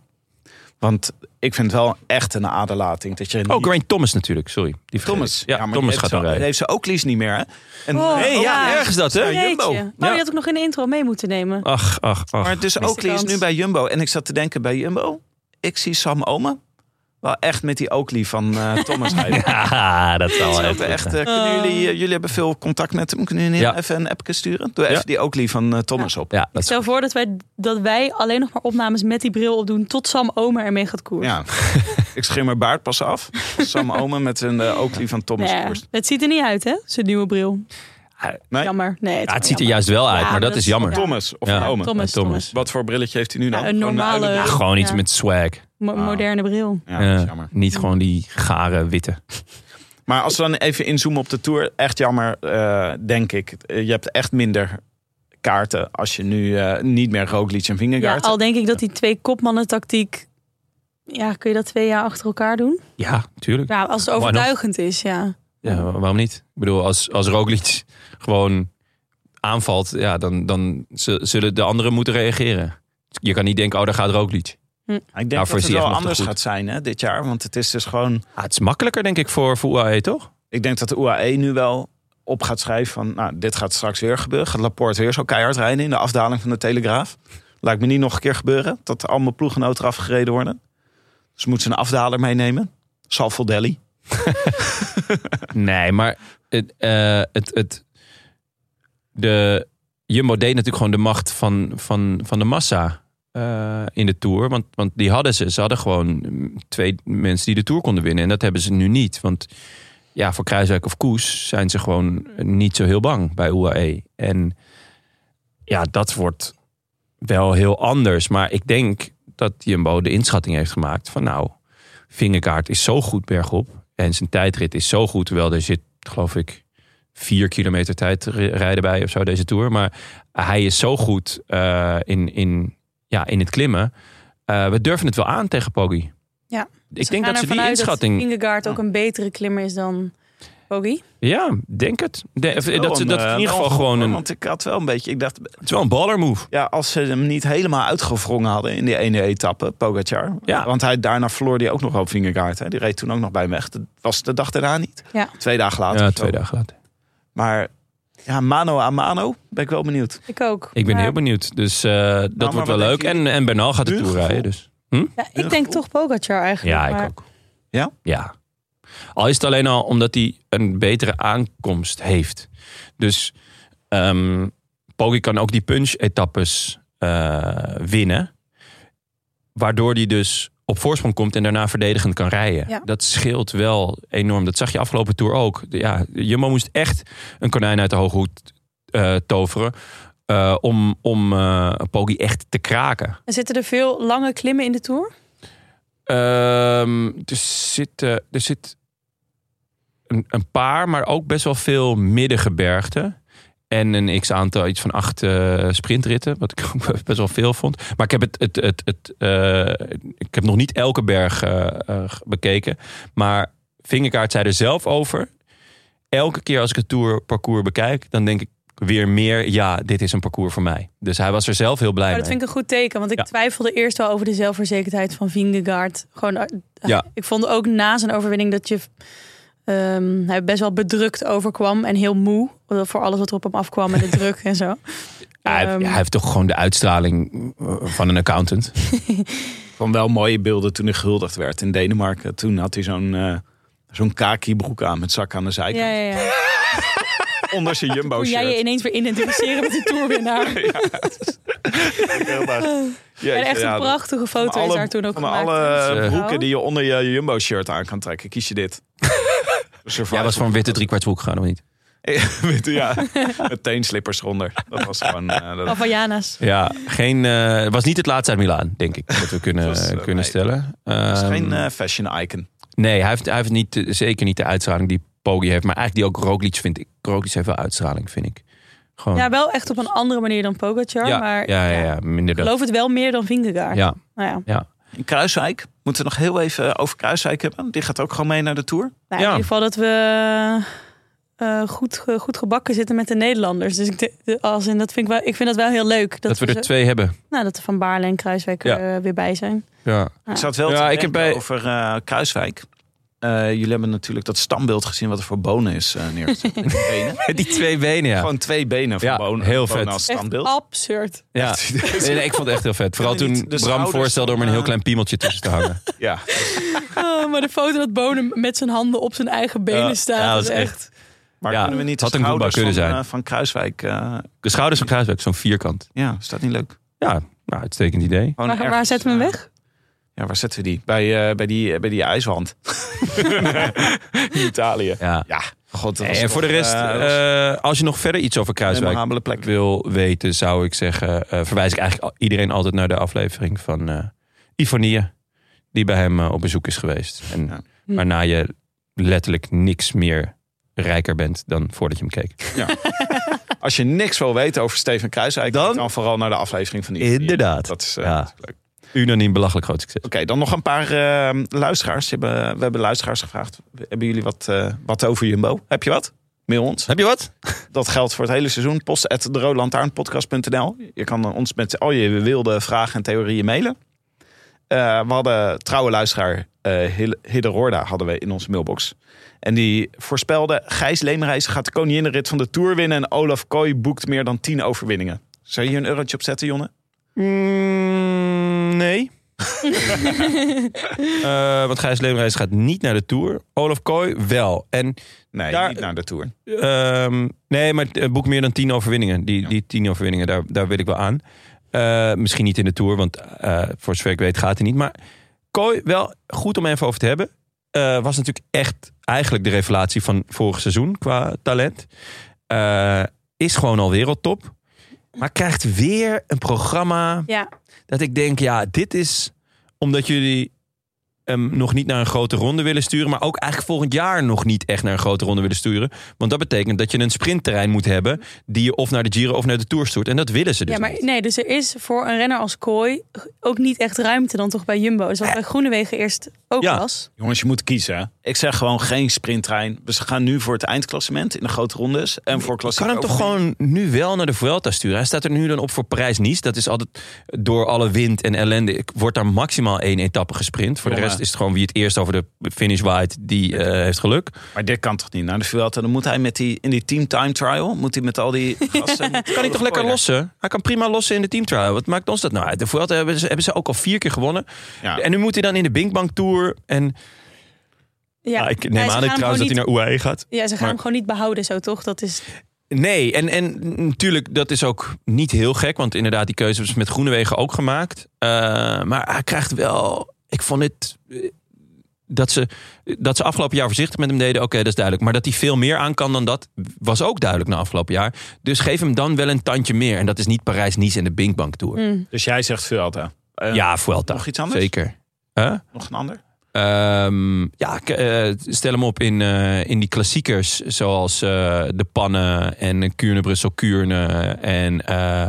Speaker 3: Want ik vind het wel echt een aderlating. Dat je niet-
Speaker 1: Oh, Grant Thomas natuurlijk. Sorry. Die vergeet
Speaker 3: Thomas.
Speaker 1: ik. Ja,
Speaker 3: maar die
Speaker 1: Thomas
Speaker 3: heeft
Speaker 1: gaat
Speaker 3: ze-
Speaker 1: dan rijden.
Speaker 3: heeft ze ook Lies niet meer, hè? En,
Speaker 2: Oh.
Speaker 1: Hé,
Speaker 2: Nee,
Speaker 1: ja,
Speaker 2: ja.
Speaker 1: erg is dat, hè?
Speaker 2: Jeetje. Oh,
Speaker 1: Ja.
Speaker 2: je had ook nog in de intro mee moeten nemen.
Speaker 1: Ach, ach, ach.
Speaker 3: Maar dus
Speaker 2: Miste
Speaker 3: Oakley is
Speaker 2: kans.
Speaker 3: nu bij Jumbo. En ik zat te denken bij Jumbo, ik zie Sam Omen wel echt met die Oakley van eh, Thomas rijden.
Speaker 1: Ja, dat zal
Speaker 3: Is
Speaker 1: wel
Speaker 3: ook
Speaker 1: echt goed
Speaker 3: echt,
Speaker 1: zijn.
Speaker 3: eh, kunnen jullie, eh, jullie hebben veel contact met hem. Kunnen jullie
Speaker 1: Ja.
Speaker 3: even een appje sturen? Doe even
Speaker 1: Ja.
Speaker 3: die Oakley van eh, Thomas op.
Speaker 1: Ja, dat is
Speaker 2: Stel voor dat wij, dat wij alleen nog maar opnames met die bril opdoen tot Sam Omer ermee gaat koersen.
Speaker 3: Ja. ik scheer mijn baard pas af. Sam Omen met een eh, Oakley van Thomas.
Speaker 2: Nee,
Speaker 3: koerst.
Speaker 2: Nou het ziet er niet uit, hè? Zijn nieuwe bril.
Speaker 3: Nee,
Speaker 2: Jammer. Nee,
Speaker 1: Ja, het
Speaker 2: is
Speaker 1: ziet er
Speaker 2: wel
Speaker 1: juist wel uit,
Speaker 2: Ja,
Speaker 1: maar dat
Speaker 2: dat
Speaker 1: is
Speaker 2: is-
Speaker 1: jammer.
Speaker 2: ja.
Speaker 3: Thomas of
Speaker 1: Ja.
Speaker 3: Omen.
Speaker 2: jammer. Thomas,
Speaker 1: Thomas.
Speaker 2: Thomas.
Speaker 3: Wat voor brilletje heeft hij nu dan?
Speaker 2: Ja, een
Speaker 3: Gewoon
Speaker 2: normale-
Speaker 3: uilenbril?
Speaker 1: Gewoon iets
Speaker 2: Ja.
Speaker 1: met swag.
Speaker 2: Mo-
Speaker 1: Ah.
Speaker 2: moderne bril.
Speaker 3: Ja, dat is
Speaker 1: Eh,
Speaker 3: jammer.
Speaker 1: niet gewoon die gare witte.
Speaker 3: Maar als we dan even inzoomen op de Tour, echt jammer, eh, denk ik. Eh, Je hebt echt minder kaarten als je nu eh, niet meer Roglic en
Speaker 2: Ja,
Speaker 3: Vingegaard...
Speaker 2: al denk ik dat die twee kopmannen tactiek... Ja, kun je dat twee jaar achter elkaar doen?
Speaker 1: Ja, tuurlijk.
Speaker 2: Ja, als het
Speaker 1: Why not?
Speaker 2: overtuigend is, ja.
Speaker 1: Ja, wa- waarom niet? Ik bedoel, als, als Roglic gewoon aanvalt, ja, dan, dan z- zullen de anderen moeten reageren. Je kan niet denken, oh, daar gaat Roglic.
Speaker 3: Ik
Speaker 1: Daarvoor
Speaker 3: denk dat
Speaker 1: is
Speaker 3: het
Speaker 1: hij echt nog
Speaker 3: wel
Speaker 1: te
Speaker 3: anders
Speaker 1: goed.
Speaker 3: gaat zijn hè, dit jaar. Want het is dus gewoon...
Speaker 1: Ah, het is makkelijker, denk ik, voor, voor UAE, toch?
Speaker 3: Ik denk dat de UAE nu wel op gaat schrijven van... Nou, dit gaat straks weer gebeuren. Gaat Laporte weer zo keihard rijden in de afdaling van de Telegraaf. Laat me niet nog een keer gebeuren. Dat allemaal ploegenoten eraf gereden worden. Dus moet ze een afdaler meenemen. Salvo Delhi.
Speaker 1: Nee, maar het, eh, het, het, de Jumbo deed natuurlijk gewoon de macht van, van, van de massa eh, in de Tour. Want, want die hadden ze. Ze hadden gewoon mm, twee mensen die de Tour konden winnen. En dat hebben ze nu niet. Want ja, voor Kruiswijk of Koes zijn ze gewoon niet zo heel bang bij UAE. En ja, dat wordt wel heel anders. Maar ik denk dat Jumbo de inschatting heeft gemaakt van nou... Vingerkaart is zo goed bergop. En zijn tijdrit is zo goed. Terwijl er zit, geloof ik, vier kilometer tijd ri- rijden bij of zo deze Tour. Maar hij is zo goed eh, in, in, ja, in het klimmen. Eh, we durven het wel aan tegen Poggi.
Speaker 2: Ja.
Speaker 1: Ik denk dat ze die inschatting...
Speaker 2: Ingegaard ook een betere klimmer is dan Bogie.
Speaker 1: Ja, denk het. De- of, eh, dat ze dat
Speaker 3: Wel een,
Speaker 1: in
Speaker 3: eh,
Speaker 1: ieder geval
Speaker 3: wel
Speaker 1: gewoon een...
Speaker 3: Want ik had wel een beetje... Ik dacht,
Speaker 1: Het is wel een baller move.
Speaker 3: ja, als ze hem niet helemaal uitgevrongen hadden in die ene etappe, Pogacar.
Speaker 1: Ja.
Speaker 3: Want hij, daarna verloor hij ook nog wel vingerkaart. Hè. Die reed toen ook nog bij hem weg. Dat was de dag daarna niet.
Speaker 2: Ja.
Speaker 3: Twee dagen later.
Speaker 1: Ja,
Speaker 3: of zo.
Speaker 1: twee dagen later.
Speaker 3: Maar ja, mano aan mano ben ik wel benieuwd.
Speaker 2: Ik ook.
Speaker 1: Ik ben
Speaker 2: Maar-
Speaker 1: heel benieuwd. Dus eh, dat
Speaker 3: maar
Speaker 1: wordt wel
Speaker 3: wat
Speaker 1: leuk.
Speaker 3: denk je?
Speaker 1: En, en Bernal gaat de
Speaker 3: Puur
Speaker 1: Tour
Speaker 3: gevoel.
Speaker 1: rijden. Dus.
Speaker 2: Ja, ik
Speaker 3: Heel
Speaker 2: denk
Speaker 3: goed.
Speaker 2: toch Pogacar eigenlijk.
Speaker 1: Ja, ik
Speaker 2: maar-
Speaker 1: ook.
Speaker 3: Ja?
Speaker 1: Ja. Al is het alleen al omdat hij een betere aankomst heeft. Dus ehm Poggi kan ook die punch-etappes eh, winnen. Waardoor hij dus op voorsprong komt en daarna verdedigend kan rijden.
Speaker 2: Ja.
Speaker 1: Dat scheelt wel enorm. Dat zag je afgelopen Tour ook. Ja, Jumbo moest echt een konijn uit de hoge hoed eh, toveren... eh, om, om eh Poggi echt te kraken.
Speaker 2: En Zitten er veel lange klimmen in de Tour?
Speaker 1: Ehm, er, zit, eh, er zit een, een paar, maar ook best wel veel middengebergten. En een x-aantal, iets van acht eh, sprintritten. Wat ik ook best wel veel vond. Maar ik heb, het, het, het, het, eh, ik heb nog niet elke berg eh, eh, bekeken. Maar Vingerkaart zei er zelf over. Elke keer als ik het tourparcours bekijk, dan denk ik weer meer... ja, dit is een parcours voor mij. Dus hij was er zelf heel blij
Speaker 2: Maar
Speaker 1: mee.
Speaker 2: Oh, dat vind ik een goed teken, want ik
Speaker 1: Ja.
Speaker 2: twijfelde eerst wel over de zelfverzekerdheid van Vingegaard. Gewoon, eh,
Speaker 1: Ja.
Speaker 2: Ik vond ook na zijn overwinning dat je ehm, hij best wel bedrukt overkwam en heel moe eh, voor alles wat er op hem afkwam en de druk en zo.
Speaker 1: Hij,
Speaker 2: Ehm.
Speaker 1: hij heeft toch gewoon de uitstraling eh, van een accountant.
Speaker 3: Van wel mooie beelden toen hij gehuldigd werd in Denemarken. Toen had hij zo'n eh zo'n kaki broek aan met zak aan de zijkant.
Speaker 2: Ja, ja, ja.
Speaker 3: Onder zijn jumbo
Speaker 2: Hoe jij je
Speaker 3: shirt.
Speaker 2: ineens weer identificeren met de tourwinnaar. en echt een prachtige foto
Speaker 3: Van alle-
Speaker 2: is daar toen ook
Speaker 3: van
Speaker 2: gemaakt.
Speaker 3: alle
Speaker 1: Dus, eh,
Speaker 3: broeken die je onder je jumbo shirt aan kan trekken, kies je dit. Survival.
Speaker 1: Jij was van witte driekwartsbroek gegaan of niet?
Speaker 3: Weet je, ja, met teenslippers eronder. Dat was gewoon... eh, dat-
Speaker 2: Havaianas.
Speaker 1: Ja, geen, eh, het was niet het laatste uit Milaan, denk ik. Dat we kunnen,
Speaker 3: Dat was, eh,
Speaker 1: kunnen
Speaker 3: nee.
Speaker 1: stellen.
Speaker 3: dat is
Speaker 1: Ehm,
Speaker 3: geen eh, fashion icon.
Speaker 1: nee, hij heeft, hij heeft niet, eh, zeker niet de uitstraling die Poggi heeft. Maar eigenlijk die ook Roglic vind ik. Roglic heeft wel uitstraling, vind ik. Gewoon,
Speaker 2: Ja, wel echt op een andere manier dan Pogacar,
Speaker 1: ja,
Speaker 2: maar
Speaker 1: ja, ja, ja, minder
Speaker 2: ik
Speaker 1: dat.
Speaker 2: geloof het wel meer dan Vingegaard.
Speaker 1: Ja,
Speaker 2: Nou ja, nou
Speaker 3: In Kruiswijk, moeten we nog heel even over Kruiswijk hebben. Die gaat ook gewoon mee naar de Tour.
Speaker 2: ja, Nou, in
Speaker 1: Ja.
Speaker 2: ieder geval dat we eh, goed, ge- goed gebakken zitten met de Nederlanders. Dus ik, de- de- als in, dat vind ik, wel, ik vind dat wel heel leuk. Dat,
Speaker 1: dat we er
Speaker 2: zo-
Speaker 1: twee hebben.
Speaker 2: nou, dat er Van Baarle en Kruiswijk
Speaker 1: Ja.
Speaker 2: er, eh, weer bij zijn.
Speaker 1: Ja.
Speaker 3: Ik zat wel
Speaker 1: Ja,
Speaker 3: te
Speaker 1: ik heb
Speaker 3: denken
Speaker 1: bij-
Speaker 3: over eh, Kruiswijk. Eh, jullie hebben natuurlijk dat standbeeld gezien wat er voor bonen is eh neergezet. Met die benen.
Speaker 1: Die twee benen, ja.
Speaker 3: Gewoon twee benen van
Speaker 1: Ja,
Speaker 3: bonen.
Speaker 1: heel
Speaker 3: bonen
Speaker 1: vet.
Speaker 3: als
Speaker 2: Echt
Speaker 3: standbeeld.
Speaker 2: absurd.
Speaker 1: ja. Nee, nee, ik vond het echt heel vet. Vooral
Speaker 3: Kunnen
Speaker 1: toen
Speaker 3: niet de
Speaker 1: Bram
Speaker 3: schouders
Speaker 1: voorstelde om er een heel
Speaker 3: van,
Speaker 1: klein piemeltje tussen te hangen.
Speaker 3: Ja.
Speaker 2: Oh, maar de foto dat Bonen met zijn handen op zijn eigen benen
Speaker 1: Ja,
Speaker 2: staat,
Speaker 1: ja, dat
Speaker 2: is
Speaker 1: is
Speaker 2: echt...
Speaker 3: Maar
Speaker 1: Ja,
Speaker 3: kunnen we niet
Speaker 1: het had
Speaker 3: de
Speaker 1: een Goomba
Speaker 3: schouders
Speaker 1: kunnen
Speaker 3: van,
Speaker 1: zijn.
Speaker 3: eh, van Kruiswijk? eh,
Speaker 1: De schouders van Kruiswijk, zo'n vierkant.
Speaker 3: ja, is dat niet leuk?
Speaker 1: Ja, nou, uitstekend idee.
Speaker 3: Gewoon
Speaker 2: Waar,
Speaker 3: ergens,
Speaker 2: waar zetten we hem
Speaker 3: eh,
Speaker 2: weg?
Speaker 3: Ja, waar zetten we die? Bij, eh, bij, die, eh, bij die ijswand. In Italië.
Speaker 1: Ja.
Speaker 3: Ja, god. dat was
Speaker 1: En voor de
Speaker 3: toch,
Speaker 1: rest,
Speaker 3: eh,
Speaker 1: eh, als je nog verder iets over
Speaker 3: een
Speaker 1: Kruiswijk
Speaker 3: memorabele plek.
Speaker 1: wil weten, zou ik zeggen, eh, verwijs ik eigenlijk al- iedereen altijd naar de aflevering van eh Ivonie, die bij hem eh, op bezoek is geweest. En
Speaker 3: Ja.
Speaker 1: waarna je letterlijk niks meer rijker bent dan voordat je hem keek.
Speaker 3: Als je niks wil weten over Steven Kruiswijk,
Speaker 1: Dan-
Speaker 3: dan, vooral naar de aflevering van die.
Speaker 1: Inderdaad.
Speaker 3: Dat is eh,
Speaker 1: Ja.
Speaker 3: dat is leuk.
Speaker 1: Unaniem belachelijk groot succes.
Speaker 3: Oké, dan nog een paar eh, luisteraars. Die Hebben, we hebben luisteraars gevraagd. Hebben jullie wat, eh, wat over Jumbo? Heb je wat? Mail ons.
Speaker 1: Heb je wat?
Speaker 3: Dat geldt voor het hele seizoen. Post at deroodlantaarnpodcast.nl. Je kan ons met al je wilde vragen en theorieën mailen. Eh, we hadden trouwe luisteraar eh Hil- Hidde Roorda hadden we in onze mailbox. En die voorspelde... Gijs Leemreis gaat de koninginrit van de Tour winnen... en Olaf Kooi boekt meer dan 10 overwinningen. Zou je hier een eurotje op zetten, Jonne?
Speaker 1: Mm, nee. Eh, want Gijs Leemreis gaat niet naar de Tour. Olaf Kooi wel. En,
Speaker 3: Nee,
Speaker 1: Daar-
Speaker 3: niet naar de Tour.
Speaker 1: ehm, nee, maar het boek meer dan tien overwinningen. Die,
Speaker 3: Ja.
Speaker 1: die tien overwinningen, daar, daar wil ik wel aan. Eh, misschien niet in de Tour, want eh, voor zover ik weet gaat hij niet. Maar Kooi, wel goed om even over te hebben. Eh, was natuurlijk echt eigenlijk de revelatie van vorig seizoen qua talent. Eh, is gewoon al wereldtop. Maar krijgt weer een programma
Speaker 2: Ja,
Speaker 1: dat ik denk, ja, dit is omdat jullie hem nog niet naar een grote ronde willen sturen, maar ook eigenlijk volgend jaar nog niet echt naar een grote ronde willen sturen. Want dat betekent dat je een sprintterrein moet hebben die je of naar de Giro of naar de Tour stuurt. En dat willen ze dus
Speaker 2: ja, maar
Speaker 1: niet.
Speaker 2: nee, dus er is voor een renner als Kooi ook niet echt ruimte dan toch bij Jumbo. Dus wat bij Groenewegen eerst ook
Speaker 1: Eh. Ja.
Speaker 2: was.
Speaker 3: Jongens, je moet kiezen. hè. Ik zeg gewoon geen sprinttrein. We gaan nu voor het eindklassement in de grote rondes. En voor
Speaker 1: Ik kan
Speaker 3: klassieke
Speaker 1: hem toch gewoon nu wel naar de Vuelta sturen. Hij staat er nu dan op voor Parijs-Nice. Dat is altijd door alle wind en ellende. Ik word daar maximaal één etappe gesprint. Voor de
Speaker 3: Jongen.
Speaker 1: rest is het gewoon wie het eerst over de finish waait, die eh, heeft geluk.
Speaker 3: Maar dit kan toch niet naar de Vuelta? Dan moet hij met die, in die team time trial, moet hij met al die gasten...
Speaker 1: Kan hij toch lekker lossen? Hij kan prima lossen in de teamtrial. Wat maakt ons dat nou uit? De Vuelta hebben ze, hebben ze ook al vier keer gewonnen.
Speaker 3: Ja.
Speaker 1: En nu moet hij dan in de Binkbank Tour. En
Speaker 2: Ja,
Speaker 1: Ah, ik
Speaker 2: Ja,
Speaker 1: neem
Speaker 2: ze
Speaker 1: aan
Speaker 2: gaan
Speaker 1: dat
Speaker 2: hem
Speaker 1: trouwens dat
Speaker 2: gewoon
Speaker 1: hij naar UAE gaat.
Speaker 2: Ja, ze gaan
Speaker 1: Maar-
Speaker 2: hem gewoon niet behouden zo, toch? Dat is
Speaker 1: Nee, en, en natuurlijk, dat is ook niet heel gek. Want inderdaad, die keuze is met Groenewegen ook gemaakt. Eh, maar hij krijgt wel... Ik vond het... eh, Dat ze, dat ze afgelopen jaar voorzichtig met hem deden, oké, dat is duidelijk. Maar dat hij veel meer aan kan dan dat, was ook duidelijk na afgelopen jaar. Dus geef hem dan wel een tandje meer. En dat is niet Parijs-Nice en de Binkbank Tour.
Speaker 3: Dus jij zegt Vuelta. Eh,
Speaker 1: Ja, Vuelta.
Speaker 3: nog iets anders?
Speaker 1: Zeker. Huh?
Speaker 3: Nog een ander?
Speaker 1: Ehm, ja, k- eh, stel hem op in, eh, in die klassiekers. Zoals eh, De Pannen en Kuurne, Brussel, Kuurne. En eh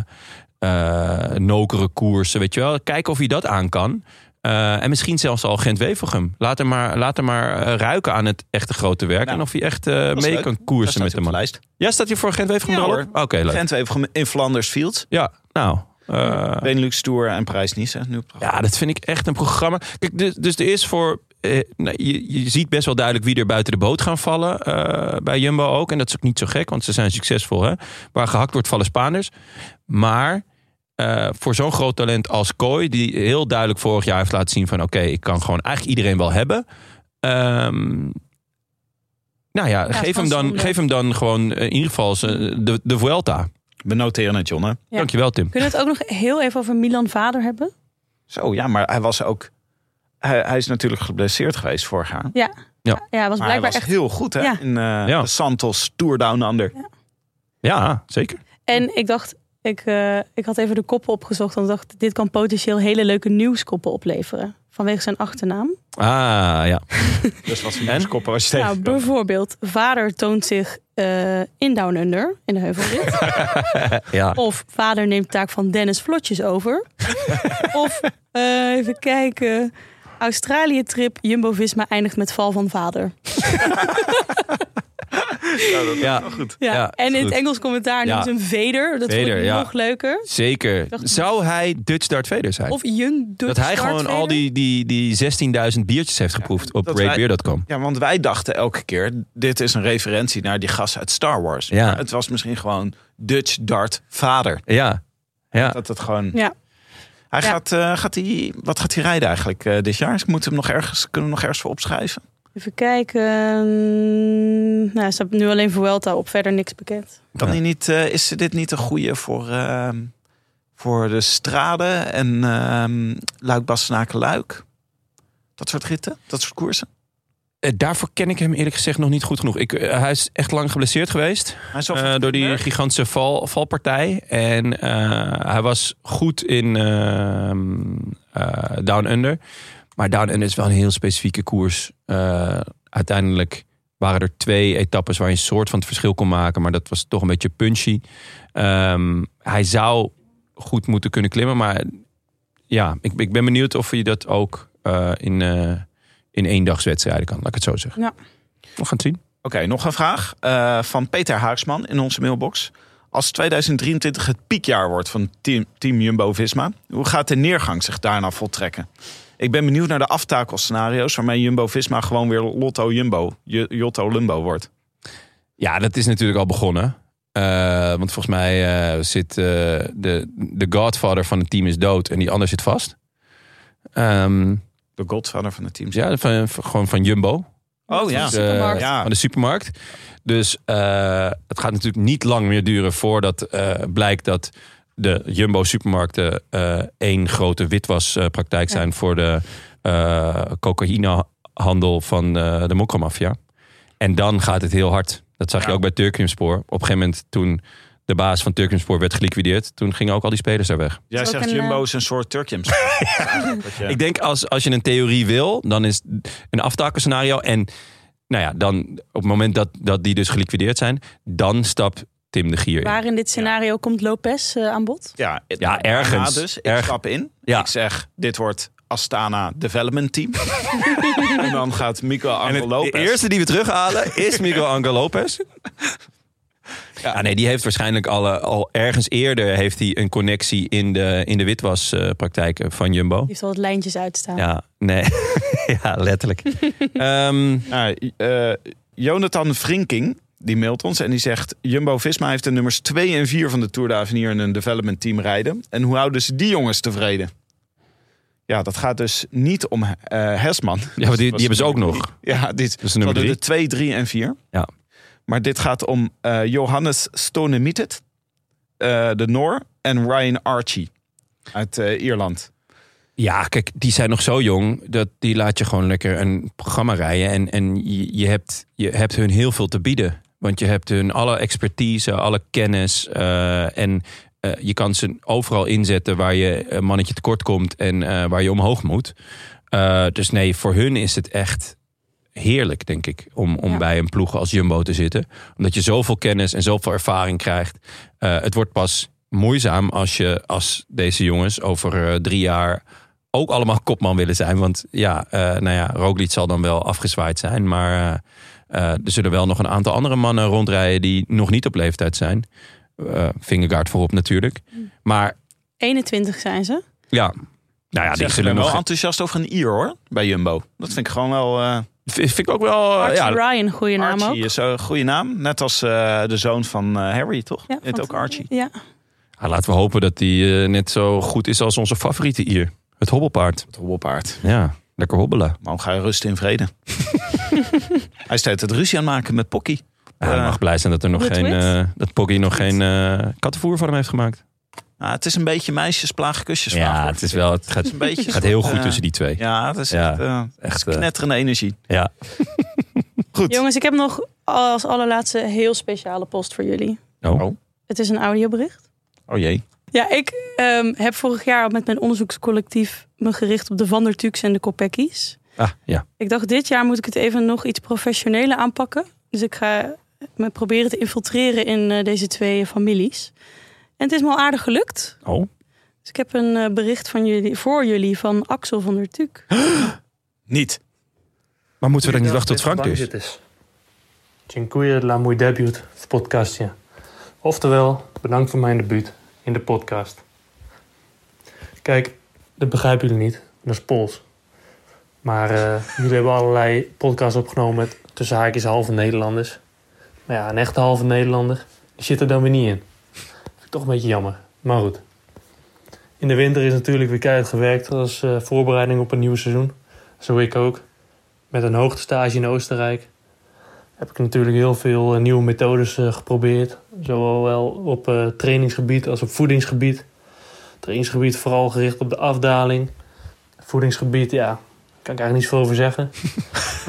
Speaker 1: eh, Nokere koersen, weet je wel. Kijken of hij dat aan kan. Eh, en misschien zelfs al Gent-Wevelgem. Laat hem maar, laat hem maar eh, ruiken aan het echte grote werk.
Speaker 3: Nou,
Speaker 1: en of hij echt eh,
Speaker 3: is
Speaker 1: mee
Speaker 3: leuk.
Speaker 1: kan
Speaker 3: Daar
Speaker 1: koersen
Speaker 3: staat
Speaker 1: met
Speaker 3: hij
Speaker 1: de
Speaker 3: op de
Speaker 1: man.
Speaker 3: lijst.
Speaker 1: Ja, staat hij voor Gent-Wevelgem
Speaker 3: Ja,
Speaker 1: er al op?
Speaker 3: hoor.
Speaker 1: Oké, leuk.
Speaker 3: gent wevelgem in Flanders Field.
Speaker 1: Ja, nou. eh,
Speaker 3: Benelux Tour en Parijs-Nice. hè, Nu op-
Speaker 1: Ja, dat vind ik echt een programma. Kijk, dus, dus er is voor. eh, nou, je, je ziet best wel duidelijk wie er buiten de boot gaan vallen. eh, bij Jumbo ook. En dat is ook niet zo gek, want ze zijn succesvol. Hè? Waar gehakt wordt, vallen Spaanders. Maar eh, voor zo'n groot talent als Kooi, die heel duidelijk vorig jaar heeft laten zien: van oké, ik kan gewoon eigenlijk iedereen wel hebben. Ehm, nou ja,
Speaker 2: het
Speaker 1: geef,
Speaker 2: was
Speaker 1: hem dan,
Speaker 2: zonde.
Speaker 1: geef hem dan gewoon eh, in ieder geval z'n- de, de Vuelta.
Speaker 3: We noteren het, John. Hè?
Speaker 2: Ja.
Speaker 1: Dankjewel, Tim.
Speaker 2: Kunnen we het ook nog heel even over Milan Vader hebben?
Speaker 3: Zo, ja, maar hij was ook... Hij, hij is natuurlijk geblesseerd geweest vorig jaar.
Speaker 2: Ja.
Speaker 1: Ja.
Speaker 2: ja hij was
Speaker 3: Maar hij
Speaker 2: blijkbaar
Speaker 3: was
Speaker 2: echt.
Speaker 3: heel goed, hè?
Speaker 2: Ja.
Speaker 3: In eh,
Speaker 1: Ja.
Speaker 3: de Santos Tour Down Under.
Speaker 1: Ja, zeker.
Speaker 2: En ik dacht, ik, eh, ik had even de koppen opgezocht. En ik dacht, dit kan potentieel hele leuke nieuwskoppen opleveren. Vanwege zijn achternaam.
Speaker 1: Ah, ja.
Speaker 3: Dus wat
Speaker 1: En?
Speaker 3: voor koppen was je
Speaker 2: Nou,
Speaker 3: tegen?
Speaker 2: bijvoorbeeld, vader toont zich eh, in Down Under, in de heuvelrit.
Speaker 1: ja.
Speaker 2: of vader neemt taak van Dennis Vlotjes over. of, eh, even kijken, Australië-trip, Jumbo-Visma eindigt met val van vader.
Speaker 1: ja.
Speaker 2: Ja,
Speaker 1: Ja,
Speaker 2: en in
Speaker 1: goed.
Speaker 2: het Engels commentaar
Speaker 1: Ja.
Speaker 2: noemt ze hem Veder. Dat
Speaker 1: Vader,
Speaker 2: vond ik
Speaker 1: ja.
Speaker 2: nog leuker.
Speaker 1: Zeker.
Speaker 2: Dacht-
Speaker 1: Zou hij Dutch Darth Vader zijn?
Speaker 2: Of Jung Dutch
Speaker 1: dat hij
Speaker 2: Darth
Speaker 1: gewoon al
Speaker 2: Vader.
Speaker 1: die, die, die 16.000 biertjes heeft geproefd op
Speaker 3: dat wij-
Speaker 1: ratebeer.com.
Speaker 3: Ja, want wij dachten elke keer, dit is een referentie naar die gast uit Star Wars.
Speaker 1: Ja.
Speaker 3: Maar het was misschien gewoon Dutch Dart vader.
Speaker 1: Ja. Ja.
Speaker 3: Dat het gewoon...
Speaker 2: Ja.
Speaker 3: Hij
Speaker 2: Ja.
Speaker 3: gaat, eh, gaat hij, wat gaat hij rijden eigenlijk eh, dit jaar? Moeten we hem nog ergens, kunnen we hem nog ergens voor opschrijven?
Speaker 2: Even kijken. Nou, ze hebben nu alleen Vuelta op. Verder niks bekend.
Speaker 3: Kan
Speaker 1: Ja.
Speaker 3: hij niet, eh, is dit niet een goede voor, ehm, voor de straden en ehm luik bastenaken luik Dat soort ritten, dat soort koersen.
Speaker 1: Eh, Daarvoor ken ik hem eerlijk gezegd nog niet goed genoeg. Ik, eh, hij is echt lang geblesseerd geweest.
Speaker 3: Hij is al
Speaker 1: Eh, door die gigantische val, valpartij. En eh, hij was goed in ehm, eh, Down Under. Maar Down Under is wel een heel specifieke koers. Eh, uiteindelijk waren er twee etappes waar je een soort van het verschil kon maken. Maar dat was toch een beetje punchy. Ehm, hij zou goed moeten kunnen klimmen. Maar ja, ik, ik ben benieuwd of je dat ook eh, in, eh in eendagswedstrijden kan. Laat ik het zo zeggen.
Speaker 2: Ja.
Speaker 1: We gaan het zien.
Speaker 3: Oké, nog een vraag eh, van Peter Haaksman in onze mailbox. Als 2023 het piekjaar wordt van team, team Jumbo-Visma, hoe gaat de neergang zich daarna voltrekken? Ik ben benieuwd naar de aftakelscenario's waarmee Jumbo-Visma gewoon weer Lotto Jumbo, J- Jotto Lumbo wordt.
Speaker 1: Ja, dat is natuurlijk al begonnen. Eh, want volgens mij eh, zit eh, de, de godfather van het team is dood en die ander zit vast. Ehm, dus
Speaker 3: De godfather van het team.
Speaker 1: ja, van, van- gewoon van Jumbo.
Speaker 3: Oh ja.
Speaker 1: Dus, eh,
Speaker 2: supermarkt.
Speaker 3: Ja.
Speaker 1: Van de supermarkt. Dus eh, het gaat natuurlijk niet lang meer duren voordat eh, blijkt dat de Jumbo supermarkten eh, één grote witwaspraktijk zijn voor de eh, cocaïnehandel van eh, de mokromafia. En dan gaat het heel hard. Dat zag je
Speaker 3: Ja.
Speaker 1: ook bij Turkenspoor. Op een gegeven moment toen de baas van Turkenspoor werd geliquideerd, toen gingen ook al die spelers daar weg.
Speaker 3: Jij
Speaker 2: Is ook
Speaker 3: zegt
Speaker 2: een,
Speaker 3: Jumbo
Speaker 2: eh,
Speaker 3: is een soort Turkiums.
Speaker 1: Ik denk als, als je een theorie wil, dan is een aftakelscenario. En nou ja, dan op het moment dat, dat die dus geliquideerd zijn, dan stapt Tim de Gier in.
Speaker 2: Waar in dit scenario komt Lopez eh, aan bod?
Speaker 3: Ja, het-
Speaker 1: Ja, ergens.
Speaker 3: daarna dus, ik
Speaker 1: Erg-
Speaker 3: stap in.
Speaker 1: Ja.
Speaker 3: Ik zeg, dit wordt Astana Development Team. en dan gaat Mico
Speaker 1: En
Speaker 3: Angel
Speaker 1: het,
Speaker 3: Lopez.
Speaker 1: de eerste die we terughalen is Miguel Angel Lopez. Ja. Ah, nee, die heeft waarschijnlijk al, eh, al ergens eerder heeft hij een connectie in de, in de witwaspraktijken van Jumbo.
Speaker 2: Die heeft al wat lijntjes uitstaan.
Speaker 1: Ja, nee. ja, letterlijk. Ehm,
Speaker 3: Nou, eh, Jonathan Vrinking, die mailt ons en die zegt... Jumbo-Visma heeft de nummers 2 en 4 van de Tour de Avenir in een development team rijden. En hoe houden ze die jongens tevreden? Ja, dat gaat dus niet om eh Hesman.
Speaker 1: ja, maar die, die hebben ze ook nog.
Speaker 3: Ja, dit
Speaker 1: Dus
Speaker 3: ze
Speaker 1: nummer
Speaker 3: hadden
Speaker 1: drie.
Speaker 3: de 2, 3 en 4.
Speaker 1: Ja.
Speaker 3: Maar dit gaat om eh, Johannes Stonemietet, eh de Noor, en Ryan Archie uit eh, Ierland.
Speaker 1: Ja, kijk, die zijn nog zo jong. Dat die laat je gewoon lekker een programma rijden. En, en je, je, hebt, je hebt hun heel veel te bieden. Want je hebt hun alle expertise, alle kennis. eh, en eh, je kan ze overal inzetten waar je een mannetje tekort komt en eh, waar je omhoog moet. Eh, dus nee, voor hun is het echt heerlijk, denk ik, om, om
Speaker 2: Ja.
Speaker 1: bij een ploeg als Jumbo te zitten. Omdat je zoveel kennis en zoveel ervaring krijgt. Eh, het wordt pas moeizaam als, je, als deze jongens over eh, drie jaar ook allemaal kopman willen zijn. Want ja, eh, nou ja, Roglic zal dan wel afgezwaaid zijn. Maar eh, eh, er zullen wel nog een aantal andere mannen rondrijden die nog niet op leeftijd zijn. Eh Vingegaard voorop natuurlijk. Maar
Speaker 2: 21 zijn ze.
Speaker 3: Oh,
Speaker 1: ja, nou ja,
Speaker 3: Zeg,
Speaker 1: die
Speaker 3: ik ben
Speaker 1: zullen
Speaker 3: wel
Speaker 1: nog...
Speaker 3: enthousiast over een Ier, hoor, bij Jumbo. Dat vind ik gewoon wel... eh,
Speaker 1: Vind vind ik ook wel... eh,
Speaker 2: Archie
Speaker 1: ja,
Speaker 2: Ryan, goede naam
Speaker 3: Archie
Speaker 2: ook.
Speaker 3: is een goede naam. Net als eh, de zoon van eh, Harry, toch?
Speaker 2: Ja,
Speaker 3: Heet
Speaker 2: van-
Speaker 3: ook Archie.
Speaker 2: Ja.
Speaker 1: Ja, Ah, laten we hopen dat die eh, net zo goed is als onze favoriete hier. Het hobbelpaard.
Speaker 3: Het hobbelpaard.
Speaker 1: Ja, lekker hobbelen.
Speaker 3: Maar ga je rusten in vrede. Hij staat het ruzie aan het maken met Pocky.
Speaker 1: Ja, hij
Speaker 3: Eh,
Speaker 1: mag blij zijn dat er nog
Speaker 2: Wit,
Speaker 1: geen...
Speaker 2: wit.
Speaker 1: eh, dat Poggy nog geen eh, kattenvoer van hem heeft gemaakt.
Speaker 3: Nou, het is een beetje meisjes plagen kusjes.
Speaker 1: Ja,
Speaker 3: vanavond.
Speaker 1: het is wel... Het gaat,
Speaker 3: Het is een beetje
Speaker 1: gaat heel
Speaker 3: soort,
Speaker 1: goed
Speaker 3: eh,
Speaker 1: tussen die twee.
Speaker 3: Ja, het is
Speaker 1: Ja.
Speaker 3: echt eh,
Speaker 1: Echt... eh,
Speaker 3: knetterende energie.
Speaker 1: ja.
Speaker 3: Goed.
Speaker 2: Jongens, ik heb nog als allerlaatste een heel speciale post voor jullie.
Speaker 1: Oh.
Speaker 2: Het is een audiobericht.
Speaker 3: Oh jee.
Speaker 2: Ja, ik ehm, heb vorig jaar al met mijn onderzoekscollectief me gericht op de Van der Tuks en de Kopeckis.
Speaker 1: Ah, ja.
Speaker 2: Ik dacht, dit jaar moet ik het even nog iets professioneler aanpakken. Dus ik ga me proberen te infiltreren in eh, deze twee families. En het is me al aardig gelukt.
Speaker 1: Oh.
Speaker 2: Dus ik heb een eh, bericht van jullie, voor jullie van Axel van der Tuk.
Speaker 3: Niet.
Speaker 1: Maar moeten we dan niet wachten tot Frank dus?
Speaker 5: is. dus. Dziękuję dla mój debiut w podcastje. Oftewel, bedankt voor mijn debuut in de podcast. Kijk, dat begrijpen jullie niet. Dat is Pools. Maar eh, jullie hebben allerlei podcasts opgenomen met tussen haakjes halve Nederlanders. Maar ja, een echte halve Nederlander die zit er dan weer niet in. Vind ik toch een beetje jammer. Maar goed. In de winter is natuurlijk weer keihard gewerkt als eh, voorbereiding op een nieuw seizoen. Zo ik ook met een hoogtestage in Oostenrijk heb ik natuurlijk heel veel eh, nieuwe methodes eh, geprobeerd. Zowel op eh, trainingsgebied als op voedingsgebied. Trainingsgebied vooral gericht op de afdaling. Voedingsgebied, ja, daar kan ik eigenlijk niet zoveel over zeggen.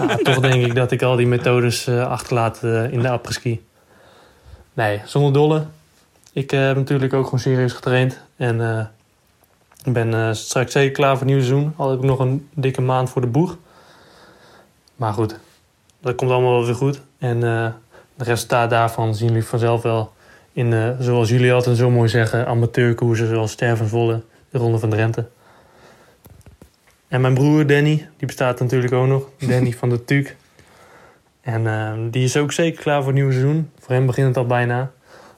Speaker 5: maar toch denk ik dat ik al die methodes eh, achterlaat eh, in de apres-ski. Nee, zonder dolle. Ik eh, heb natuurlijk ook gewoon serieus getraind. En eh, ik ben eh, straks zeker klaar voor het nieuwe seizoen. Al heb ik nog een dikke maand voor de boeg. Maar goed, dat komt allemaal wel weer goed. En eh de resultaat daarvan zien jullie vanzelf wel in, eh, zoals jullie altijd zo mooi zeggen, amateurkoersen zoals Stervenvolle, de Ronde van Drenthe. En mijn broer Danny, die bestaat natuurlijk ook nog. Danny van de Tuuk. En eh, die is ook zeker klaar voor het nieuwe seizoen. Voor hem begint het al bijna.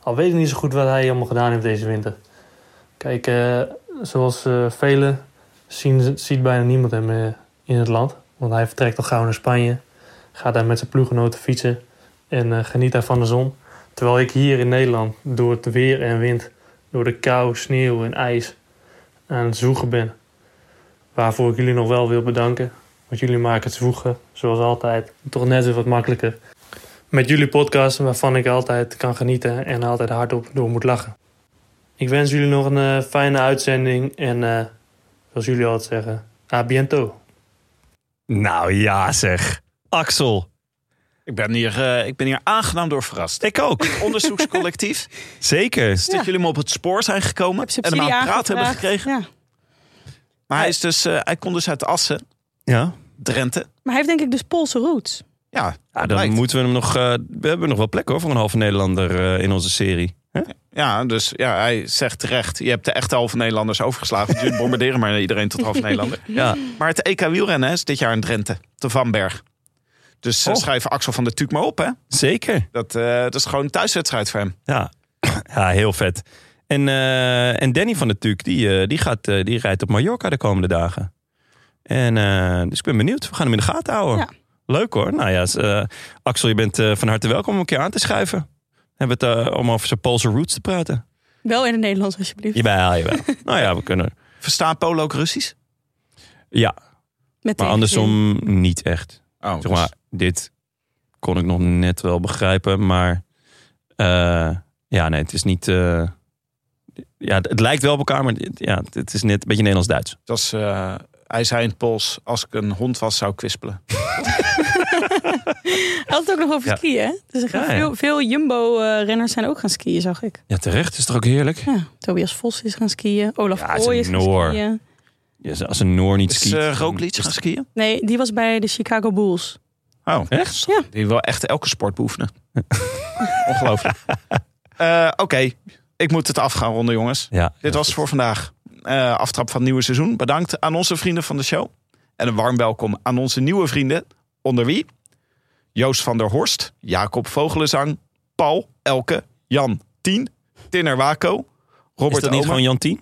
Speaker 5: Al weet ik niet zo goed wat hij allemaal gedaan heeft deze winter. Kijk, eh, zoals eh, velen zien, ziet bijna niemand hem eh, in het land. Want hij vertrekt al gauw naar Spanje. Gaat daar met zijn ploeggenoten fietsen. En eh, geniet daar van de zon. Terwijl ik hier in Nederland door het weer en wind... door de kou, sneeuw en ijs aan het zoeken ben. Waarvoor ik jullie nog wel wil bedanken. Want jullie maken het zwoegen, zoals altijd, toch net weer wat makkelijker. Met jullie podcast waarvan ik altijd kan genieten en altijd hardop door moet lachen. Ik wens jullie nog een eh, fijne uitzending en eh, zoals jullie altijd zeggen, a biento.
Speaker 1: Nou ja, zeg. Axel.
Speaker 3: Ik ben hier, eh, ik ben hier aangenaam door verrast.
Speaker 1: Ik ook.
Speaker 3: Onderzoekscollectief. Dus
Speaker 1: Zeker.
Speaker 3: dat jullie hem op het spoor zijn gekomen.
Speaker 2: Heb
Speaker 3: en
Speaker 2: subsidie
Speaker 3: hem aan het
Speaker 2: aangevraagd.
Speaker 3: praten hebben gekregen.
Speaker 2: Ja.
Speaker 3: Maar hij, is dus, eh, hij komt dus uit Assen,
Speaker 1: Ja.
Speaker 3: Drenthe.
Speaker 2: Maar hij heeft denk ik dus Poolse roots.
Speaker 3: Ja,
Speaker 1: Ja,
Speaker 3: dat
Speaker 1: dan
Speaker 3: blijkt.
Speaker 1: moeten we hem nog. eh, we hebben nog wel plek hoor voor een halve Nederlander eh, in onze serie.
Speaker 3: ja, dus ja, hij zegt terecht. Je hebt de echte halve Nederlanders overgeslagen. Dus jullie bombarderen maar iedereen tot half Nederlander.
Speaker 1: Ja.
Speaker 3: Maar het EK wielrennen is dit jaar in Drenthe, te Vanberg. Dus eh,
Speaker 1: Oh.
Speaker 3: schrijf Axel van der Tuuk maar op, hè.
Speaker 1: Zeker.
Speaker 3: Dat, eh, dat is gewoon een thuiswedstrijd voor hem.
Speaker 1: Ja. ja, heel vet. En, eh, en Danny van de Tuuk, die, eh, die, gaat, eh, die rijdt op Mallorca de komende dagen. En, eh, dus ik ben benieuwd. We gaan hem in de gaten houden.
Speaker 2: Ja.
Speaker 1: Leuk hoor. Nou ja, s- eh, Axel, je bent eh, van harte welkom om een keer aan te schuiven. We hebben het eh, om over zijn Poolse roots te praten.
Speaker 2: Wel in het Nederlands, alsjeblieft.
Speaker 1: Jawel, jawel. nou ja, we kunnen.
Speaker 3: Verstaat Polo ook Russisch?
Speaker 1: Ja,
Speaker 2: Met
Speaker 1: maar andersom niet echt.
Speaker 3: Oh,
Speaker 1: Zeg maar, dit kon ik nog net wel begrijpen, maar eh, ja, nee, het is niet. eh, ja, het, het lijkt wel op elkaar, maar het- ja, het is net een beetje Nederlands-Duits.
Speaker 3: Dat is, eh, hij zei in het Pools, als ik een hond was, zou ik kwispelen.
Speaker 2: Hij had het ook nog over
Speaker 1: Ja.
Speaker 2: skiën, hè? Dus er gaan
Speaker 1: Ja, ja.
Speaker 2: veel, veel Jumbo-renners zijn ook gaan skiën, zag ik.
Speaker 1: Ja, terecht is toch ook heerlijk?
Speaker 2: Ja, Tobias Vos is gaan skiën. Olaf
Speaker 1: Ja,
Speaker 2: ja,
Speaker 1: het is
Speaker 2: Kooi
Speaker 1: een
Speaker 2: is gaan
Speaker 1: Noor.
Speaker 2: skiën.
Speaker 1: Ja, als een Noor niet
Speaker 3: Is
Speaker 1: skiet.
Speaker 3: uh,
Speaker 1: dan-
Speaker 3: Roglic gaan skiën?
Speaker 2: Nee, die was bij de Chicago Bulls.
Speaker 3: Oh,
Speaker 1: Echt?
Speaker 2: Ja.
Speaker 3: Die wil echt elke sport beoefenen. Ongelooflijk. Eh, Oké, ik moet het af gaan ronden, jongens.
Speaker 1: Ja,
Speaker 3: Dit was het voor vandaag. Eh, aftrap van het nieuwe seizoen. Bedankt aan onze vrienden van de show. En een warm welkom aan onze nieuwe vrienden. Onder wie? Joost van der Horst, Jacob Vogelenzang, Paul, Elke, Jan, Tien, Tinner Waco,
Speaker 1: Is
Speaker 3: Robert
Speaker 1: dat
Speaker 3: Omer.
Speaker 1: niet gewoon Jantien?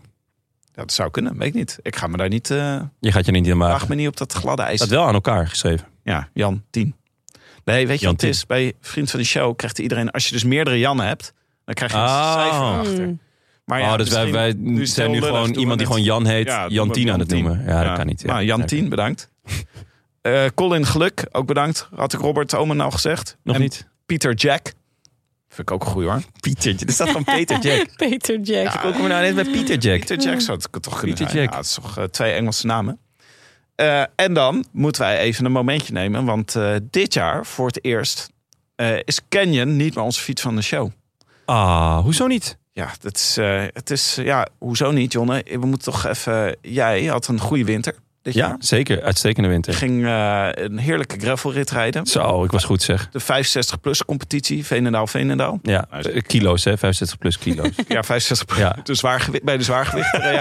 Speaker 3: Dat zou kunnen, weet ik niet. Ik ga me daar niet... eh
Speaker 1: Je gaat je niet aan
Speaker 3: Waag
Speaker 1: maken.
Speaker 3: me niet op dat gladde ijs.
Speaker 1: Ah. Dat wel aan elkaar geschreven.
Speaker 3: Ja, Jan 10. Nee, weet je
Speaker 1: Jan
Speaker 3: wat het is? Bij Vriend van de Show krijgt iedereen... Als je dus meerdere Jannen hebt, dan krijg je een
Speaker 1: Oh.
Speaker 3: cijfer achter.
Speaker 2: Hmm.
Speaker 3: Maar
Speaker 1: oh, dus wij,
Speaker 3: misschien-
Speaker 1: wij
Speaker 3: nu is het
Speaker 1: zijn
Speaker 3: heel
Speaker 1: nu
Speaker 3: lullig,
Speaker 1: gewoon
Speaker 3: doen we
Speaker 1: iemand die
Speaker 3: net-
Speaker 1: gewoon Jan heet,
Speaker 3: Ja, doen we
Speaker 1: Jantien aan
Speaker 3: Jan
Speaker 1: het
Speaker 3: 10.
Speaker 1: noemen. Ja, dat kan niet. ja.
Speaker 3: Nou, Jan
Speaker 1: Oké.
Speaker 3: 10, bedankt. Eh, Colin Geluk, ook bedankt. Had ik Robert Omen al gezegd.
Speaker 1: Nog
Speaker 3: En
Speaker 1: niet.
Speaker 3: Pieter Jack. Vind ik ook goed hoor.
Speaker 1: Pietertje. Er staat van Peter Jack.
Speaker 2: Peter Jack.
Speaker 1: Hoe komen we nou net bij Pieter Jack?
Speaker 3: Pieter Jack zou het toch kunnen
Speaker 1: Pieter
Speaker 3: zijn.
Speaker 1: Jack.
Speaker 3: Ja, het is toch eh, twee Engelse namen. Eh, en dan moeten wij even een momentje nemen. Want eh, dit jaar, voor het eerst, eh, is Canyon niet meer onze fiets van de show.
Speaker 1: Ah, hoezo niet?
Speaker 3: Ja, dat is, eh, het is, ja, hoezo niet, Jonne? We moeten toch even... Jij had een goede winter dit
Speaker 1: Ja,
Speaker 3: jaar.
Speaker 1: zeker. Uitstekende
Speaker 3: Je
Speaker 1: winter.
Speaker 3: ging eh, een heerlijke gravelrit rijden.
Speaker 1: Zo, ik was goed zeg.
Speaker 3: De 65-plus competitie, Veenendaal-Veenendaal.
Speaker 1: Ja,
Speaker 3: Nou, is-
Speaker 1: eh, kilo's hè, 65 plus kilo's.
Speaker 3: Ja, 65
Speaker 1: Ja.
Speaker 3: De zwaargewi- bij de zwaargewichten reed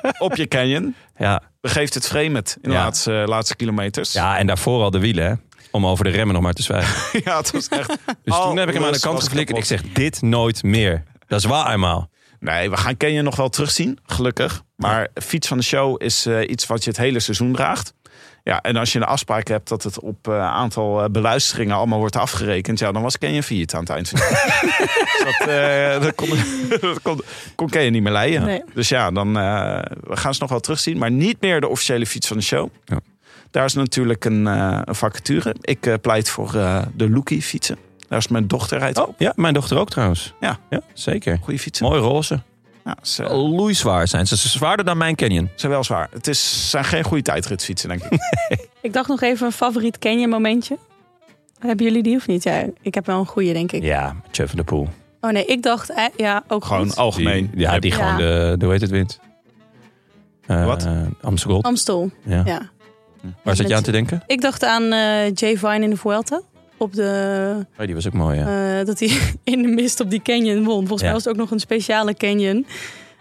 Speaker 3: jij. Op je Canyon.
Speaker 1: ja.
Speaker 3: Begeeft het vreemd in de
Speaker 1: Ja.
Speaker 3: laatste, laatste kilometers.
Speaker 1: ja, en daarvoor al de wielen hè. Om over de remmen nog maar te zwijgen.
Speaker 3: Ja, het was echt...
Speaker 1: Dus
Speaker 3: Oh,
Speaker 1: toen heb ik hem aan de
Speaker 3: lust
Speaker 1: kant
Speaker 3: was
Speaker 1: geflikkerd. Ik
Speaker 3: kapot.
Speaker 1: zeg, dit nooit meer. Dat is waar eenmaal.
Speaker 3: Nee, we gaan Canyon nog wel terugzien, gelukkig. Maar fiets van de show is eh, iets wat je het hele seizoen draagt. Ja, en als je een afspraak hebt dat het op eh, aantal eh, beluisteringen allemaal wordt afgerekend... ja, dan was Canyon failliet aan het eind van het jaar. Dus dat, eh, dat, kon, dat kon, kon Canyon niet meer leiden.
Speaker 2: Nee.
Speaker 3: Dus ja, dan eh, we gaan ze nog wel terugzien. Maar niet meer de officiële fiets van de show.
Speaker 1: Ja.
Speaker 3: Daar is natuurlijk een, eh, een vacature. Ik eh, pleit voor eh, de Loekie fietsen. Daar is mijn dochter rijdt.
Speaker 1: Oh, ja, mijn dochter ook trouwens.
Speaker 3: Ja.
Speaker 1: ja zeker.
Speaker 3: Goede fietsen.
Speaker 1: Mooi roze.
Speaker 3: Ja, ze-
Speaker 1: Loeizwaar zijn ze. Ze zijn zwaarder dan mijn Canyon.
Speaker 3: zijn wel zwaar. Het is, zijn geen goede tijdritfietsen, denk ik.
Speaker 2: Ik dacht nog even een favoriet Kenya momentje. Hebben jullie die of niet? Ja, ik heb wel een goede, denk ik.
Speaker 1: Ja, met Jeff van de Poel.
Speaker 2: Oh nee, ik dacht, eh, ja, ook
Speaker 3: Gewoon
Speaker 2: goed.
Speaker 3: algemeen.
Speaker 1: Die- ja, die
Speaker 2: Ja.
Speaker 1: gewoon de, de, hoe heet het, wint. Eh,
Speaker 3: Wat?
Speaker 1: Amstel Gold.
Speaker 2: Amstel,
Speaker 1: ja.
Speaker 2: ja.
Speaker 1: Waar zat
Speaker 2: Met-
Speaker 1: je aan te denken?
Speaker 2: Ik dacht aan eh, Jay Vine in de Vuelta. Op de,
Speaker 1: Oh, die was ook mooi, ja.
Speaker 2: eh, dat hij in de mist op die canyon won. Volgens
Speaker 1: Ja.
Speaker 2: mij was het ook nog een speciale canyon.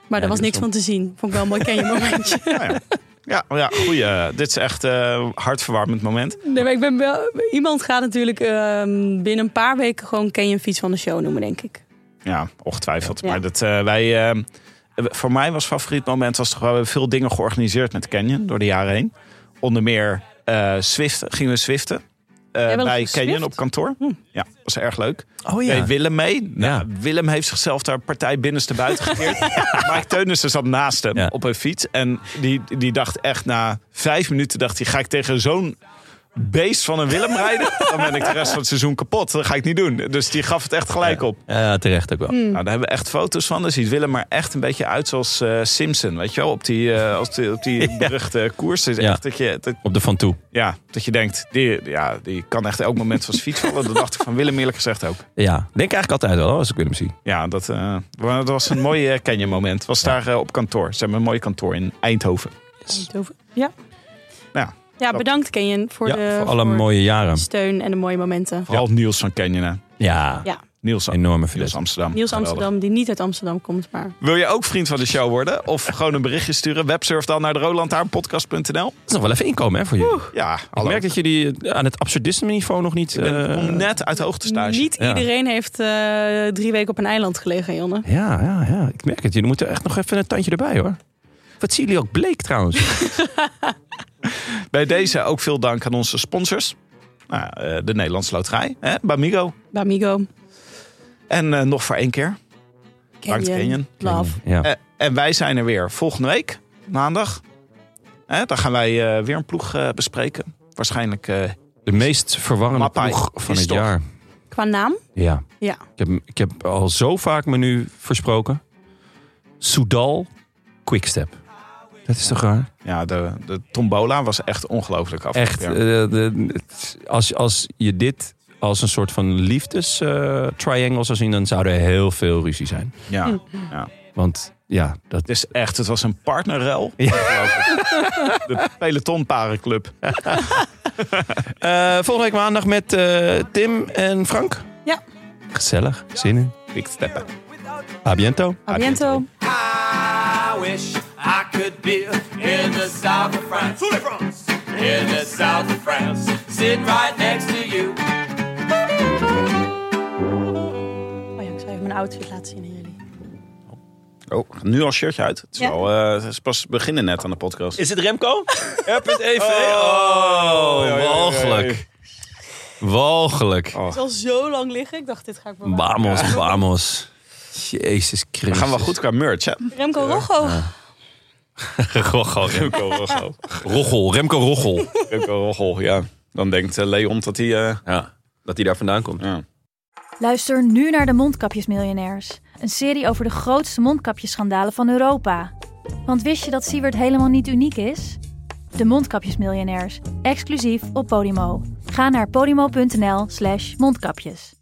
Speaker 2: Maar daar was
Speaker 1: die
Speaker 2: niks
Speaker 1: was
Speaker 2: van te zien. Vond ik wel een mooi canyon momentje.
Speaker 3: Nou ja. Ja, ja goeie. Dit is echt eh hartverwarmend moment.
Speaker 2: Nee, maar ik ben wel... Iemand gaat natuurlijk ehm, binnen een paar weken gewoon ken je een fiets van de show noemen, denk ik.
Speaker 3: Ja, ongetwijfeld.
Speaker 2: Ja.
Speaker 3: Maar dat, eh, wij, eh, voor mij was favoriet moment was toch wel, we hebben veel dingen georganiseerd met Canyon door de jaren heen. Onder meer eh Swiften, gingen we Swiften. eh,
Speaker 2: Jij bent
Speaker 3: bij
Speaker 2: geswift?
Speaker 3: Canyon op kantoor.
Speaker 2: Hm.
Speaker 3: Ja, was erg leuk.
Speaker 1: Oh
Speaker 3: Deed Willem mee. Nou,
Speaker 1: Ja.
Speaker 3: Willem heeft zichzelf daar partij binnenste buiten gekeerd. Mike Teunissen zat naast hem
Speaker 1: Ja.
Speaker 3: op een fiets. En die, die dacht echt na vijf minuten, dacht hij, ga ik tegen zo'n beest van een Willem rijden? Dan ben ik de rest van het seizoen kapot. Dat ga ik niet doen. Dus die gaf het echt gelijk op.
Speaker 1: Ja, terecht ook wel.
Speaker 2: Mm.
Speaker 3: Nou, daar hebben we echt foto's van. dus Dan ziet Willem er echt een beetje uit zoals eh, Simpson. Weet je wel, op die, eh, als die, op die beruchte koers. Het is
Speaker 1: Ja.
Speaker 3: Echt dat, je, dat,
Speaker 1: Op de Van Toe.
Speaker 3: ja, dat je denkt, die, ja, die kan echt elk moment van zijn fiets vallen. Dat dacht ik van Willem eerlijk gezegd ook.
Speaker 1: Ja, denk eigenlijk altijd wel als ik Willem zie.
Speaker 3: Ja, dat, eh, wa- dat was een mooi eh, Canyon moment. Was daar eh, op kantoor. Ze hebben een mooi kantoor in Eindhoven.
Speaker 2: Eindhoven. Ja.
Speaker 3: Ja.
Speaker 2: ja, bedankt Kenyon voor
Speaker 1: Ja,
Speaker 2: de
Speaker 1: voor alle
Speaker 2: voor
Speaker 1: mooie jaren.
Speaker 2: steun en de mooie momenten.
Speaker 3: Vooral Niels van Canyon. hè.
Speaker 1: Ja,
Speaker 2: Ja.
Speaker 3: Niels,
Speaker 1: enorme
Speaker 3: Niels
Speaker 1: verlies.
Speaker 3: Amsterdam.
Speaker 2: Niels
Speaker 3: Geweldig.
Speaker 2: Amsterdam, die niet uit Amsterdam komt, maar...
Speaker 3: Wil je ook vriend van de show worden? Of gewoon een berichtje sturen? Websurf dan naar de rolandhaarpodcast.nl.
Speaker 1: Dat is nog wel even inkomen hè, voor jullie.
Speaker 3: Ja,
Speaker 1: Ik
Speaker 3: hallo.
Speaker 1: merk dat jullie eh, aan het absurdisme niveau nog niet...
Speaker 3: Ik ben
Speaker 1: eh,
Speaker 3: net uit de hoogte stage.
Speaker 2: Niet
Speaker 1: Ja.
Speaker 2: iedereen heeft eh, drie weken op een eiland gelegen, Jonne.
Speaker 1: Ja, ja, ja. Ik merk het. Jullie moeten echt nog even een tandje erbij hoor. Wat zien jullie ook bleek trouwens.
Speaker 3: Bij deze ook veel dank aan onze sponsors. Nou, eh, de Nederlandse Loterij, hè, Bamigo.
Speaker 2: Bamigo,
Speaker 3: En eh, nog voor één keer. Dank
Speaker 2: Kenyon,
Speaker 3: Kenyon.
Speaker 2: Love.
Speaker 1: Ja.
Speaker 3: Eh, en wij zijn er weer volgende week, maandag. Hè, dan gaan wij eh, weer een ploeg eh, bespreken. Waarschijnlijk eh,
Speaker 1: De meest verwarrende
Speaker 3: Mappai
Speaker 1: ploeg van
Speaker 3: is
Speaker 1: het
Speaker 3: toch-
Speaker 1: jaar.
Speaker 2: Qua naam?
Speaker 1: Ja.
Speaker 2: Ja.
Speaker 1: Ik, heb, ik heb al zo vaak me nu versproken. Soudal Quickstep. Dat is toch raar?
Speaker 3: ja, de, de tombola was echt ongelooflijk af.
Speaker 1: Echt. eh, de- het- als, als je dit als een soort van liefdes-triangle zou zien... dan zou er heel veel ruzie zijn.
Speaker 3: ja,
Speaker 1: Want ja, dat...
Speaker 3: het is echt. Het was een partnerrel.
Speaker 1: Ja.
Speaker 3: Ongelooflijk. De pelotonparenclub.
Speaker 1: Eh, volgende week maandag met eh, Tim en Frank.
Speaker 2: Ja.
Speaker 1: Gezellig. Zin in.
Speaker 3: Big steppen.
Speaker 1: A biento.
Speaker 2: Abiento.
Speaker 6: I wish I could be in the south of France. In the south of France. Sitting right next to you.
Speaker 2: Oh ja, ik zou even mijn outfit laten zien aan jullie.
Speaker 3: Oh, nu al shirtje uit. Het is,
Speaker 2: Ja.
Speaker 3: wel, eh, het is pas beginnen net aan de podcast.
Speaker 1: Is het Remco? R.E.V. Oh, walgelijk. Walgelijk.
Speaker 2: Het is al zo lang liggen, ik dacht dit ga ik wel
Speaker 1: Vamos, vamos. Jezus Christus.
Speaker 3: We gaan wel goed qua merch, hè?
Speaker 2: Remco Rocco.
Speaker 1: Rochel, Remco.
Speaker 3: Remco Rochel.
Speaker 1: Rochel, Remco Rochel.
Speaker 3: Remco Rochel, ja. Dan denkt eh, Leon dat hij... eh,
Speaker 1: Ja, dat hij daar vandaan komt.
Speaker 3: ja.
Speaker 7: Luister nu naar de Mondkapjesmiljonairs. Een serie over de grootste mondkapjesschandalen van Europa. Want wist je dat Siewert helemaal niet uniek is? De Mondkapjesmiljonairs, exclusief op Podimo. Ga naar podimo.nl slash mondkapjes.